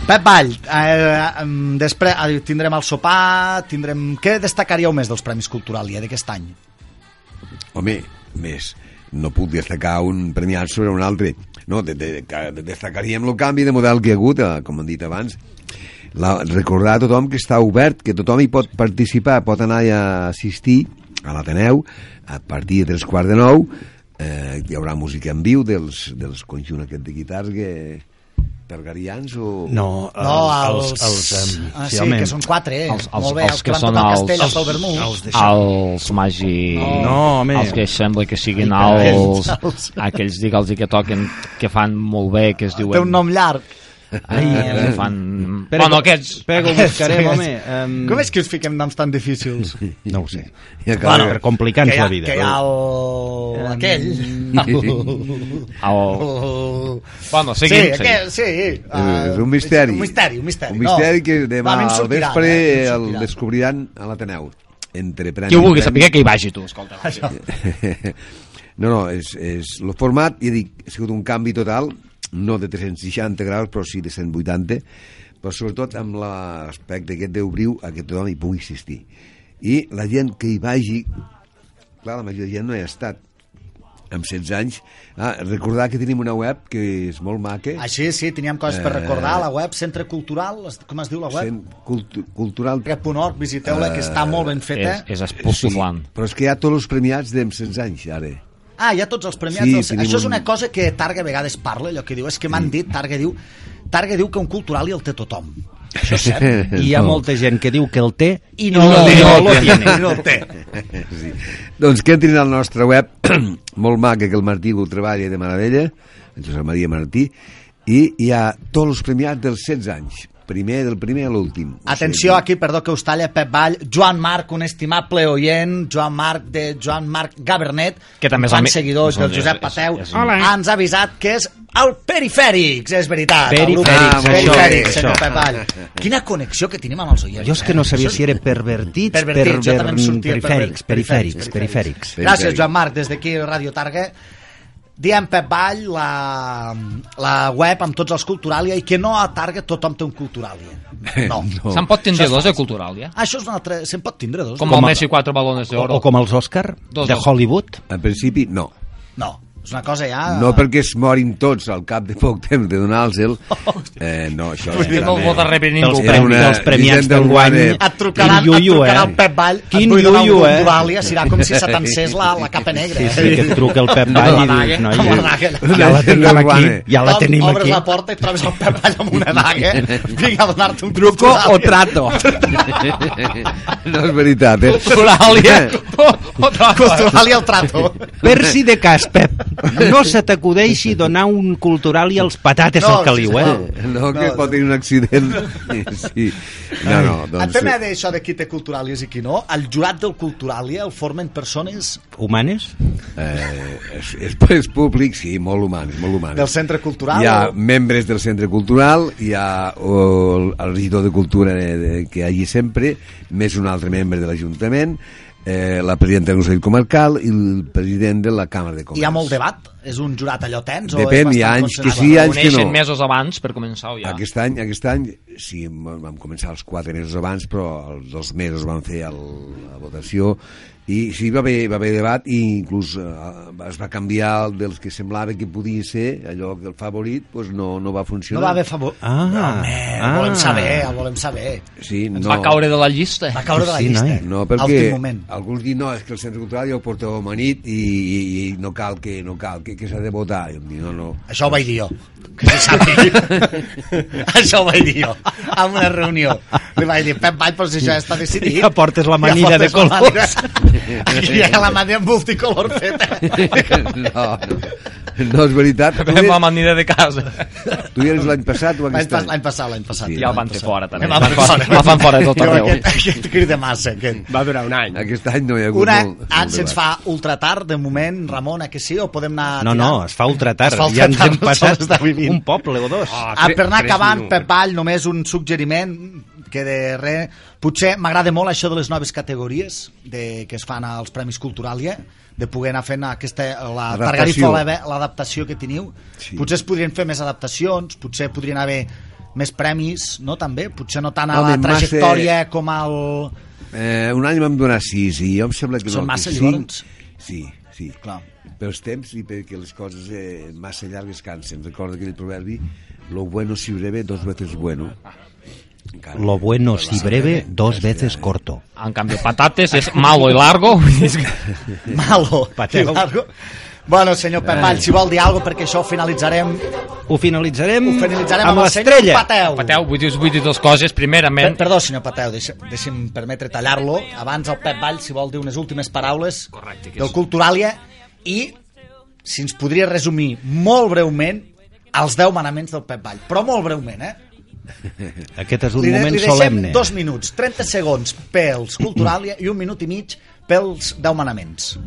Speaker 2: Pep Vall, eh, em, després eh, tindrem el sopar, tindrem... Què destacaríeu més dels Premis Culturalia d'aquest any?
Speaker 9: Home, més. No puc destacar un premiat sobre un altre. No, de, de, de, destacaríem el canvi de model que hi ha hagut, eh, com hem dit abans. La, recordar a tothom que està obert, que tothom hi pot participar, pot anar a assistir a l'Ateneu a partir de tres quarts de nou. Eh, hi haurà música en viu dels, dels conjunt aquest de guitars que targarians o...
Speaker 1: <laughs> No, els... els, eh, els em,
Speaker 2: ah, sí, home. que són quatre, eh?
Speaker 3: Els- els-
Speaker 2: Molt bé, els,
Speaker 3: els
Speaker 2: que,
Speaker 3: que
Speaker 2: van
Speaker 3: són
Speaker 2: tocar el
Speaker 3: els-
Speaker 2: castell
Speaker 3: els-
Speaker 2: a Salvermú. Els,
Speaker 3: Els magi...
Speaker 1: No, home.
Speaker 3: Els que sembla que siguin
Speaker 2: Ai,
Speaker 3: els...
Speaker 2: els-
Speaker 3: Aquells, dic, els que toquen, que fan molt bé, que es diuen...
Speaker 2: Té un nom llarg.
Speaker 3: Ai, que fan... bueno, aquests...
Speaker 1: Espera, que ho buscarem, Ah, home. Em,
Speaker 2: Com és que us fiquem noms tan difícils?
Speaker 1: No ho sé.
Speaker 9: <laughs> Ja que-
Speaker 1: Bueno, per complicar-nos
Speaker 2: que hi ha,
Speaker 1: la vida.
Speaker 2: Que hi ha el... aquell...
Speaker 3: El...
Speaker 2: El...
Speaker 3: Bueno,
Speaker 2: Sí, sí,
Speaker 3: seguim, seguim.
Speaker 2: aquest, sí.
Speaker 9: Eh,
Speaker 2: eh,
Speaker 9: és un misteri.
Speaker 2: Un misteri, un misteri.
Speaker 9: Un misteri
Speaker 2: no.
Speaker 9: que demà
Speaker 2: Va, a mi em
Speaker 9: al
Speaker 2: sortirà,
Speaker 9: vespre
Speaker 2: eh, em
Speaker 9: el
Speaker 2: sortirà.
Speaker 9: descobriran a l'Ateneu. Entre premi
Speaker 3: Qui ho vulgui
Speaker 9: i premi.
Speaker 3: saber, que hi vagi, tu, escolta.
Speaker 9: <laughs> No, no, és, és el format, ja dic, ha sigut un canvi total, no de 360 graus, però sí de 180, però sobretot amb l'aspecte aquest d'obriu a que tothom hi pugui assistir. I la gent que hi vagi, clar, la majoria de gent no hi ha estat, amb 16 anys. Ah, recordar que tenim una web que és molt maca,
Speaker 2: Així, sí, teníem coses
Speaker 9: Eh,
Speaker 2: per recordar. La web, Centre Cultural, es- com es diu la web?
Speaker 9: sent cultu cultural,
Speaker 2: Centre.org, visiteu-la, que està molt ben feta.
Speaker 3: Eh, És, és espolsoflant.
Speaker 9: però és que hi ha tots els premiats d'en 16 anys, ara.
Speaker 2: Ah, hi ha tots els premiats.
Speaker 9: Sí,
Speaker 2: Sí, dels...
Speaker 9: tenim
Speaker 2: Això és
Speaker 9: un-
Speaker 2: una cosa que Targa a vegades parla, allò que diu. És que m'han dit, Targa diu... Targa diu que un cultural i el té tothom. Això és cert.
Speaker 1: I hi ha molta gent que diu que el té
Speaker 2: I no, no,
Speaker 3: té,
Speaker 2: no,
Speaker 3: no
Speaker 2: no,
Speaker 3: el té.
Speaker 2: no,
Speaker 4: <laughs>
Speaker 2: no el té.
Speaker 9: sí. Doncs que entrin al nostre web, <clears throat> molt maca, que el Martí ho treballa de meravella, en Josep Maria Martí, i hi ha tots els premiats dels 16 anys, primer del primer a l'últim. O
Speaker 2: Atenció,
Speaker 9: sigui
Speaker 2: aquí, perdó que us talla, Pep Vall, Joan Marc, un estimable oient, Joan Marc de Joan Marc Gabernet,
Speaker 3: Que també és
Speaker 2: fan
Speaker 3: ami-
Speaker 2: seguidors del
Speaker 3: és-
Speaker 2: Josep
Speaker 3: és-
Speaker 2: Pateu,
Speaker 3: és-
Speaker 6: Hola.
Speaker 2: ens ha avisat que és el Perifèrics, és veritat. el grup
Speaker 3: Perifèrics,
Speaker 2: Perifèrics,
Speaker 9: això,
Speaker 2: Perifèrics,
Speaker 9: això.
Speaker 2: senyor Pep Vall. Quina connexió que tenim amb els oients.
Speaker 1: Jo és que
Speaker 2: eh?
Speaker 1: no sabia
Speaker 2: Això és-
Speaker 1: si era pervertits,
Speaker 2: Pervertits, jo també em
Speaker 1: perver-
Speaker 2: sortia
Speaker 1: perifèrics,
Speaker 2: pervertits,
Speaker 1: perifèrics,
Speaker 2: perifèrics,
Speaker 1: perifèrics.
Speaker 2: Gràcies, Joan Marc, des d'aquí Radio Targa. Diem Pep Vall, la, la web amb tots els Culturalia i que no a Targa tothom té un Culturalia. No. no.
Speaker 3: Se'n pot tindre dos de cultural, ja?
Speaker 2: Això és una altra... Se'n pot tindre dos?
Speaker 3: Com
Speaker 2: no?
Speaker 3: el Messi quatre balones
Speaker 1: O,
Speaker 3: d'oro.
Speaker 1: o com els Òscar
Speaker 3: Dos,
Speaker 1: de
Speaker 3: dos.
Speaker 1: Hollywood.
Speaker 9: En principi, no.
Speaker 2: No, és una cosa ja...
Speaker 9: No perquè es morin tots al cap de poc temps de
Speaker 2: <laughs>
Speaker 9: donar-los-el. Eh, no, això...
Speaker 3: Vull dir, no el pot arrepenir
Speaker 1: Dels,
Speaker 3: ningú.
Speaker 9: Era
Speaker 1: premi,
Speaker 9: una-
Speaker 1: dels premiats
Speaker 9: Vicent del
Speaker 1: del guany.
Speaker 9: Guaret.
Speaker 2: Et trucaran,
Speaker 1: Quin
Speaker 2: et
Speaker 1: iuiu,
Speaker 2: trucarà
Speaker 1: eh?
Speaker 2: el Pep Vall,
Speaker 1: Quin
Speaker 2: et vull donar
Speaker 1: iuiu,
Speaker 2: un
Speaker 1: eh?
Speaker 2: Culturalia, serà com si se t'encés la, la capa negra.
Speaker 1: Sí, sí, que et truca el Pep Vall i dius,
Speaker 2: daga,
Speaker 1: noi,
Speaker 2: amb la daga.
Speaker 1: ja la tenim aquí, ja la
Speaker 2: Ob-
Speaker 1: tenim
Speaker 2: Obres
Speaker 1: aquí.
Speaker 2: la porta i et trobes el Pep Vall amb una
Speaker 1: <laughs>
Speaker 2: daga. Vinga, a donar-te un
Speaker 3: Truco o
Speaker 2: Culturalia. <laughs>
Speaker 3: trato?
Speaker 9: No és veritat, eh?
Speaker 3: Culturalia <laughs> o, o trato?
Speaker 2: Culturalia el
Speaker 1: <laughs>
Speaker 2: trato.
Speaker 1: Per si de cas, Pep, no se t'acudeixi donar un cultural i els patates
Speaker 2: No,
Speaker 1: al caliu, eh?
Speaker 2: sisplau.
Speaker 9: <laughs> No, que
Speaker 2: No.
Speaker 9: pot tenir un accident. <laughs> Sí. No, no,
Speaker 2: Doncs... El
Speaker 9: doncs...
Speaker 2: tema d'això de qui té culturàlies i qui no, el jurat del Culturàlia el formen persones
Speaker 1: Humanes?
Speaker 9: Eh, és, és, <laughs> és públic, sí, molt humans, molt humans.
Speaker 2: del centre cultural.
Speaker 9: Hi ha
Speaker 2: o-
Speaker 9: membres del centre cultural, hi ha o, el el regidor de cultura de, de, que hi hagi sempre, més un altre membre de l'Ajuntament, eh, la presidenta del Consell Comarcal i el president de la Càmera de Comerç.
Speaker 2: Hi ha molt debat? És un jurat allò tens?
Speaker 9: Depèn,
Speaker 2: o és
Speaker 9: hi ha
Speaker 2: bastant
Speaker 9: anys que
Speaker 2: conservador?
Speaker 9: sí, hi ha anys que
Speaker 3: Uneixen
Speaker 9: no.
Speaker 3: mesos abans per començar o ja.
Speaker 9: Aquest any, aquest any, sí, vam vam començar els quatre mesos abans, però els dos mesos van fer el, la votació i sí, va haver, va haver debat i inclús eh, es va canviar el dels que semblava que podia ser allò que el favorit doncs no, no va funcionar.
Speaker 2: No va haver favor.
Speaker 1: Ah,
Speaker 2: Home, el volem saber, el volem saber.
Speaker 9: Sí,
Speaker 3: Ens
Speaker 9: no.
Speaker 3: va caure de la llista. eh?
Speaker 2: Va caure de la
Speaker 1: Sí,
Speaker 2: llista.
Speaker 1: noi.
Speaker 9: No,
Speaker 2: a
Speaker 9: perquè
Speaker 2: últim moment.
Speaker 9: alguns diuen, no, és que el centre cultural ja ho porteu a manit i, i, i no cal que, no cal, que, que s'ha de votar. I em dic, no, <laughs> no.
Speaker 2: Això ho vaig dir jo. Que se sàpiga. <laughs> això ho vaig dir jo. En una reunió. Li vaig dir, Pep Vall, però si això ja està decidit.
Speaker 1: Ja portes la manilla de
Speaker 2: portes la
Speaker 1: colors.
Speaker 2: <laughs> manilla. I la mania multicolor
Speaker 9: <laughs>
Speaker 2: feta.
Speaker 9: No, no és veritat. Tu
Speaker 3: Vam
Speaker 9: eres,
Speaker 3: amb aniré de casa.
Speaker 9: tu eres l'any passat o
Speaker 2: L'any
Speaker 9: aquest
Speaker 2: pas-
Speaker 9: any?
Speaker 2: l'any passat, l'any passat.
Speaker 9: Sí,
Speaker 3: I el van
Speaker 2: L'any
Speaker 3: fer
Speaker 2: passat.
Speaker 3: <laughs> fora, també.
Speaker 2: El van fer fora.
Speaker 3: El van fora de tot
Speaker 2: Diu,
Speaker 3: arreu.
Speaker 2: Aquest, aquest crida massa, aquest.
Speaker 4: Va durar un any.
Speaker 9: Aquest any no hi ha hagut
Speaker 2: Una,
Speaker 9: molt,
Speaker 2: ah,
Speaker 9: molt
Speaker 2: se'ns
Speaker 9: debat.
Speaker 2: fa ultra tard, de moment, Ramon, a que sí? O podem anar...
Speaker 1: No,
Speaker 2: tirant?
Speaker 1: no, es fa ultra tard.
Speaker 2: Es fa ultra
Speaker 1: ja ens
Speaker 2: tard,
Speaker 1: hem passat
Speaker 2: sols de vivint.
Speaker 1: un poble o dos.
Speaker 4: Ah,
Speaker 2: Ah,
Speaker 4: tre-
Speaker 2: per anar
Speaker 4: tres
Speaker 2: acabant,
Speaker 4: minuts.
Speaker 2: Pep Vall, només un suggeriment que de res... Potser m'agrada molt això de les noves categories de, que es fan als Premis Culturalia, de poder anar fent aquesta, la
Speaker 9: Adaptació.
Speaker 2: Targarifo, l'adaptació que teniu.
Speaker 9: Sí.
Speaker 2: Sí. Potser es podrien fer més adaptacions, potser podrien haver més premis, no, també? Potser no tant a
Speaker 9: Home,
Speaker 2: la
Speaker 9: massa-
Speaker 2: trajectòria com al...
Speaker 9: Eh, un any vam donar 6 i jo em sembla que
Speaker 2: Són
Speaker 9: no,
Speaker 2: massa,
Speaker 9: que
Speaker 2: llavors?
Speaker 9: Sí, sí.
Speaker 2: Clar.
Speaker 9: Pels temps i perquè les coses eh, massa llargues cansen. Recorda aquell proverbi, lo bueno si breve, dos veces bueno. Encara.
Speaker 1: Lo bueno si breve, dos veces corto.
Speaker 3: En canvi, patates és malo i largo. És que-
Speaker 2: <laughs> Malo.
Speaker 1: Pateu.
Speaker 2: i largo. Bueno, senyor Pep Vall, si vol dir alguna cosa, perquè això ho finalitzarem,
Speaker 1: Ho finalitzarem,
Speaker 2: ho finalitzarem
Speaker 1: amb
Speaker 2: el senyor
Speaker 1: l'estrella.
Speaker 2: Pateu.
Speaker 3: Pateu, vull dir, vull dir dues coses.
Speaker 2: Per,
Speaker 3: Primerament,
Speaker 2: perdó, senyor Pateu, deixa, deixi'm permetre tallar-lo. Abans el Pep Vall, si vol dir unes últimes paraules
Speaker 3: Correcte, que és-
Speaker 2: del Culturalia i si ens podria resumir molt breument els 10 manaments del Pep Vall, però molt breument, eh?
Speaker 1: Aquest és un
Speaker 2: de-
Speaker 1: moment
Speaker 2: deixem
Speaker 1: solemne.
Speaker 2: dos minuts, 30 segons pels Culturalia i un minut i mig pels 10 manaments.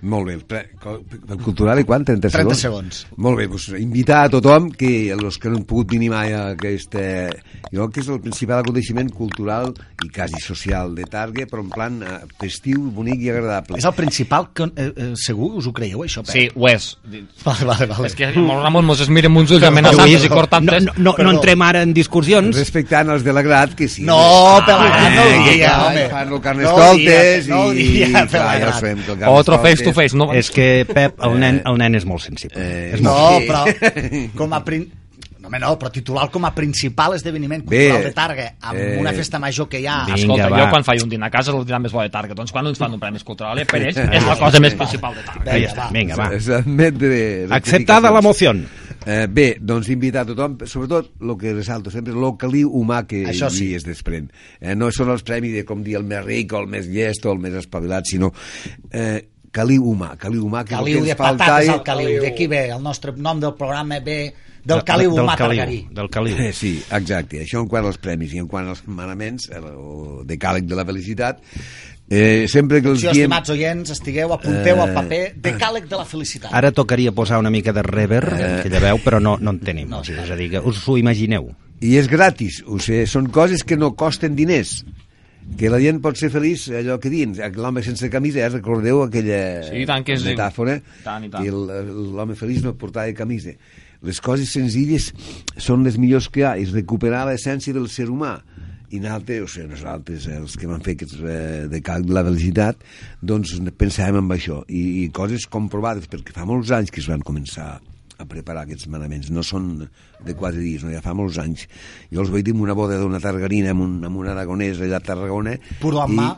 Speaker 9: Molt bé. Pre- co- Pel cultural i quant? 30
Speaker 2: 30
Speaker 9: segons?
Speaker 2: segons.
Speaker 9: Molt bé, doncs invitar a tothom que els que no han pogut venir mai a aquesta... Jo crec que és el principal aconteixement cultural i quasi social de Targa, però en plan eh, festiu, bonic i agradable.
Speaker 2: És el principal, que, eh, eh, segur, us ho creieu, això, Pep?
Speaker 3: sí, ho és.
Speaker 2: Vale, vale, vale.
Speaker 3: És que el Ramon mos es mira amb uns ulls amenaçants i cortantes.
Speaker 1: No, no, no, no
Speaker 2: Perdó.
Speaker 1: entrem ara en discussions.
Speaker 9: Respectant els de la grat, que sí.
Speaker 2: No, Pep Vall, no ho
Speaker 9: Eh,
Speaker 2: dia,
Speaker 9: que
Speaker 2: home.
Speaker 9: Fan el
Speaker 2: carnestoltes
Speaker 9: carnestoltes no i...
Speaker 2: No ho dia, Pep
Speaker 9: clar, ja ho
Speaker 2: Vall.
Speaker 9: sabem que el
Speaker 3: Otro
Speaker 9: carnestoltes-
Speaker 3: face to face. No,
Speaker 1: És que, Pep, el nen, el nen és molt sensible.
Speaker 9: Eh,
Speaker 1: és molt...
Speaker 2: No,
Speaker 9: Sí.
Speaker 2: però com a prin... No, home, no, però titular com a principal esdeveniment
Speaker 9: Bé,
Speaker 2: cultural de Targa, amb
Speaker 9: eh,
Speaker 2: una festa major que hi ha.
Speaker 1: Vinga,
Speaker 3: Escolta,
Speaker 1: va.
Speaker 3: jo quan faig un dinar a casa és el dinar més bo de Targa. Doncs quan ens fan un premi cultural, eh, per ells és la cosa més principal de Targa.
Speaker 1: Ja
Speaker 2: Vinga,
Speaker 1: està,
Speaker 2: va.
Speaker 1: vinga, va.
Speaker 9: S'admetre...
Speaker 1: Acceptada la moció.
Speaker 9: Eh, bé, doncs invitar a tothom, sobretot el que resalto sempre, el caliu humà que
Speaker 2: Això sí.
Speaker 9: hi es desprèn. Eh, no són els premis de com dir el més ric o el més llest o el més espavilat, sinó eh, caliu humà, caliu humà que
Speaker 2: Caliu de patates al caliu. D'aquí ve el nostre nom del programa, ve del caliu
Speaker 1: del
Speaker 2: humà targarí.
Speaker 1: caliu, del caliu.
Speaker 9: Eh, sí, exacte. Això en quant als premis i en quant als manaments, eh, o de càleg de la felicitat, eh, sempre que els
Speaker 2: Si,
Speaker 9: diem...
Speaker 2: estimats oients, estigueu, apunteu al
Speaker 9: Eh,
Speaker 2: paper de càleg de la felicitat.
Speaker 1: Ara tocaria posar una mica de rever, aquella veu, però no, no en tenim.
Speaker 2: No,
Speaker 1: o sigui, és a dir, que us ho imagineu.
Speaker 9: I és gratis, o sigui, són coses que no costen diners que la gent pot ser feliç allò que dins l'home sense camisa, eh? recordeu aquella
Speaker 3: Sí, i tant que es diu.
Speaker 9: metàfora
Speaker 3: Tant i tant.
Speaker 9: que el- l'home feliç no portava camisa les coses senzilles són les millors que hi ha, és recuperar l'essència del ser humà i nosaltres, o sigui, nosaltres eh, els que vam fer aquests eh, de cal de la velocitat doncs pensàvem en això i, i coses comprovades, perquè fa molts anys que es van començar a preparar aquests manaments. No són de quatre dies, no? ja fa molts anys. Jo els vaig dir en una boda d'una targarina amb un, amb un aragonès allà a Tarragona.
Speaker 2: Puro en
Speaker 9: i,
Speaker 2: mà.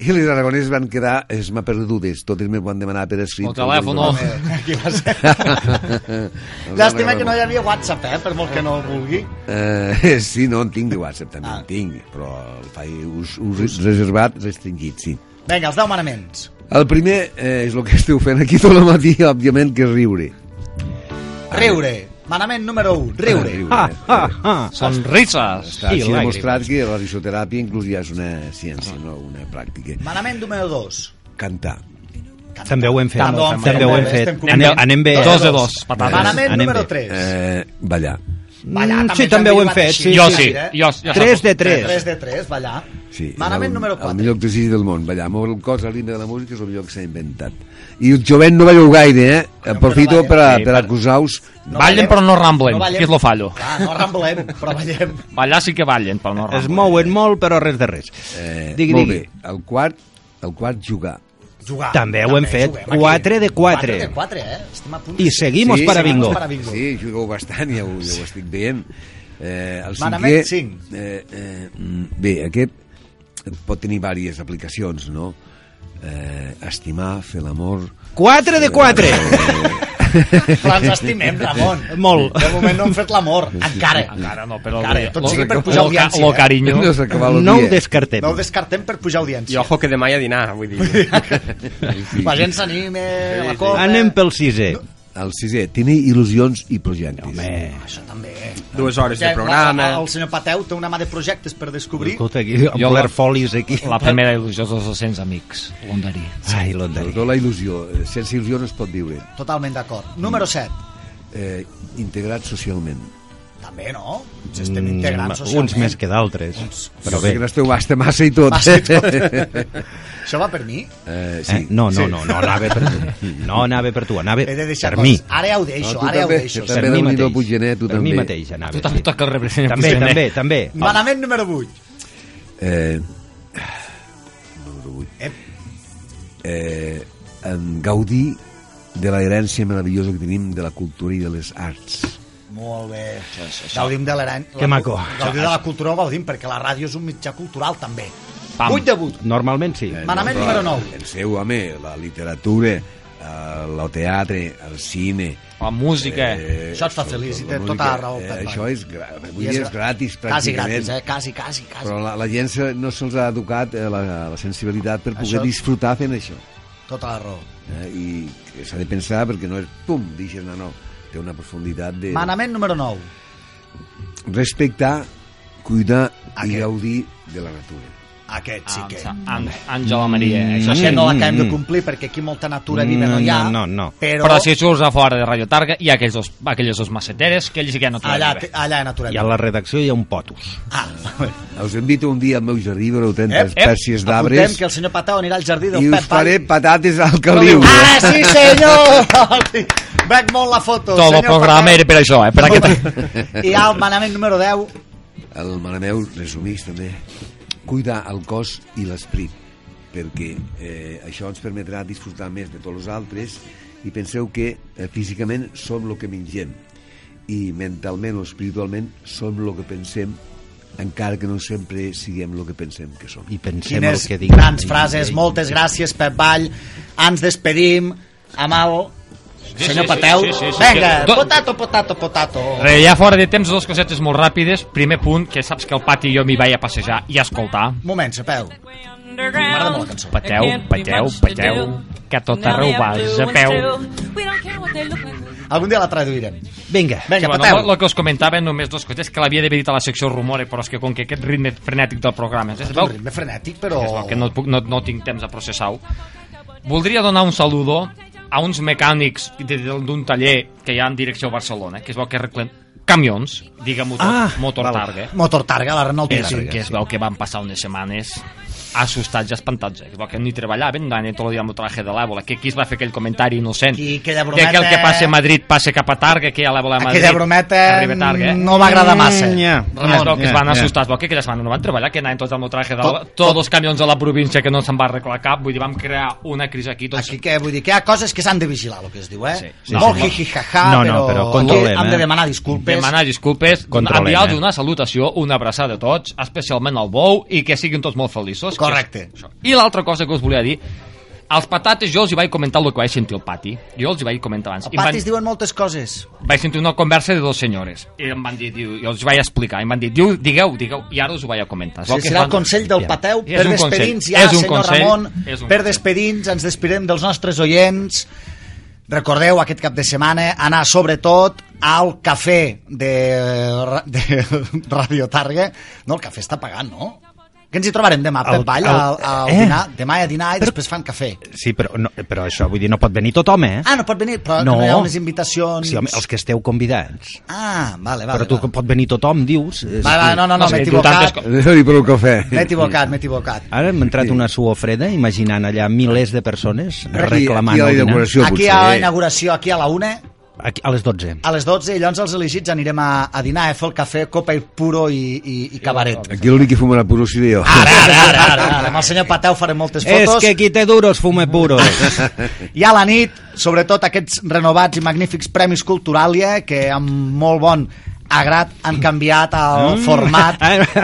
Speaker 9: I les aragoneses van quedar esmaperdudes. Totes me van demanar per escrit.
Speaker 3: El telèfon, no.
Speaker 2: <laughs>
Speaker 9: <laughs>
Speaker 2: Aquí va ser. Llàstima que no hi havia WhatsApp, eh? Per molt que no el vulgui.
Speaker 9: Eh, sí, no, en tinc de WhatsApp, també
Speaker 2: Ah.
Speaker 9: ah. en tinc, però el faig us, us reservat, restringit, sí.
Speaker 2: Vinga, els 10 manaments.
Speaker 9: El primer eh, és el que esteu fent aquí tot el matí, òbviament, que és riure.
Speaker 2: Riure. Manament número 1, riure.
Speaker 9: riure.
Speaker 1: Ah, ah, ah.
Speaker 3: Són risses.
Speaker 9: Està
Speaker 1: I
Speaker 9: així
Speaker 1: làgrimes.
Speaker 9: demostrat que la risoteràpia inclús ja és una ciència, no una pràctica.
Speaker 2: Manament número 2,
Speaker 9: Cantar.
Speaker 1: També ho hem fet.
Speaker 2: També ho hem fet.
Speaker 1: També ho hem fet.
Speaker 2: Estem
Speaker 1: Anem, anem bé.
Speaker 3: Dos de dos, patates.
Speaker 1: Anem
Speaker 2: manament número
Speaker 1: bé.
Speaker 2: 3.
Speaker 9: Eh, ballar.
Speaker 2: Ballar,
Speaker 1: Mm,
Speaker 2: també
Speaker 1: sí,
Speaker 2: ens
Speaker 1: també
Speaker 2: han
Speaker 1: ho hem
Speaker 2: derivat
Speaker 1: fet.
Speaker 2: així.
Speaker 1: Sí,
Speaker 3: Jo
Speaker 1: sí.
Speaker 3: sí, jo, jo
Speaker 1: 3 de
Speaker 2: 3
Speaker 1: 3.
Speaker 2: de 3, ballar.
Speaker 9: Sí,
Speaker 2: Manament
Speaker 9: el,
Speaker 2: número 4.
Speaker 9: El millor exercici del món, ballar. Moure el cos al ritme de la música és el millor que s'ha inventat. I el jovent no balleu gaire, eh? Aprofito
Speaker 2: ballem.
Speaker 9: per, a,
Speaker 3: Sí,
Speaker 9: per
Speaker 3: per-
Speaker 9: acusar-vos.
Speaker 2: No
Speaker 3: Ballen
Speaker 2: ballem.
Speaker 3: però no ramblen,
Speaker 2: No ballem.
Speaker 3: que és lo fallo.
Speaker 2: Clar, no ramblem, però ballem.
Speaker 3: Ballar sí que ballen, però no
Speaker 1: Es
Speaker 3: ramblen.
Speaker 1: mouen molt, però res de res.
Speaker 9: Eh,
Speaker 1: Digui,
Speaker 9: molt
Speaker 1: digui.
Speaker 9: bé. El quart, el quart jugar.
Speaker 2: Jugar.
Speaker 1: També ho hem fet. Quatre de quatre.
Speaker 2: 4 de 4, eh? Estem a punt.
Speaker 1: I seguimos para bingo.
Speaker 2: para bingo.
Speaker 9: Sí, jugueu bastant, ja ho, ja ho estic veient. Eh, el
Speaker 2: Manament
Speaker 9: cinquè...
Speaker 2: cinc.
Speaker 9: Eh, eh, mm, bé, aquest pot tenir diverses aplicacions, no? Eh, estimar, fer l'amor...
Speaker 1: 4 de 4.
Speaker 2: Però ens estimem, Ramon.
Speaker 1: Molt.
Speaker 2: De moment no hem fet l'amor. Encara. Encara no,
Speaker 3: però-
Speaker 2: Encara. Tot
Speaker 3: lo-
Speaker 2: sigui per
Speaker 3: lo-
Speaker 2: pujar
Speaker 3: lo-
Speaker 2: audiència. eh?
Speaker 3: lo
Speaker 9: <laughs>
Speaker 3: carinyo.
Speaker 9: No s'acaba el
Speaker 1: No ho
Speaker 9: dia.
Speaker 1: descartem.
Speaker 2: No ho descartem per pujar
Speaker 4: I
Speaker 2: audiència.
Speaker 4: ojo que demà hi ha dinar, vull
Speaker 2: <laughs>
Speaker 4: dir.
Speaker 2: La gent s'anime, la
Speaker 4: sí.
Speaker 2: copa...
Speaker 1: Anem pel sisè.
Speaker 9: El sisè, tenir il·lusions i projectes.
Speaker 2: Eh, Això també.
Speaker 4: Dues hores de
Speaker 2: Que
Speaker 4: programa.
Speaker 2: El senyor Pateu té una mà de projectes per descobrir.
Speaker 1: Escolta, aquí, amb
Speaker 3: Jo la-
Speaker 1: Blairfolis aquí.
Speaker 3: La primera il·lusió dels 200 amics, l'Ondarí.
Speaker 1: Ai, l'Ondari.
Speaker 9: Sobretot la il·lusió. Eh, Sense il·lusió no es pot viure.
Speaker 2: Totalment d'acord. Número 7.
Speaker 9: Eh, integrat socialment.
Speaker 2: També, no? Ens estem
Speaker 1: Mm,
Speaker 2: integrant socialment.
Speaker 1: Uns més que d'altres. Però
Speaker 9: Jo sé
Speaker 1: bé. eh?
Speaker 9: que no esteu basta massa i tot.
Speaker 2: Massa i tot. Això va per mi?
Speaker 9: eh, sí.
Speaker 1: Eh? No, no, no, no anava per tu. No anava per tu, anava
Speaker 2: He de deixar
Speaker 1: per mi.
Speaker 2: coses. Ara ja ho deixo,
Speaker 9: No, tu
Speaker 2: ara ja ho
Speaker 9: també,
Speaker 2: deixo.
Speaker 9: tu també.
Speaker 1: Per mi
Speaker 9: Déu-n'hi-do,
Speaker 1: mateix.
Speaker 9: Puiggenet, tu
Speaker 1: Per mi
Speaker 9: també.
Speaker 1: mateix anava.
Speaker 3: Tu també
Speaker 1: sí.
Speaker 3: toca el represent.
Speaker 1: També, també, també.
Speaker 2: Manament número 8.
Speaker 9: <laughs> Eh, número 8.
Speaker 2: Ep.
Speaker 9: Eh, en gaudir de la herència meravellosa que tenim de la cultura i de les arts.
Speaker 2: Molt bé. Gaudim de l'Aran.
Speaker 1: Que maco.
Speaker 2: Gaudim de la cultura ho gaudim, perquè la ràdio és un mitjà cultural, també.
Speaker 3: Pam.
Speaker 2: 8 de 8.
Speaker 1: Normalment sí.
Speaker 2: Manament
Speaker 9: però
Speaker 2: número 9.
Speaker 9: Penseu, home, la literatura, eh, el, el teatre, el cine...
Speaker 3: La música.
Speaker 9: eh,
Speaker 2: Això et fa feliç, i
Speaker 9: la
Speaker 2: té
Speaker 9: música,
Speaker 2: tota la raó,
Speaker 9: Eh,
Speaker 2: Pep.
Speaker 9: això és, gra- avui dia és gratis,
Speaker 2: Quasi
Speaker 9: pràcticament.
Speaker 2: gratis, eh? Quasi, quasi, quasi.
Speaker 9: Però la, la gent se- no se'ls ha educat eh, la, la sensibilitat per poder
Speaker 2: Això-
Speaker 9: disfrutar fent això.
Speaker 2: Tota la raó.
Speaker 9: Eh? I s'ha de pensar perquè no és pum, deixes anar, no. Té una profunditat de
Speaker 2: Manament número 9.
Speaker 9: respectar, cuidar
Speaker 2: Aquest.
Speaker 9: i gaudir de la natura.
Speaker 2: Aquest sí que...
Speaker 3: Àngela Maria.
Speaker 2: Ah,
Speaker 3: Això
Speaker 2: Això
Speaker 3: sí.
Speaker 2: que no l'acabem de
Speaker 1: mm.
Speaker 2: complir, perquè aquí molta natura viva no hi ha.
Speaker 1: No, no, no.
Speaker 2: Però,
Speaker 3: Però si surts a fora de Radio Targa hi ha aquells dos, aquelles dos maceteres que ells sí que no
Speaker 2: allà,
Speaker 3: troben bé.
Speaker 2: allà hi ha
Speaker 1: I a
Speaker 2: natura viva.
Speaker 1: la redacció hi ha un potus.
Speaker 2: Ah, <laughs>
Speaker 9: Us invito un dia al meu jardí, veureu 30
Speaker 2: Ep, ep,
Speaker 9: espècies
Speaker 2: apuntem
Speaker 9: d'arbres
Speaker 2: Eh, que el senyor Patau anirà al jardí del
Speaker 9: i us
Speaker 2: Pep Vall.
Speaker 9: faré patates al caliu.
Speaker 2: Ah, sí, senyor! <laughs> Veig molt la foto.
Speaker 3: Tot el
Speaker 2: senyor
Speaker 3: programa
Speaker 2: Patau.
Speaker 3: era per això, eh? Per aquest...
Speaker 2: I hi ha el manament número 10.
Speaker 9: El Maraneu resumís també cuidar el cos i l'esperit perquè eh, això ens permetrà disfrutar més de tots els altres i penseu que eh, físicament som el que mengem i mentalment o espiritualment som el que pensem encara que no sempre siguem el que pensem que som. <laughs>
Speaker 1: I pensem el
Speaker 2: Quines
Speaker 1: que diguin.
Speaker 2: grans
Speaker 9: eh,
Speaker 2: frases. Moltes gràcies, Pep Vall. Ens despedim amb el... senyor Pateu.
Speaker 3: sí, sí, sí.
Speaker 2: Vinga,
Speaker 3: Do-
Speaker 2: potato, potato, potato.
Speaker 3: Re, ja fora de temps, dues cosetes molt ràpides. Primer punt, que saps que al pati jo m'hi vaig a passejar i a escoltar.
Speaker 2: Moment, Pepeu. M'agrada molt la cançó.
Speaker 3: Pateu, pateu, pateu, que a tot arreu vas a peu.
Speaker 2: Algun dia la traduirem.
Speaker 1: Vinga.
Speaker 2: Vinga,
Speaker 3: bueno,
Speaker 2: Pateu.
Speaker 3: el, que us comentava, només dos coses, que l'havia d'haver dit a la secció Rumore, però és que com que aquest ritme frenètic del programa... Es
Speaker 2: Un
Speaker 3: veu,
Speaker 2: ritme frenètic, però...
Speaker 3: es veu que no, puc, no, no tinc temps a processar-ho. Voldria donar un saludo a uns mecànics de- de- d'un taller que hi ha en direcció a Barcelona, que es veu que arreglen camions, digue-ho tot,
Speaker 1: Ah,
Speaker 3: ah, motor
Speaker 1: val.
Speaker 3: targa.
Speaker 2: Motor Targa, la Renault
Speaker 3: És
Speaker 2: Targa.
Speaker 3: que es veu que van passar unes setmanes assustats i espantats. eh? Es veu que ni treballaven, anaven tot el dia amb el traje de l'Àbola, que aquí es va fer aquell comentari innocent
Speaker 2: I aquella
Speaker 3: de que el que
Speaker 2: brometa-
Speaker 3: passa a Madrid passa cap a Targa, que a l'Àbola a Madrid
Speaker 2: Aquella brometa
Speaker 3: arriba a Targa. Eh?
Speaker 2: no m'agrada massa.
Speaker 1: Mm, ja.
Speaker 3: Ramon, es veu que es van
Speaker 1: Ja, ja.
Speaker 3: assustar, es veu que aquella setmana no van treballar, que anaven tots amb el traje de
Speaker 2: Tot-
Speaker 3: l'Àbola, tots els camions de la província que no se'n va arreglar cap, vull dir, vam crear una crisi aquí, tots
Speaker 2: Aquí que, vull dir, que hi ha coses que s'han de vigilar, el que es diu, eh?
Speaker 3: Sí,
Speaker 1: sí,
Speaker 2: Molt
Speaker 1: sí.
Speaker 2: hi-hi-ha-ha,
Speaker 1: No, no, però controlem,
Speaker 2: aquí hem de
Speaker 1: eh?
Speaker 2: demanar disculpes.
Speaker 3: Demanar disculpes,
Speaker 1: Controlem,
Speaker 3: enviar
Speaker 1: eh?
Speaker 3: una salutació, una abraçada a tots, especialment al bou, i que siguin tots molt feliços.
Speaker 2: Correcte.
Speaker 3: Que és això. I l'altra cosa que us volia dir, als patates jo els hi vaig comentar el que vaig sentir al pati. Jo els hi vaig comentar abans.
Speaker 2: Al
Speaker 3: I em van-
Speaker 2: pati es diuen moltes coses.
Speaker 3: vaig sentir una conversa de dos senyores i em van dir, diu, jo els vaig explicar i em van dir, diu, digueu, digueu, i ara us ho vaig a comentar Es
Speaker 2: Sí,
Speaker 3: veu que
Speaker 2: serà el
Speaker 3: fan-
Speaker 2: consell del Pateu
Speaker 3: És
Speaker 2: per
Speaker 3: un consell,
Speaker 2: despedins ja,
Speaker 3: és un
Speaker 2: senyor
Speaker 3: consell,
Speaker 2: Ramon
Speaker 3: és un
Speaker 2: per
Speaker 3: consell.
Speaker 2: despedins, ens despedem dels nostres oients recordeu aquest cap de setmana anar sobretot al cafè de, de <laughs> Radio Targa no, el cafè està pagant, no? que ens hi trobarem demà,
Speaker 1: El-
Speaker 2: Pep Vall,
Speaker 1: el-
Speaker 2: al, al
Speaker 1: eh?
Speaker 2: dinar, demà a dinar i després fan cafè
Speaker 1: Sí, però, no, però això, vull dir, no pot venir tothom, eh?
Speaker 2: ah, no pot venir, però no, hi ha unes invitacions
Speaker 1: Sí, home, els que esteu convidats.
Speaker 2: ah, vale, vale
Speaker 1: Però tu
Speaker 2: vale.
Speaker 1: pot venir tothom, dius. És
Speaker 2: Va, va,
Speaker 1: que-
Speaker 2: no, no, no,
Speaker 3: No sé,
Speaker 2: m'he
Speaker 3: tu
Speaker 2: equivocat
Speaker 3: tantes co-
Speaker 9: Déu-n'hi per un cafè.
Speaker 2: m'he equivocat, m'he equivocat
Speaker 1: Ara m'ha entrat una suor freda imaginant allà milers de persones reclamant
Speaker 9: aquí a la
Speaker 1: el dinar.
Speaker 9: inauguració,
Speaker 2: aquí
Speaker 9: potser.
Speaker 2: a la inauguració, aquí a la una
Speaker 1: Aquí, a les 12.
Speaker 2: A les 12, i llavors els elegits anirem a, a dinar, a fer el cafè, copa i puro i, i, i cabaret.
Speaker 9: Aquí l'únic que fumarà puro seré jo.
Speaker 2: Ara, ara, ara, ara,
Speaker 1: <laughs>
Speaker 2: ara. Amb el senyor Pateu farem moltes
Speaker 1: És
Speaker 2: fotos.
Speaker 1: que qui té duros fume
Speaker 9: <laughs>
Speaker 1: puros.
Speaker 2: I a la nit, sobretot aquests renovats i magnífics Premis Culturalia, que amb molt bon agrat han canviat el
Speaker 1: Mm. <laughs>
Speaker 2: format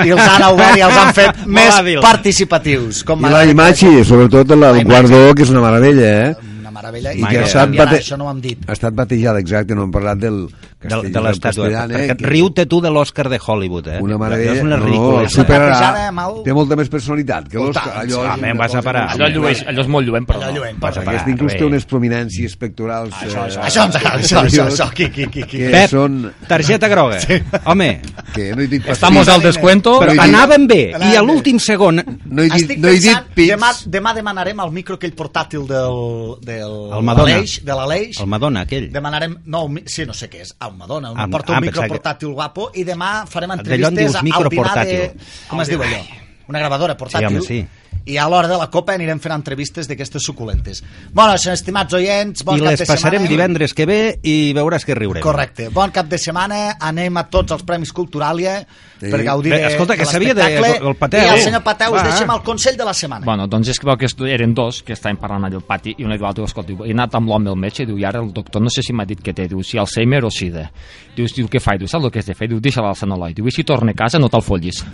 Speaker 2: i els han obert i els han fet
Speaker 1: Molt
Speaker 2: més
Speaker 1: hàbil.
Speaker 2: participatius. Com
Speaker 9: I la
Speaker 2: m'agrada que-
Speaker 9: imatge, sobretot el, el guardó, que és una meravella, eh?
Speaker 2: Una meravella.
Speaker 9: I
Speaker 2: I
Speaker 1: Mai
Speaker 9: que ha
Speaker 1: no
Speaker 9: estat,
Speaker 1: canviarà,
Speaker 9: bate...
Speaker 2: això no ho hem dit.
Speaker 9: ha estat batejada, exacte, no hem parlat del
Speaker 1: de,
Speaker 9: castell
Speaker 1: de l'estàtua.
Speaker 9: castellana,
Speaker 1: Perquè
Speaker 9: eh, que-
Speaker 1: riu-te tu de l'àscar de Hollywood, eh?
Speaker 9: Una
Speaker 1: Allò
Speaker 9: meravella.
Speaker 1: És una
Speaker 9: no,
Speaker 1: ridícula. eh?
Speaker 9: el
Speaker 2: Batejada,
Speaker 9: superarà.
Speaker 2: mal.
Speaker 9: Té molta més personalitat que l'Òscar.
Speaker 2: Tant,
Speaker 9: Allò és
Speaker 1: home,
Speaker 9: una
Speaker 1: em vas a
Speaker 9: cosa
Speaker 1: parar.
Speaker 9: que-
Speaker 3: Allò, llueix, allò és molt lluent, però
Speaker 2: Allò
Speaker 3: no.
Speaker 2: lluent.
Speaker 1: Vas a parar,
Speaker 9: Aquest inclús
Speaker 1: bé.
Speaker 9: té unes prominències pectorals...
Speaker 2: Això,
Speaker 9: eh,
Speaker 2: això, això, ens agrada, això, això, això, qui, qui, qui, qui.
Speaker 9: Que
Speaker 1: Pep,
Speaker 9: són-
Speaker 1: targeta groga. Home,
Speaker 9: Que no he dit pas
Speaker 3: Estamos
Speaker 9: pit.
Speaker 3: al descuento.
Speaker 1: però
Speaker 9: No hi dic-
Speaker 1: anàvem bé. I a
Speaker 2: Anàvem bé.
Speaker 1: l'últim segon...
Speaker 9: No he dit,
Speaker 2: Estic
Speaker 9: no he dit
Speaker 2: pensant, demà,
Speaker 9: pits.
Speaker 2: demà demanarem el micro aquell portàtil del, del
Speaker 1: El Madonna.
Speaker 2: l'Aleix, de l'Aleix.
Speaker 1: El Madonna, aquell.
Speaker 2: Demanarem, no, un mi- sí, no sé què és, el Madonna, un,
Speaker 1: Ah,
Speaker 2: porta
Speaker 1: ah,
Speaker 2: un micro
Speaker 1: pensava que-
Speaker 2: portàtil guapo i demà farem
Speaker 1: en dius
Speaker 2: entrevistes al dinar de...
Speaker 1: microportàtil.
Speaker 2: Com es diu allò? Una gravadora portàtil.
Speaker 1: Sí, home, sí.
Speaker 2: I a l'hora de la copa anirem fent entrevistes d'aquestes suculentes. Bueno, estimats oients, bon
Speaker 1: I
Speaker 2: cap
Speaker 1: les
Speaker 2: de
Speaker 1: passarem
Speaker 2: setmana.
Speaker 1: divendres que ve i veuràs que riurem.
Speaker 2: Correcte. Bon cap de setmana. Anem a tots els Premis Culturalia
Speaker 9: Sí.
Speaker 2: per gaudir
Speaker 1: Bé,
Speaker 2: de,
Speaker 1: escolta, que
Speaker 2: de
Speaker 1: sabia de-
Speaker 2: l'espectacle.
Speaker 1: el Pateu.
Speaker 2: I al senyor Pateu us
Speaker 1: Va.
Speaker 2: deixem el Consell de la Setmana.
Speaker 3: Bueno, doncs és que veu que estu- eren dos que estaven parlant allà al pati i una diu a l'altra, escolta, diu, he anat amb l'home al metge i diu, i ara el doctor no sé si m'ha dit que té, diu, si Alzheimer o sida. Diu, diu, què fa? Diu, saps el que has de fer? Diu, deixa l'alça no l'oi. Diu, i si torna a casa no te'l follis.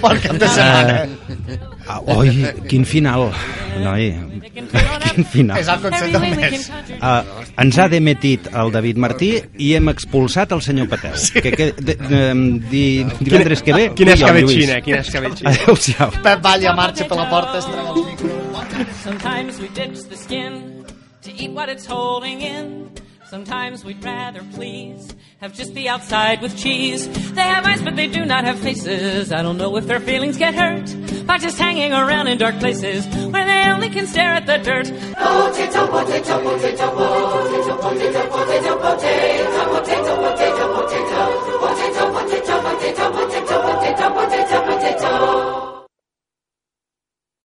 Speaker 2: Bon cap de setmana.
Speaker 1: Ah, oi, quin final, noi. Quin
Speaker 2: És el
Speaker 1: final.
Speaker 2: Consell del mes.
Speaker 1: Ah, ens ha demetit el David Martí i hem expulsat el senyor Pateu. Que, que, de, de, di, divendres que ve...
Speaker 4: Quina
Speaker 1: tu i jo, Lluís.
Speaker 4: escabetxina, quina
Speaker 1: 哎
Speaker 4: escabetxina.
Speaker 1: Adéu-siau.
Speaker 2: Pep Valla marxa per la porta, es treu el micro.
Speaker 10: Sometimes we ditch the skin to eat what it's holding in. Sometimes we'd rather please have just the outside with cheese. They have eyes, but they do not have faces. I don't know if their feelings get hurt by just hanging around in dark places where they only can stare at the dirt. Potato, potato, potato, potato, potato, potato, potato, potato.